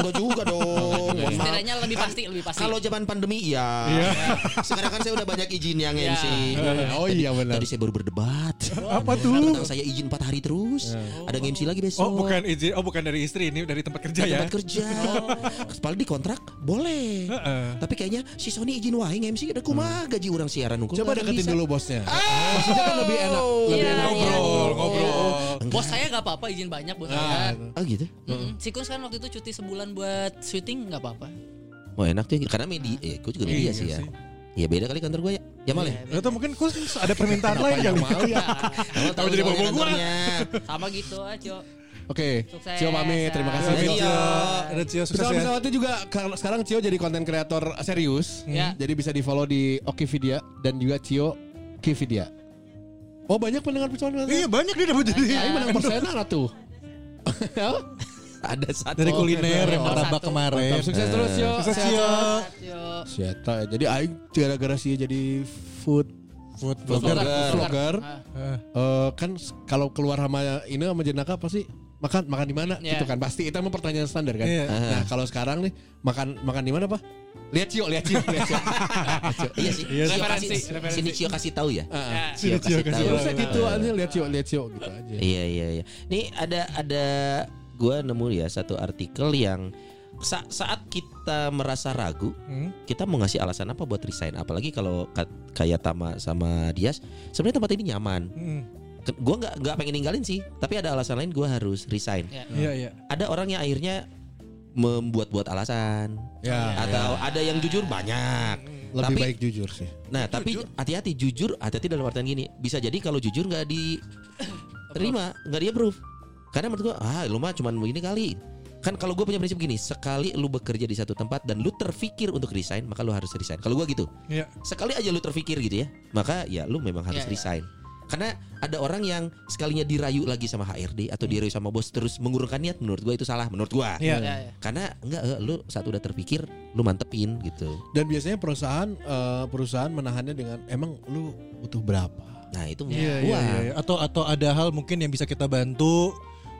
S4: enggak juga dong mohon maaf.
S7: Setidaknya lebih pasti, lebih pasti.
S4: kalau zaman pandemi ya sekarang kan saya udah banyak izin yang
S7: Iya.
S4: MC
S6: Oh iya benar.
S4: tadi saya baru berdebat
S5: Apa
S4: Iya.
S5: tuh?
S4: tentang saya izin 4 hari terus ada yang MC lagi besok
S5: Oh bukan izin, oh bukan dari istri ini dari tempat kerja ya.
S4: tempat kerja Kepala di kontrak boleh
S5: Heeh.
S4: tapi kayaknya si Sony izin wae MC ada kumaha gaji orang siaran hukum
S6: Coba deketin dulu bosnya. Maksudnya kan lebih enak. Lebih
S7: Iya,
S6: enak
S7: iya.
S6: ngobrol,
S7: Iya.
S6: ngobrol.
S7: Bos saya nggak apa-apa izin banyak bos saya.
S4: oh gitu
S7: Mm-mm. Si Kun kan waktu itu cuti sebulan buat syuting nggak apa-apa.
S4: oh enak tuh karena media eh gue juga media sih ya
S5: sih.
S4: ya beda kali kantor gue ya Jamal ya
S6: iya.
S5: Atau mungkin kus ada permintaan lain
S6: Apa yang
S5: kali.
S7: Iya.
S6: mau ya?
S4: Kalau tahu
S5: jadi
S4: soalnya
S5: bobo gua.
S4: kantornya.
S7: Sama gitu aja.
S6: Oke,
S7: Sukses.
S6: Cio pamit. Terima kasih.
S5: Amin,
S6: banyak.
S5: Cio. Ada Cio sukses
S6: Bisa
S5: ya.
S6: bisa juga kar- sekarang Cio jadi konten kreator serius.
S7: Ya.
S6: Jadi bisa di follow di Okividia dan juga Cio Kividia. Oh banyak pendengar pesona.
S5: Iya banyak dia dapat jadi.
S6: Ini menang persenan lah tuh.
S4: ada satu
S5: Dari kuliner yang
S7: Nomor
S5: martabak
S7: satu.
S5: kemarin.
S6: Mantap, sukses terus Cio.
S5: Sukses Cio.
S7: Aja.
S6: Sieta. ya. Jadi aing gara-gara sih jadi food
S5: Food
S6: vlogger,
S7: Vlogger.
S6: vlogger.
S7: Ah.
S6: Eh, kan s- kalau keluar sama ini sama jenaka pasti makan makan di mana
S7: Iya.
S6: gitu kan pasti itu emang pertanyaan standar kan.
S5: Iya.
S6: Nah kalau sekarang nih makan makan di mana pak? Lihat Cio, lihat Cio, lihat Cio.
S4: iya sih
S5: Iya sih.
S4: Cio
S7: Referensi,
S4: kasih
S7: referensi.
S4: sini Cio kasih tahu ya
S6: Ah,
S5: Cio, Cio, Iya, kasih
S6: ya
S5: tahu.
S6: udah gitu aja lihat Cio, lihat Cio gitu aja.
S4: Iya iya iya. Nih ada ada gua nemu ya satu artikel yang sa- saat kita merasa ragu,
S5: Hmm.
S4: kita mau ngasih alasan apa buat resign? Apalagi kalau ka- kayak Tama sama Dias, sebenarnya tempat ini nyaman.
S5: Hmm.
S4: Ke- Gua nggak nggak pengen ninggalin sih, tapi ada alasan lain gua harus resign.
S7: Ya.
S5: Iya iya.
S4: Ada orang yang akhirnya membuat-buat alasan
S6: Ya,
S4: atau ada yang jujur banyak.
S6: lebih
S4: Tapi-
S6: baik jujur sih.
S4: Nah tapi hati-hati jujur, hati-hati dalam artian gini, bisa jadi kalau jujur nggak di terima nggak dia proof karena menurut gua ah lu mah cuman begini kali kan kalau gue punya prinsip gini sekali lu bekerja di satu tempat dan lu terpikir untuk resign maka lu harus resign kalau gua gitu
S5: Iya.
S4: sekali aja lu terpikir gitu ya maka ya lu memang harus
S7: Iya, iya.
S4: resign karena ada orang yang sekalinya dirayu lagi sama HRD atau dirayu sama bos terus mengurungkan niat menurut gua itu salah menurut gua
S5: Iya.
S7: Ya, ya.
S4: karena enggak eh, lu saat udah terpikir lu mantepin gitu
S6: Dan biasanya perusahaan eh, perusahaan menahannya dengan emang lu butuh berapa?
S4: nah itu
S5: Iya,
S4: menurut
S5: iya,
S4: gua.
S5: iya, iya. Atau atau ada hal mungkin yang bisa kita bantu.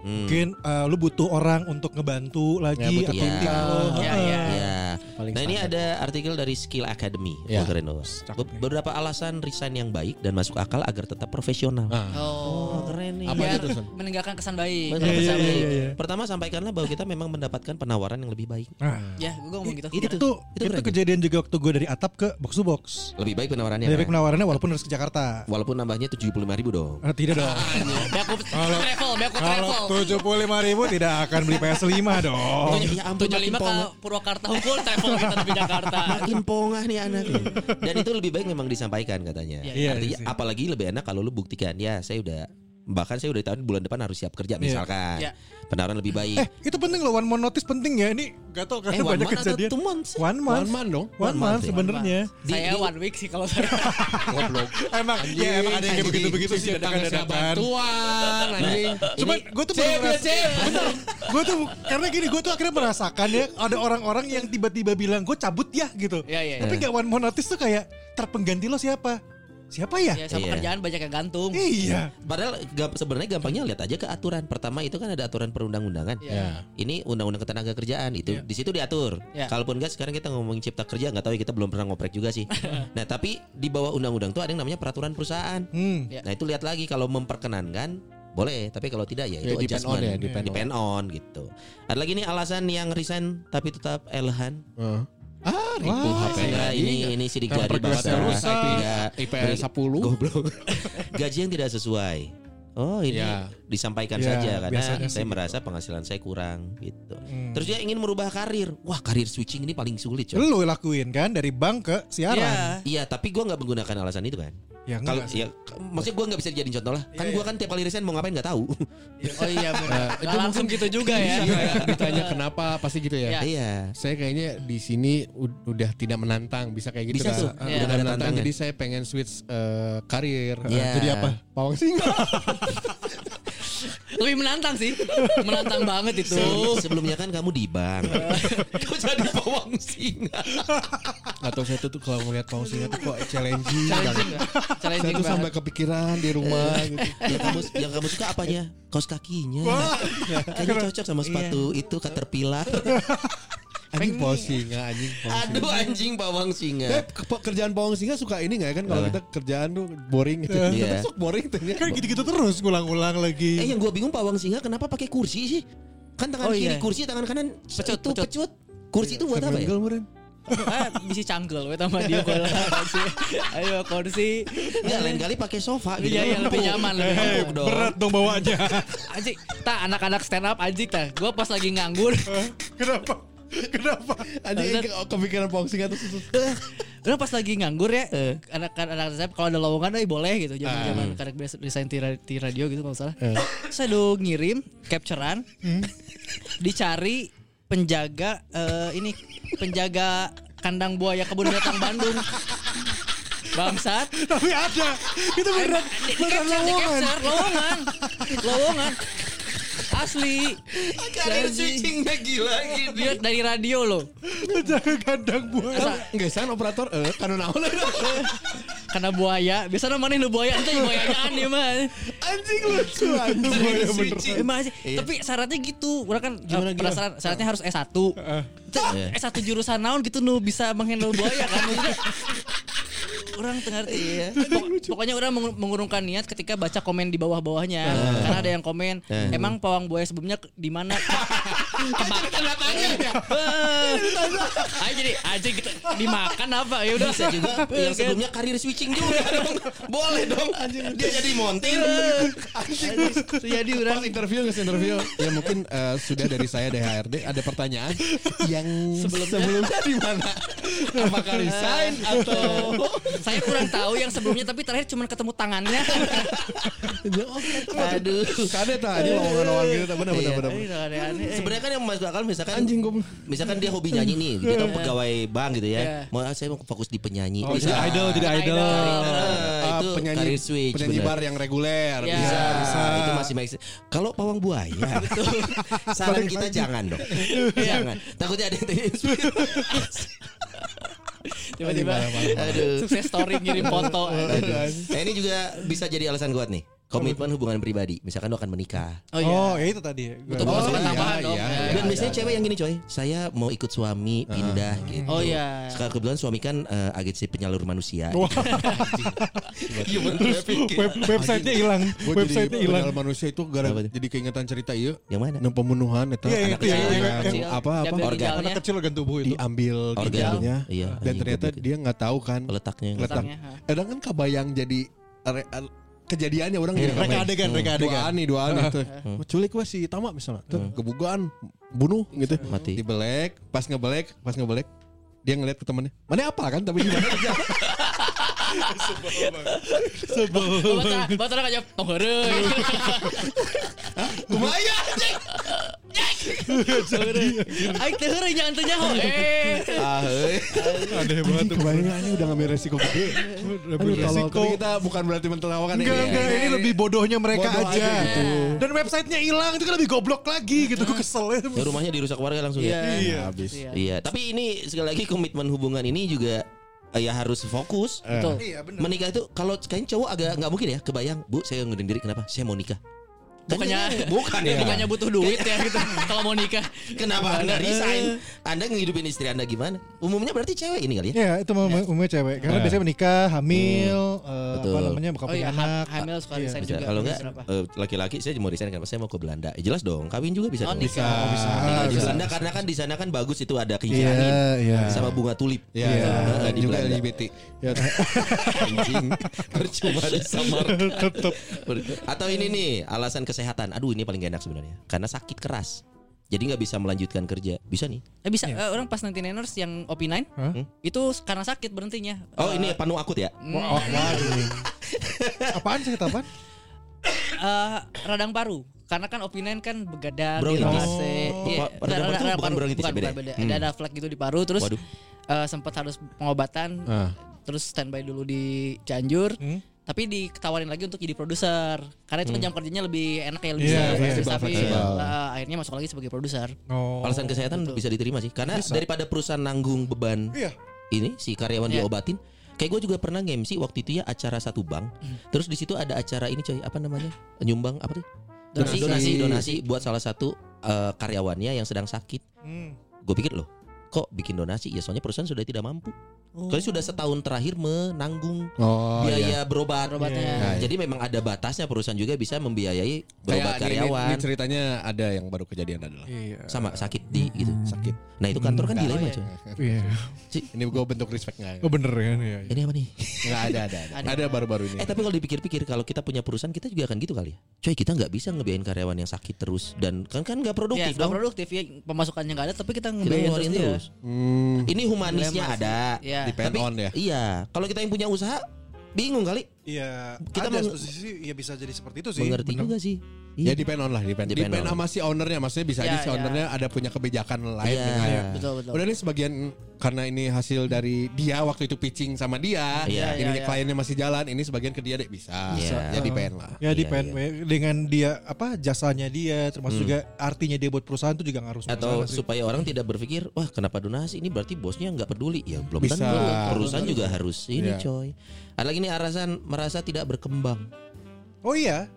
S4: Hmm.
S5: Mungkin eh, lu butuh orang untuk ngebantu lagi
S6: Ya,
S5: atau
S6: betul.
S4: Iya.
S5: tim lo.
S7: Iya,
S5: Heeh.
S7: iya.
S4: Ya.
S6: Paling
S4: Nah ini
S6: standar.
S4: ada artikel dari Skill Academy
S6: Ya.
S4: Wolverino.
S5: Cakep nih.
S4: Beberapa alasan resign yang baik dan masuk akal agar tetap profesional.
S6: Nah,
S7: Oh,
S4: keren Iya.
S6: Apa
S7: biar
S6: itu, Sun?
S7: meninggalkan kesan baik.
S4: Betul,
S5: Iya,
S4: kesan
S5: iya,
S4: baik.
S5: iya, iya.
S4: Pertama sampaikanlah bahwa kita memang mendapatkan penawaran yang lebih baik.
S7: Ya, gue ngomong gitu.
S4: Itu
S5: Nah, Itu,
S4: tuh,
S5: itu,
S4: itu keren.
S5: kejadian juga waktu gue dari atap ke box to box.
S4: Lebih baik penawarannya.
S5: Dari
S4: kan?
S5: penawarannya walaupun harus ke Jakarta.
S4: Walaupun nambahnya 75.000 ribu dong.
S5: Ah, tidak dong.
S7: Backup travel, backup travel.
S5: Kalau 75 ribu tidak akan beli PS5 dong.
S4: Tujuh- ya ampun,
S7: 75
S4: makin
S7: ke
S4: pongah.
S7: Purwakarta Hukul travel kita di Jakarta.
S4: Makin pongah nih anaknya. Dan itu lebih baik memang disampaikan katanya.
S7: Iya,
S5: iya,
S4: Artinya
S5: iya sih.
S4: apalagi lebih enak kalau lu buktikan ya saya udah bahkan saya udah tahun bulan depan harus siap kerja misalkan.
S7: Iya.
S4: Penawaran lebih baik.
S5: Eh, itu penting loh one month notice penting ya. Ini gak tau karena
S4: Eh, one
S5: banyak
S4: month atau
S5: kejadian.
S4: two months?
S5: One month.
S6: One man dong.
S5: One month sebenarnya.
S4: Di-
S7: Saya
S4: di-
S7: one week sih kalau saya.
S6: Goblok.
S5: Emang ya emang ada yang kayak begitu-begitu sih dadakan-dadakan.
S6: bantuan anjing.
S5: Cuman gue tuh baru ngeras- Bentar, gue tuh karena gini gue tuh akhirnya merasakan ya ada orang-orang yang tiba-tiba bilang gue cabut ya gitu.
S7: Iya, iya.
S5: Tapi gak one more notice tuh kayak terpengganti lo siapa? Siapa
S7: Ya
S5: ya?
S7: sama
S4: Iya.
S7: kerjaan banyak yang gantung.
S5: Iya.
S4: Padahal gamp- sebenarnya gampangnya lihat aja ke aturan. Pertama itu kan ada aturan perundang-undangan.
S7: Iya.
S4: Ini undang-undang ketenaga kerjaan itu di situ diatur.
S7: Iya.
S4: Kalaupun enggak sekarang kita ngomongin cipta kerja nggak tahu ya, kita belum pernah ngoprek juga sih. nah tapi di bawah undang-undang tuh ada yang namanya peraturan perusahaan.
S5: Hmm.
S7: Iya.
S4: Nah itu lihat lagi kalau memperkenankan boleh, tapi kalau tidak ya itu
S6: Ya, depend on
S4: adjustment.
S6: ya, depend on.
S4: on gitu. Ada lagi nih alasan yang resign tapi tetap elehan.
S6: Heeh. Ah,
S4: Itu
S7: Iya,
S4: HP
S5: iya.
S4: enggak, ini ini sidik jari banget.
S6: pergelasnya rusak.
S4: Enggak.
S6: IPS 10.
S4: Goblok. Gaji yang tidak sesuai. Oh ini
S7: Iya.
S6: Ya.
S4: disampaikan
S5: Ya,
S4: saja karena
S5: biasanya
S4: saya
S5: sih
S4: merasa penghasilan saya kurang gitu.
S5: Hmm.
S4: Terus dia ingin merubah karir. Wah karir switching ini paling sulit coy.
S5: Lu lakuin kan dari bank ke siaran.
S4: Iya tapi gua nggak menggunakan alasan itu kan.
S5: Ya,
S4: Kalau
S5: enggak sih.
S4: ya k- maksudnya gua nggak bisa dijadiin contoh lah. Kan gua kan tiap kali resign mau ngapain nggak tahu.
S7: Oh iya
S5: Eh,
S7: benar. Nggak langsung gitu juga
S5: Iya.
S7: ya.
S6: Ditanya kenapa pasti gitu ya.
S7: Ya.
S4: Iya.
S6: Saya kayaknya di sini ud- udah tidak menantang bisa kayak gitu
S4: Bisa
S6: kan.
S4: tuh.
S6: Udah
S7: Iya.
S6: tidak
S4: Ada
S6: menantang
S4: tantangan.
S6: jadi saya pengen switch eh, karir.
S4: Iya.
S6: Jadi apa? Pawang singa.
S7: Lebih menantang sih. Menantang banget itu.
S4: Sebelum- sebelumnya kan kamu di bank. Kau jadi pawang singa.
S6: Atau saya tuh, tuh kalau ngeliat pawang singa tuh kok challenging.
S7: Challenging
S6: banget.
S7: nggak?
S6: Saya
S7: Challenging
S6: tuh sampai
S7: banget.
S6: kepikiran di rumah gitu.
S4: yang kamu yang kamu suka apanya? Kaos kakinya. Nah, Kayaknya cocok sama sepatu itu caterpillar.
S6: Anjing pawang singa, anjing pawang singa.
S4: Aduh anjing bawang
S6: Eh,
S4: singa.
S6: ke- kerjaan pawang singa suka ini gak ya kan kalau
S4: Apa?
S6: kita kerjaan tuh boring gitu.
S4: Iya.
S6: Sok boring tuh ya.
S5: Kan gitu-gitu terus ngulang-ulang
S4: Eh
S7: Iya.
S5: lagi.
S4: yang gue bingung bawang singa kenapa pakai kursi sih? Kan tangan
S7: Oh,
S4: kiri
S7: iya.
S4: kursi, tangan kanan
S7: Pecut,
S4: itu
S7: pecut.
S4: pecut. Kursi itu buat apa ya?
S6: Senggol, Murin.
S7: Ah, bisa canggel we sama dia kalau kursi. Ayo kursi.
S4: Enggak, Iya, lain kali pakai sofa gitu.
S7: Iya, iya, lebih nyaman, lebih
S4: Empuk
S7: nyaman.
S4: dong.
S5: Berat dong bawaannya.
S7: Anjing, tak anak-anak stand up anjing tak. Gua pas lagi nganggur.
S5: Kenapa? Kenapa?
S6: Anjing ke- kepikiran pawang singa tuh. tuh, tuh.
S7: Karena pas lagi nganggur ya,
S4: Eh.
S7: anak-anak saya kalau ada lowongan eh boleh gitu.
S4: Ah.
S7: Zaman-zaman karek biasa desain di ra- di radio gitu kalau nggak salah.
S4: Eh.
S7: Saya do ngirim capturean.
S4: Hmm.
S7: Dicari penjaga eh, ini penjaga kandang buaya kebun binatang Bandung. Bangsat.
S5: Tapi ada. Itu beneran.
S7: Di- di
S5: Beneran
S7: capture, di
S5: lowongan.
S7: capture, lowongan. Lowongan. Asli.
S4: Karir
S7: Jadi-
S4: switchingnya gila gitu.
S7: Dia dari radio loh.
S5: Penjaga kandang buaya.
S7: Asa-
S6: Nggak san operator eh karena naon
S7: karena buaya. Biasanya mana yang buaya itu buayaan ya man.
S6: anjing lucu
S7: Gitu, Iya,
S6: anjing buaya bener.
S7: Eh, masih. Tapi syaratnya gitu. Orang kan eh, penasaran syaratnya harus S1. Tuh, S1 jurusan naon gitu nu bisa menghandle buaya kan. Maksudnya, orang dengar iya. pokoknya orang mengur- mengurungkan niat ketika baca komen di bawah-bawahnya. Karena ada yang komen, emang pawang buaya sebelumnya ke- di mana? Kebak. Eh. Ayo jadi aja gitu dimakan apa ya udah
S4: Bisa juga yang sebelumnya karir switching juga dong. Boleh dong. Dia jadi montir.
S6: Jadi orang interview nggak sih, interview ya mungkin eh, sudah dari saya DHRD ada pertanyaan yang sebelumnya, di mana apakah resign atau
S7: saya kurang tahu yang sebelumnya tapi terakhir cuma ketemu tangannya
S4: Aduh.
S6: ada tak ini lowongan-lowongan gitu tak? bener bener
S4: Iya.
S6: bener
S7: Aduh, aneh-aneh.
S4: Sebenarnya kan yang masuk akal misalkan
S6: anjing gue
S4: misalkan dia hobi nyanyi nih, dia kan pegawai bank gitu
S7: Iya.
S4: ya. Mau saya mau fokus di penyanyi.
S6: Oh,
S4: Bisa.
S6: jadi idol, jadi
S7: idol.
S4: Eh,
S6: Ah,
S4: itu
S6: penyanyi
S4: karir switch.
S6: penyanyi
S4: benar.
S6: bar yang reguler
S7: Ya.
S6: bisa Iya, bisa
S4: Nah, itu masih make sense. Kalau pawang buaya, gitu. saran kita jangan dong. jangan. Takutnya ada yang terinspirasi.
S7: tiba-tiba
S4: Aduh.
S7: sukses story ngirim
S6: Oh,
S7: foto
S6: iya.
S4: Aduh. Nah, ini juga bisa jadi alasan kuat nih. Komitmen hubungan pribadi. Misalkan lo akan menikah.
S7: oh iya
S5: Oh, ya itu tadi. Gua-
S7: Untuk
S6: Oh,
S7: pemasukan
S6: iya,
S7: tambahan
S6: iya,
S7: dong
S6: iya.
S4: Dan biasanya cewek yang gini coy, saya mau ikut suami pindah gitu.
S7: Oh, iya.
S4: Sekarang kebetulan suami kan eh, agensi penyalur manusia.
S5: Wah. Terus web, websitenya hilang.
S6: Gitu. Gua
S5: Websitenya
S6: jadi
S5: hilang.
S6: padahal manusia itu gara
S4: Apa tuh?
S6: jadi keingetan cerita iya
S4: Yang mana?
S6: Nang pembunuhan
S5: Iya,
S6: itu anak
S5: itu yang-
S6: kecil
S5: yang-
S6: yang-
S7: kecil.
S6: apa apa
S7: Diambil
S4: organ.
S7: ginjalnya.
S5: Anak kecil organ tubuh itu.
S6: diambil
S4: Organ.
S6: ginjalnya
S4: Iya,
S6: dan
S4: anjing,
S6: ternyata
S4: goblok itu.
S6: dia nggak tahu kan
S4: Letaknya.
S6: letak
S7: Letaknya, ha.
S6: kadang kan kebayang jadi re- al- kejadiannya orang jadi
S5: Mereka Iya, adegan, mereka adegan.
S6: duaan nih duaan itu culik wah si Tama misalnya tuh kebukaan bunuh gitu
S4: Mati.
S6: dibelek pas ngebelek pas ngebelek dia ngeliat ke temennya mana apa kan tapi gimana aja
S7: Bapak bapak orang aja "Tong heureun." iya,
S6: kumaya
S7: Aik Oh, teh heureun, jangan teu nyaho eh
S4: Ah, hei.
S5: Aneh banget.
S6: Anjing, kebayang anjing udah ngambil resiko gede Aduh, kalau
S5: Resiko.
S6: Iya. kita bukan berarti mentertawakan
S5: Enggak, enggak. Ini lebih bodohnya mereka
S6: Bodoh aja
S5: aja.
S6: gitu.
S5: Dan websitenya hilang. Itu kan lebih goblok lagi gitu. Gue kesel ya.
S4: Ya, rumahnya dirusak warga langsung ya.
S7: iya
S6: habis.
S7: Iya.
S4: Iya, tapi ini sekali lagi komitmen hubungan ini juga eh, ya harus fokus.
S7: betul
S4: Menikah itu kalau kayaknya cowok agak nggak mungkin ya kebayang, Bu, saya ngundurin diri kenapa? Saya mau nikah.
S7: Bukannya
S4: bukan ya.
S7: bukannya butuh duit ya gitu kalau mau nikah.
S4: Kenapa Anda resign? Anda ngehidupin istri Anda gimana? Umumnya berarti cewek ini kali ya?
S5: Ya itu umumnya, umumnya cewek karena biasanya menikah, hamil, eh, apa
S4: Betul.
S5: namanya bakal
S7: Oh
S5: punya
S7: iya,
S5: anak.
S7: ha- hamil suka
S5: Iya.
S7: resign
S4: Bisa.
S7: juga. ah.
S4: Kalau enggak
S7: Berapa?
S4: eh, laki-laki saya mau resign kenapa? Saya mau ke Belanda. Ya, jelas dong, kawin juga bisa
S7: Oh,
S4: dong.
S7: nikah.
S5: Oh, bisa.
S4: Tinggal di
S5: Bisa.
S4: Belanda karena kan di sana kan bagus itu ada
S5: Iya,
S4: keindahan
S5: iya.
S4: sama bunga tulip.
S6: Ya,
S5: Iya.
S4: Nah, di
S6: juga
S4: Belanda.
S6: LGBT.
S5: Ya,
S4: Anjing. Percuma ada summer.
S5: tetep.
S4: Atau ini nih alasan kesehatan. Aduh ini paling gak enak sebenarnya. Karena sakit keras. Jadi nggak bisa melanjutkan kerja. Bisa nih.
S7: Eh bisa eh, orang pas nanti Niners yang OP9
S5: Hah?
S7: itu karena sakit berhentinya.
S4: Oh
S7: Eh,
S4: ini panu akut ya.
S7: mm,
S5: Oh, waduh. Apaan sakit apaan?
S7: eh, radang paru karena kan OP9 kan begadang
S4: Bronkitis.
S7: ACC.
S4: Oh.
S7: Iya,
S4: Radang paru itu bukan bronkitis,
S7: bukan,
S4: beda
S7: bukan
S4: ya?
S7: beda.
S4: Hmm.
S7: Ada ada flek gitu di paru terus
S4: Waduh. Ah.
S7: eh, sempat harus pengobatan terus standby dulu di Cianjur
S5: Hmm.
S7: tapi ditawarin lagi untuk jadi produser karena
S4: Hmm.
S7: itu kan jam kerjanya lebih enak ya lebih
S5: Iya,
S7: stabil,
S5: iya.
S7: lebih stabil.
S6: Fleksibel.
S7: Eh, akhirnya masuk lagi sebagai produser
S5: Oh.
S4: Alasan kesehatan bisa diterima sih. Karena daripada perusahaan nanggung beban
S5: Iya.
S4: ini si karyawan
S7: Iya.
S4: diobatin. Kayak gue juga pernah nge-MC waktu itu ya acara satu bank.
S6: Hmm.
S4: Terus di situ ada acara ini coy apa namanya nyumbang apa tuh? Donasi
S6: Iya,
S4: donasi, donasi buat salah satu eh, karyawannya yang sedang sakit.
S5: Hmm.
S4: Gue pikir loh kok bikin donasi ya soalnya perusahaan sudah tidak mampu. Soalnya sudah setahun terakhir menanggung
S6: Oh, iya.
S4: biaya berobat.
S7: Berobatnya.
S4: Nah, jadi memang ada batasnya perusahaan juga bisa membiayai berobat
S6: Kayak ini-
S4: karyawan
S6: ini ceritanya ada yang baru kejadian adalah
S5: Iya.
S4: sama sakit di gitu.
S6: hmm, sakit.
S4: Nah, itu kantor kan
S7: Hmm.
S4: dilema,
S7: Oh, iya.
S4: coy.
S5: Iya.
S6: Ini gue bentuk respect nggak?
S5: Oh bener kan ya.
S4: Ini apa nih?
S6: Nggak ada, ada, ada. Ada baru-baru ini.
S4: Eh, tapi kalau dipikir-pikir kalau kita punya perusahaan kita juga akan gitu kali ya. Coy, kita nggak bisa ngebiayain karyawan yang sakit terus dan kan kan nggak
S7: Iya,
S4: produktif
S7: nggak
S4: dong.
S7: produktif ya pemasukannya nggak ada tapi kita
S4: Kita
S7: ngebiayain terus
S4: ngeluarin
S7: dia.
S4: terus.
S6: Hmm,
S4: Ini humanisnya
S7: Dilema sih.
S4: ada.
S7: Iya.
S6: depend on ya.
S4: Iya, kalau kita yang punya usaha bingung kali
S5: Iya.
S4: Kita
S5: Kita ada
S4: meng-
S5: satu sisi ya bisa jadi seperti itu sih.
S4: mengerti
S5: bener.
S4: juga sih.
S6: Ya depend on lah, depend.
S4: iya. Depend
S6: Depend,
S4: on.
S6: sama si ownernya, maksudnya bisa
S7: Ya,
S6: aja si
S7: ya.
S6: ownernya ada punya kebijakan lain
S4: Iya.
S6: dengan
S5: Iya.
S7: Betul betul.
S6: Udah nih sebagian karena ini hasil dari dia waktu itu pitching sama dia,
S4: Iya.
S6: ini
S7: Iya, iya.
S6: kliennya masih jalan, ini sebagian ke dia deh bisa.
S4: Iya.
S6: Jadi pengen lah.
S5: Ya
S4: Iya,
S5: depend we. dengan dia apa jasanya dia termasuk juga artinya dia buat perusahaan itu juga ngaruh sama
S4: atau
S5: sana sih.
S4: supaya orang tidak berpikir wah kenapa donasi ini berarti bosnya nggak peduli ya belum
S6: Bisa.
S4: tentu
S6: Belum tentu.
S4: perusahaan juga harus ini
S6: Iya.
S4: coy ada lagi nih alasan merasa tidak berkembang
S5: Oh iya.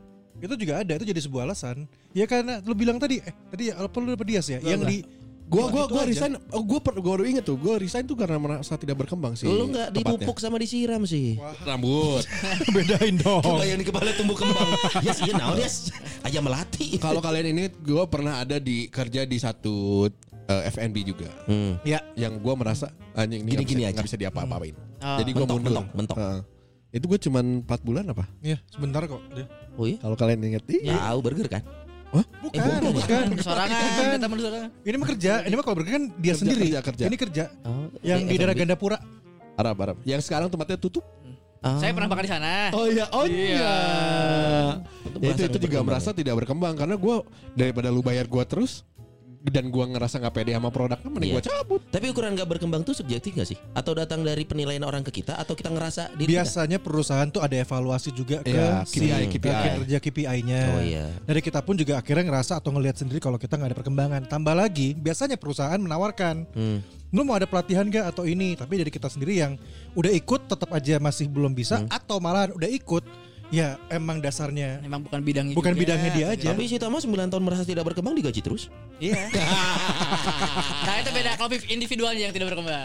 S5: Itu juga ada itu jadi sebuah alasan. Ya karena lu bilang tadi eh tadi ya, apa lu apa dia sih ya? yang di
S6: Gua gua
S5: Gitu
S6: gua
S5: aja.
S6: resign, oh, gua per, gua baru inget tuh, gua resign tuh karena merasa tidak berkembang sih.
S4: lu nggak
S6: tepatnya.
S4: dipupuk sama disiram sih
S6: rambut.
S5: bedain dong.
S4: Coba yang di kepala tumbuh kembang yes iya naon yes aja melati
S6: Kalau kalian ini gua pernah ada di kerja di satu eh, F&B juga.
S4: Hmm.
S6: Ya, yang gua merasa anjing ini
S4: Gini-gini
S6: gini
S4: aja.
S6: nggak bisa diapa-apain.
S7: Ah.
S6: Jadi gua
S4: Mentok,
S6: mundur.
S4: mentok, mentok.
S6: Heeh. itu gue cuman 4 bulan apa?
S5: Ya, sebentar kok. Dia.
S4: oh iya
S6: Kalau kalian inget ih,
S4: tahu burger kan
S5: Bukan,
S4: Eh, bukan.
S5: bukan.
S7: Sorangan,
S5: Bukan.
S7: kita temen sorangan.
S5: Ini mah kerja, ini mah kalau berkerja kan dia
S6: Kerja,
S5: sendiri.
S6: kerja, kerja.
S5: Ini kerja
S4: oh,
S5: yang di daerah Gandapura.
S6: Arab Arab. Yang sekarang tempatnya tutup.
S4: Ah.
S7: Saya pernah makan di sana.
S6: Oh iya, oh iya. Ya, itu, itu juga
S4: berkembang.
S6: merasa tidak berkembang karena gue daripada lu bayar gue terus dan gue ngerasa nggak pede sama produknya
S4: Iya.
S6: mending gue cabut.
S4: tapi ukuran nggak berkembang tuh subjektif gak sih atau datang dari penilaian orang ke kita atau kita ngerasa diri kita?
S5: Biasanya perusahaan tuh ada evaluasi juga ke
S6: Iya,
S5: si
S6: KPI,
S5: ke
S6: KPI.
S5: kinerja KPI-nya.
S4: oh iya
S5: Dari kita pun juga akhirnya ngerasa atau ngelihat sendiri kalau kita nggak ada perkembangan. Tambah lagi, biasanya perusahaan menawarkan,
S4: Hmm.
S5: lu mau ada pelatihan gak atau ini? Tapi dari kita sendiri yang udah ikut tetap aja masih belum bisa atau malahan udah ikut, ya emang dasarnya
S7: Emang bukan bidangnya.
S5: bukan
S7: juga.
S5: bidangnya dia aja.
S4: Iya. Tapi si Tama 9 tahun merasa tidak berkembang digaji terus.
S7: Iya. nah itu beda kalau individualnya yang tidak berkembang.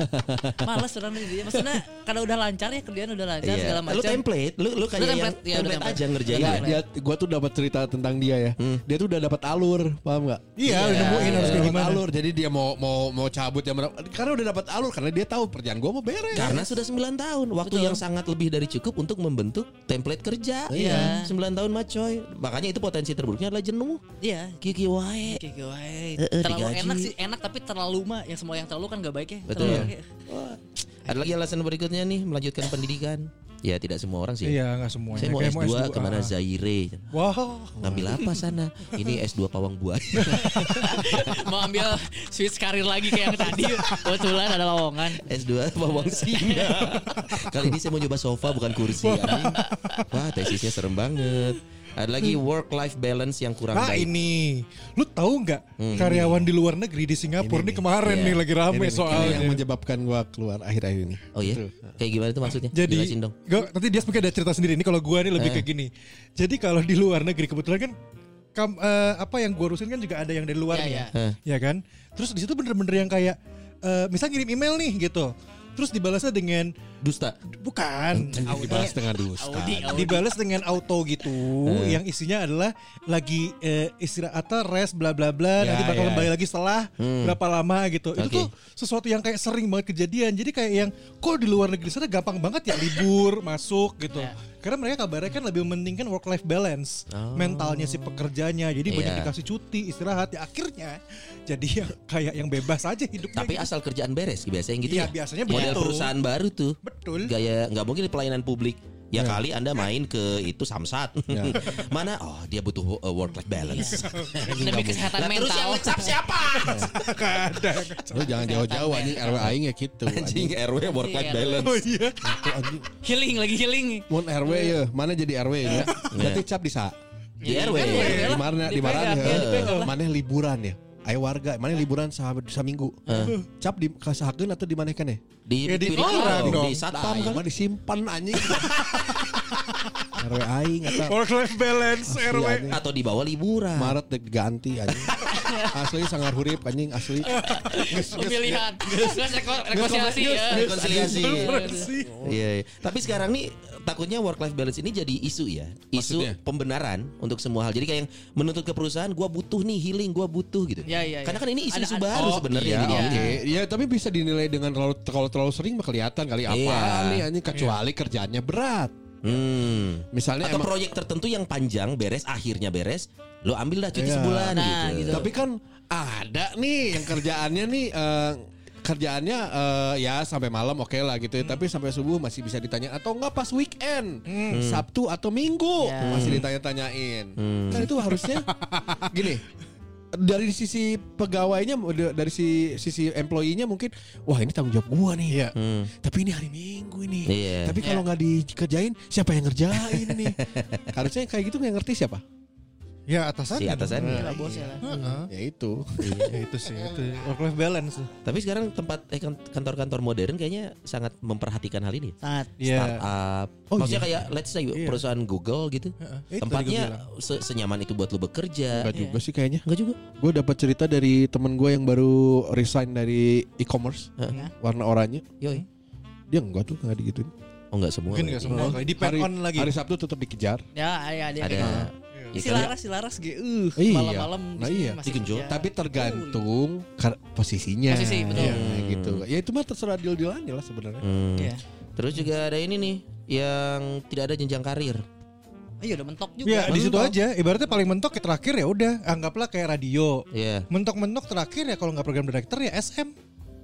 S7: Males orang dia. Maksudnya karena udah lancar ya kerjaan udah lancar segala macam.
S4: Iya. Lu template, lu lu kayak
S7: Lu
S4: yang
S7: template, iya, lu
S4: template
S7: template.
S4: aja ngerjain.
S6: Enggak, dia
S7: Iya.
S6: gue tuh dapat cerita tentang dia ya. Dia tuh udah dapat alur, paham nggak?
S5: Iya, udah nemuin harus kayak
S6: Dapat
S5: gimana.
S6: alur. Jadi dia mau mau mau cabut ya karena udah dapat alur karena dia tahu kerjaan gue mau beres.
S4: Karena sudah 9 tahun, waktu yang sangat lebih dari cukup untuk membentuk template kerja.
S7: Iya.
S4: 9 tahun mah coy. Makanya itu potensi terburuknya adalah jenuh.
S7: Iya.
S4: Kiki wae.
S7: Oke, oke, wae.
S4: Eh, eh,
S7: terlalu
S4: digaji.
S7: enak sih enak tapi terlalu mah yang semua yang terlalu kan gak baik ya
S4: Betul.
S7: Terlalu-
S4: Wah. Ada lagi alasan berikutnya nih melanjutkan pendidikan. Ya tidak semua orang sih.
S5: Iya, nggak semuanya.
S4: Saya mau
S5: Kayak
S4: S2, kemana
S5: ah.
S4: Zaire
S5: Wah,
S4: Ngambil apa sana? Ini S2 pawang buaya
S7: mau ambil switch karir lagi kayak yang tadi kebetulan ada lowongan
S4: S2 pawang singa. Kali ini saya mau nyoba sofa bukan kursi. anjing. Wah, tesisnya serem banget. Ada lagi work life balance yang kurang
S5: Nah
S4: baik.
S5: ini, lu tahu nggak karyawan di luar negeri di Singapura ini, kemarin
S4: Iya.
S5: nih lagi rame
S6: Ini
S7: ya
S6: nih, ini
S5: soalnya.
S6: yang menyebabkan gue keluar akhir-akhir ini.
S4: Oh ya. Kayak gimana tuh maksudnya?
S5: Jadi
S4: Jelasin dong.
S5: gua- nanti dia mungkin ada cerita sendiri. Ini kalau gua nih lebih
S4: Eh.
S5: ke gini. Jadi kalau di luar negeri kebetulan kan kam- eh, apa yang gue urusin kan juga ada yang dari luar
S7: Iya,
S5: nih
S7: iya.
S4: Heeh.
S5: ya kan terus di situ bener-bener yang kayak eh misal kirim email nih gitu terus dibalasnya dengan
S4: Dusta.
S5: bukan
S6: Anjing dibalas dengan dusta.
S7: Audi, Audi.
S5: dibalas dengan auto gitu yang isinya adalah lagi eh, istirahat atau rest bla bla bla
S6: Ya,
S5: nanti bakal
S6: ya.
S5: kembali lagi setelah berapa lama gitu itu
S4: Oke.
S5: tuh sesuatu yang kayak sering banget kejadian jadi kayak yang kok di luar negeri sana gampang banget ya libur masuk gitu
S7: Ya.
S5: karena mereka kabarnya kan lebih mementingkan work life balance mentalnya si pekerjanya jadi banyak
S4: Iya.
S5: dikasih cuti istirahat ya akhirnya jadi yang kayak yang bebas aja hidupnya
S4: Tapi asal kerjaan beres biasanya yang gitu
S5: Iya,
S4: ya.
S5: biasanya
S4: Model
S5: begitu.
S4: perusahaan baru tuh.
S5: betul
S4: Gaya nggak mungkin di pelayanan publik. Ya kali Anda main ke itu Samsat. Mana? Oh, dia butuh work life balance.
S7: Demi kesehatan
S4: Lah, terus yang
S7: mental.
S4: ngecap siapa?
S6: Lu jangan jauh-jauh anjing RW aing ya gitu.
S4: Anjing RW work life
S7: Iya,
S4: balance.
S7: Healing lagi healing.
S6: Mun RW ya, mana jadi RW ya? Berarti cap di sa.
S4: Di RW.
S7: Iya.
S6: Di mana di mana?
S7: Dipegang, ya, dipegang lah.
S6: Mana liburan ya? Ayo warga, mana liburan sahabat saminggu?
S7: Eh.
S6: Cap di kasahakeun atau di mana kan ya?
S4: Di
S5: Ya, di
S4: Piripao,
S5: orang
S4: di
S5: dong.
S4: Satpam
S6: Tam
S4: kan.
S6: mah disimpan anjing. RW aing atau
S5: work life balance
S7: Oh,
S5: RW
S6: anjing.
S4: atau di bawah liburan.
S6: Maret dek ganti anjing. Asli sangar hurip anjing asli.
S7: Pemilihan. Terus reko- rekonsiliasi
S6: Yes,
S7: ya.
S6: yes,
S4: Rekonsiliasi.
S5: sih
S4: Iya, iya. Tapi sekarang nih takutnya work life balance ini jadi isu ya, isu
S6: Maksudnya?
S4: pembenaran untuk semua hal. Jadi kayak yang menuntut ke perusahaan, gua butuh nih healing, gua butuh gitu.
S7: Ya, ya, ya.
S4: Karena kan ini isu-isu
S7: Ada- ada-
S4: baru
S7: oh,
S4: sebenarnya.
S6: Iya,
S4: jadi
S6: oke.
S4: ini.
S6: Ya, tapi bisa dinilai dengan kalau kalau terlalu sering mah kelihatan kali apa
S4: Iya.
S6: nih anjing kecuali kerjaannya berat.
S4: Hmm.
S6: Misalnya
S4: Atau
S6: emang-
S4: proyek tertentu yang panjang beres, akhirnya beres, lo ambil dah cuti
S6: Iya.
S4: sebulan
S7: Nah,
S4: gitu.
S7: gitu.
S6: Tapi kan ada nih yang kerjaannya nih eh, kerjaannya eh, ya sampai malam oke lah gitu
S4: Hmm.
S6: ya. Tapi sampai subuh masih bisa ditanya atau enggak pas weekend
S4: Hmm.
S6: Sabtu atau Minggu
S7: Ya.
S4: Iya.
S6: masih ditanya-tanyain.
S4: Hmm.
S6: Kan itu harusnya gini. Dari sisi pegawainya dari si sisi employee-nya mungkin wah ini tanggung jawab gua nih.
S4: Hmm.
S6: Tapi ini hari Minggu ini.
S4: Iya.
S6: Tapi kalau nggak dikerjain siapa yang ngerjain ini? harusnya yang kayak gitu nggak ngerti siapa?
S5: ya
S4: Si
S5: atasan
S4: atasannya.
S7: Lah, bos ya lah.
S6: Ya itu.
S5: ya itu sih itu work life balance
S4: Tapi sekarang tempat eh, kan- kantor-kantor modern kayaknya sangat memperhatikan hal ini.
S7: Sangat.
S5: Iya.
S4: startup.
S5: Oh,
S4: Maksudnya
S5: iya.
S4: kayak let's say perusahaan Google gitu.
S5: itu tadi
S4: Tempatnya se- senyaman itu buat lu bekerja. Iya.
S6: Enggak juga sih kayaknya.
S4: Enggak juga.
S6: Gue dapat cerita dari temen gue yang baru resign dari e-commerce
S7: Heeh.
S6: warna oranye.
S4: Yoi.
S6: Dia enggak tuh enggak digituin.
S4: Oh enggak semua.
S5: Mungkin nggak semua kali. Depend
S6: hari,
S5: on lagi.
S6: Hari Sabtu tetap dikejar.
S7: Ya, ada ada.
S4: Ada.
S5: Iya.
S7: ada.
S4: Ya,
S7: Si
S4: kan,
S7: Laras, si Laras ge, uh,
S6: Iya.
S7: malam-malam di
S6: Nah,
S7: sini
S6: iya.
S7: masih
S4: Digenjot.
S7: kerja.
S6: Tapi tergantung kar- posisinya.
S7: Posisi, betul.
S6: Iya, gitu. Ya itu mah terserah deal-dealannya lah sebenarnya.
S4: Hmm.
S7: Iya.
S4: Terus juga ada ini nih yang tidak ada jenjang karir.
S7: Iya udah mentok juga.
S5: Ya di situ
S7: Mentok.
S5: aja. Ibaratnya paling mentok ya terakhir ya udah anggaplah kayak radio.
S4: Iya.
S5: Mentok-mentok terakhir ya kalau nggak program director ya SM.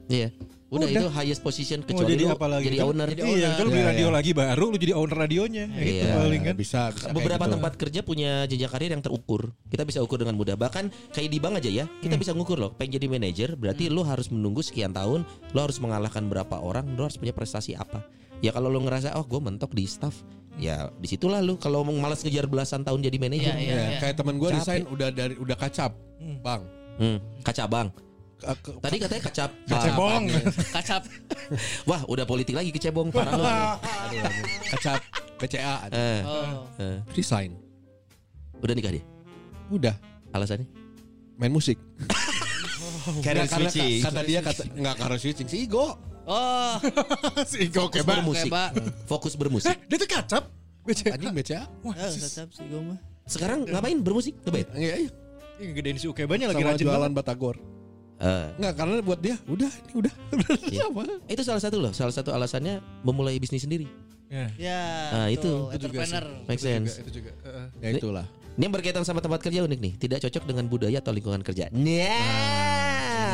S4: Iya. Udah,
S5: Udah. Oh,
S4: itu highest position kecuali
S5: jadi
S4: lu
S5: apa lagi?
S4: jadi
S5: Itu-
S4: owner.
S5: Iya, kalau beli
S6: Iya,
S5: radio
S6: iya.
S5: lagi baru lu jadi owner radionya. Ya gitu
S4: Iya.
S5: paling kan.
S6: Bisa, bisa kayak
S4: Beberapa
S6: gitu.
S4: tempat kerja punya jenjang karir yang terukur. Kita bisa ukur dengan mudah. Bahkan kayak di bank aja ya, kita
S6: Hmm.
S4: bisa ngukur loh. Pengen jadi manajer, berarti lu harus menunggu sekian tahun, lu harus mengalahkan berapa orang, lu harus punya prestasi apa. Ya kalau lu ngerasa oh gue mentok di staff, ya disitulah lu kalau mau malas ngejar belasan tahun jadi manajer.
S7: Iya, iya,
S6: Ya,
S7: iya.
S6: kayak teman gue
S4: Capek.
S6: resign udah dari udah kacap. Bang.
S4: Hmm, kacabang.
S6: ke- ke-
S4: Tadi katanya kacap.
S5: Kacebong.
S7: Kacap.
S4: Wah, udah politik lagi kecebong parah lu.
S6: kacap BCA.
S4: Eh,
S7: Oh.
S4: eh.
S6: Resign.
S4: udah nikah dia.
S6: Udah
S4: Alasannya?
S6: main musik.
S4: Career
S6: Nggak, karena
S4: switching.
S6: Kata dia kata nggak karena switching sih Igo.
S7: Oh,
S6: Iya.
S5: Si Igo
S4: Fokus
S5: kebak.
S4: bermusik.
S7: Kebak.
S4: Fokus bermusik.
S5: Dia tuh kacap.
S6: Anjing BCA.
S5: Wah,
S7: eh, kacap sih gue mah.
S4: Sekarang ngapain bermusik? Ngeband?
S6: Iya, iya.
S5: ini gedein si Ukebanya lagi
S6: Sama
S5: rajin
S6: jualan
S5: banget.
S6: Batagor.
S4: Eh,
S6: Enggak, karena buat dia udah ini udah.
S4: Iya.
S6: Sama.
S4: itu salah satu loh, salah satu alasannya memulai bisnis sendiri.
S5: Ya.
S6: Iya.
S7: Ya,
S6: Ah,
S4: Nah, itu.
S7: betul,
S4: Itu juga
S7: entrepreneur.
S4: Make sense.
S5: Itu juga. Heeh.
S6: Ya itulah.
S4: Ini yang berkaitan sama tempat kerja unik nih, tidak cocok dengan budaya atau lingkungan kerja. Nah.
S6: Iya.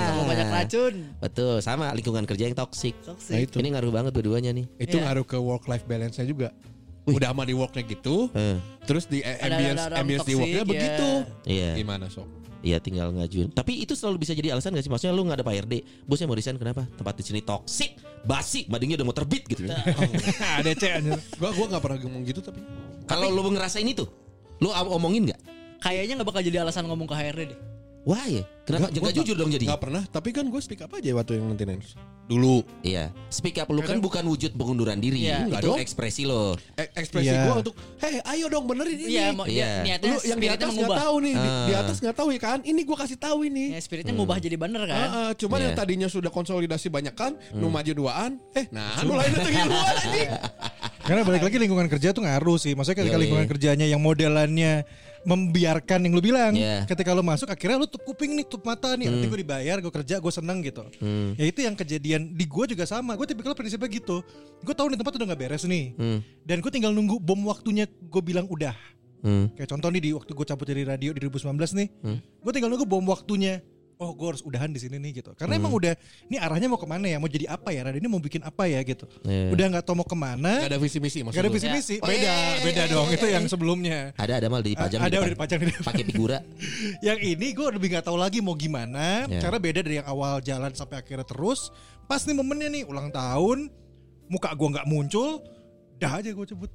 S7: Sama banyak racun.
S4: Betul, sama lingkungan kerja yang toksik.
S7: Toxic.
S6: Nah itu.
S4: Ini ngaruh banget dua-duanya nih.
S6: itu
S7: Iya.
S6: ngaruh ke work life balance-nya juga. Udah sama di worknya gitu,
S4: Eh,
S6: terus di eh,
S7: Ada-
S6: ambience
S7: ada orang
S6: ambience di
S7: toxic,
S6: worknya
S7: ya.
S6: begitu.
S4: iya,
S6: Gimana sok?
S4: iya tinggal ngajuin. Tapi itu selalu bisa jadi alasan gak sih? Maksudnya lu nggak ada Pak RD, bosnya mau resign kenapa? Tempat di sini toksik, basi, madingnya udah mau terbit gitu.
S5: Ada C anjir.
S6: Ya, Gua gua nggak pernah ngomong gitu tapi
S4: Kalau lu ngerasain itu, lu am- omongin nggak?
S7: Kayaknya nggak bakal jadi alasan ngomong ke HRD deh.
S4: Wah ya, kenapa
S6: Nggak,
S4: nggak
S6: gua
S4: jujur dong jadi?
S6: Gak pernah, tapi kan gue speak up aja waktu yang maintenance. Dulu
S4: Iya. Speak up lu kan bukan wujud pengunduran diri,
S7: Iya.
S4: itu
S6: Nggak dong.
S4: ekspresi lo.
S6: E- ekspresi
S5: Iya.
S6: gue untuk, hey ayo dong benerin ini.
S7: Iya, mau
S4: Iya.
S7: ya, niatnya
S6: Lu yang di
S7: spiritnya
S6: atas nggak
S7: mengubah.
S6: tahu nih, di, di
S4: Ah.
S6: atas nggak tahu ya kan? Ini gue kasih tahu ini.
S7: Ya, spiritnya ngubah jadi bener kan.
S6: Ah, ah, cuman
S4: Iya.
S6: yang tadinya sudah konsolidasi banyak kan, nu maju duaan, eh nah nu lain itu duluan anjing.
S5: Karena balik lagi lingkungan kerja tuh ngaruh sih. Maksudnya ketika
S4: Yoi.
S5: lingkungan kerjanya yang modelannya membiarkan yang lu bilang,
S4: Iya. Hmm.
S5: ketika lu masuk akhirnya lu tutup kuping nih, tutup mata nih. Nanti gue dibayar, gue kerja, gue seneng gitu. Ya itu yang kejadian di gue juga sama. Gue tipikal prinsipnya gitu. Gue tahu nih tempat udah nggak beres nih,
S4: Hmm.
S5: dan gue tinggal nunggu bom waktunya gue bilang udah.
S4: Hmm.
S5: Kayak contoh nih di waktu gue cabut dari radio di 2019 nih, gue tinggal nunggu bom waktunya. Oh gue harus udahan di sini nih gitu. Karena emang udah, ini arahnya mau kemana ya? Mau jadi apa ya? Radio ini mau bikin apa ya gitu.
S4: Iya.
S5: Udah nggak tahu mau kemana.
S6: Gak ada visi misi maksud
S5: Gak ada
S6: lu?
S5: visi misi,
S6: Oh,
S5: beda,
S6: iya, iya,
S5: beda
S6: iya,
S5: dong.
S6: iya,
S5: Itu
S6: iya.
S5: yang sebelumnya.
S4: Ada ada mal dipajang di
S5: ada udah
S4: depan.
S5: dipajang di depan.
S4: Pakai figura.
S5: Yang ini gue lebih nggak tahu lagi mau gimana.
S4: Ya.
S5: Cara beda dari yang awal jalan sampai akhirnya terus. Pas nih momennya nih ulang tahun, muka gue nggak muncul, dah aja gue cebut.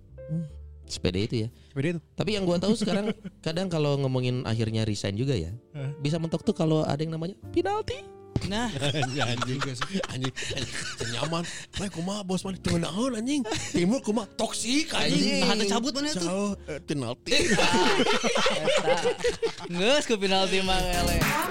S4: Sepeda itu ya.
S5: Beda itu.
S4: Tapi yang gua tahu sekarang kadang kalau ngomongin akhirnya resign juga ya.
S5: Hah?
S4: Bisa mentok tuh kalau ada yang namanya penalti.
S7: Nah,
S6: Anjing, anjing, anjing, anjing, nyaman. Nah, kuma bos mana tengenahun anjing. Timur kuma toksik anjing.
S7: tahan cabut mana tuh?
S6: Jauh, eh, penalti.
S7: Nggak, ke penalti mah ele.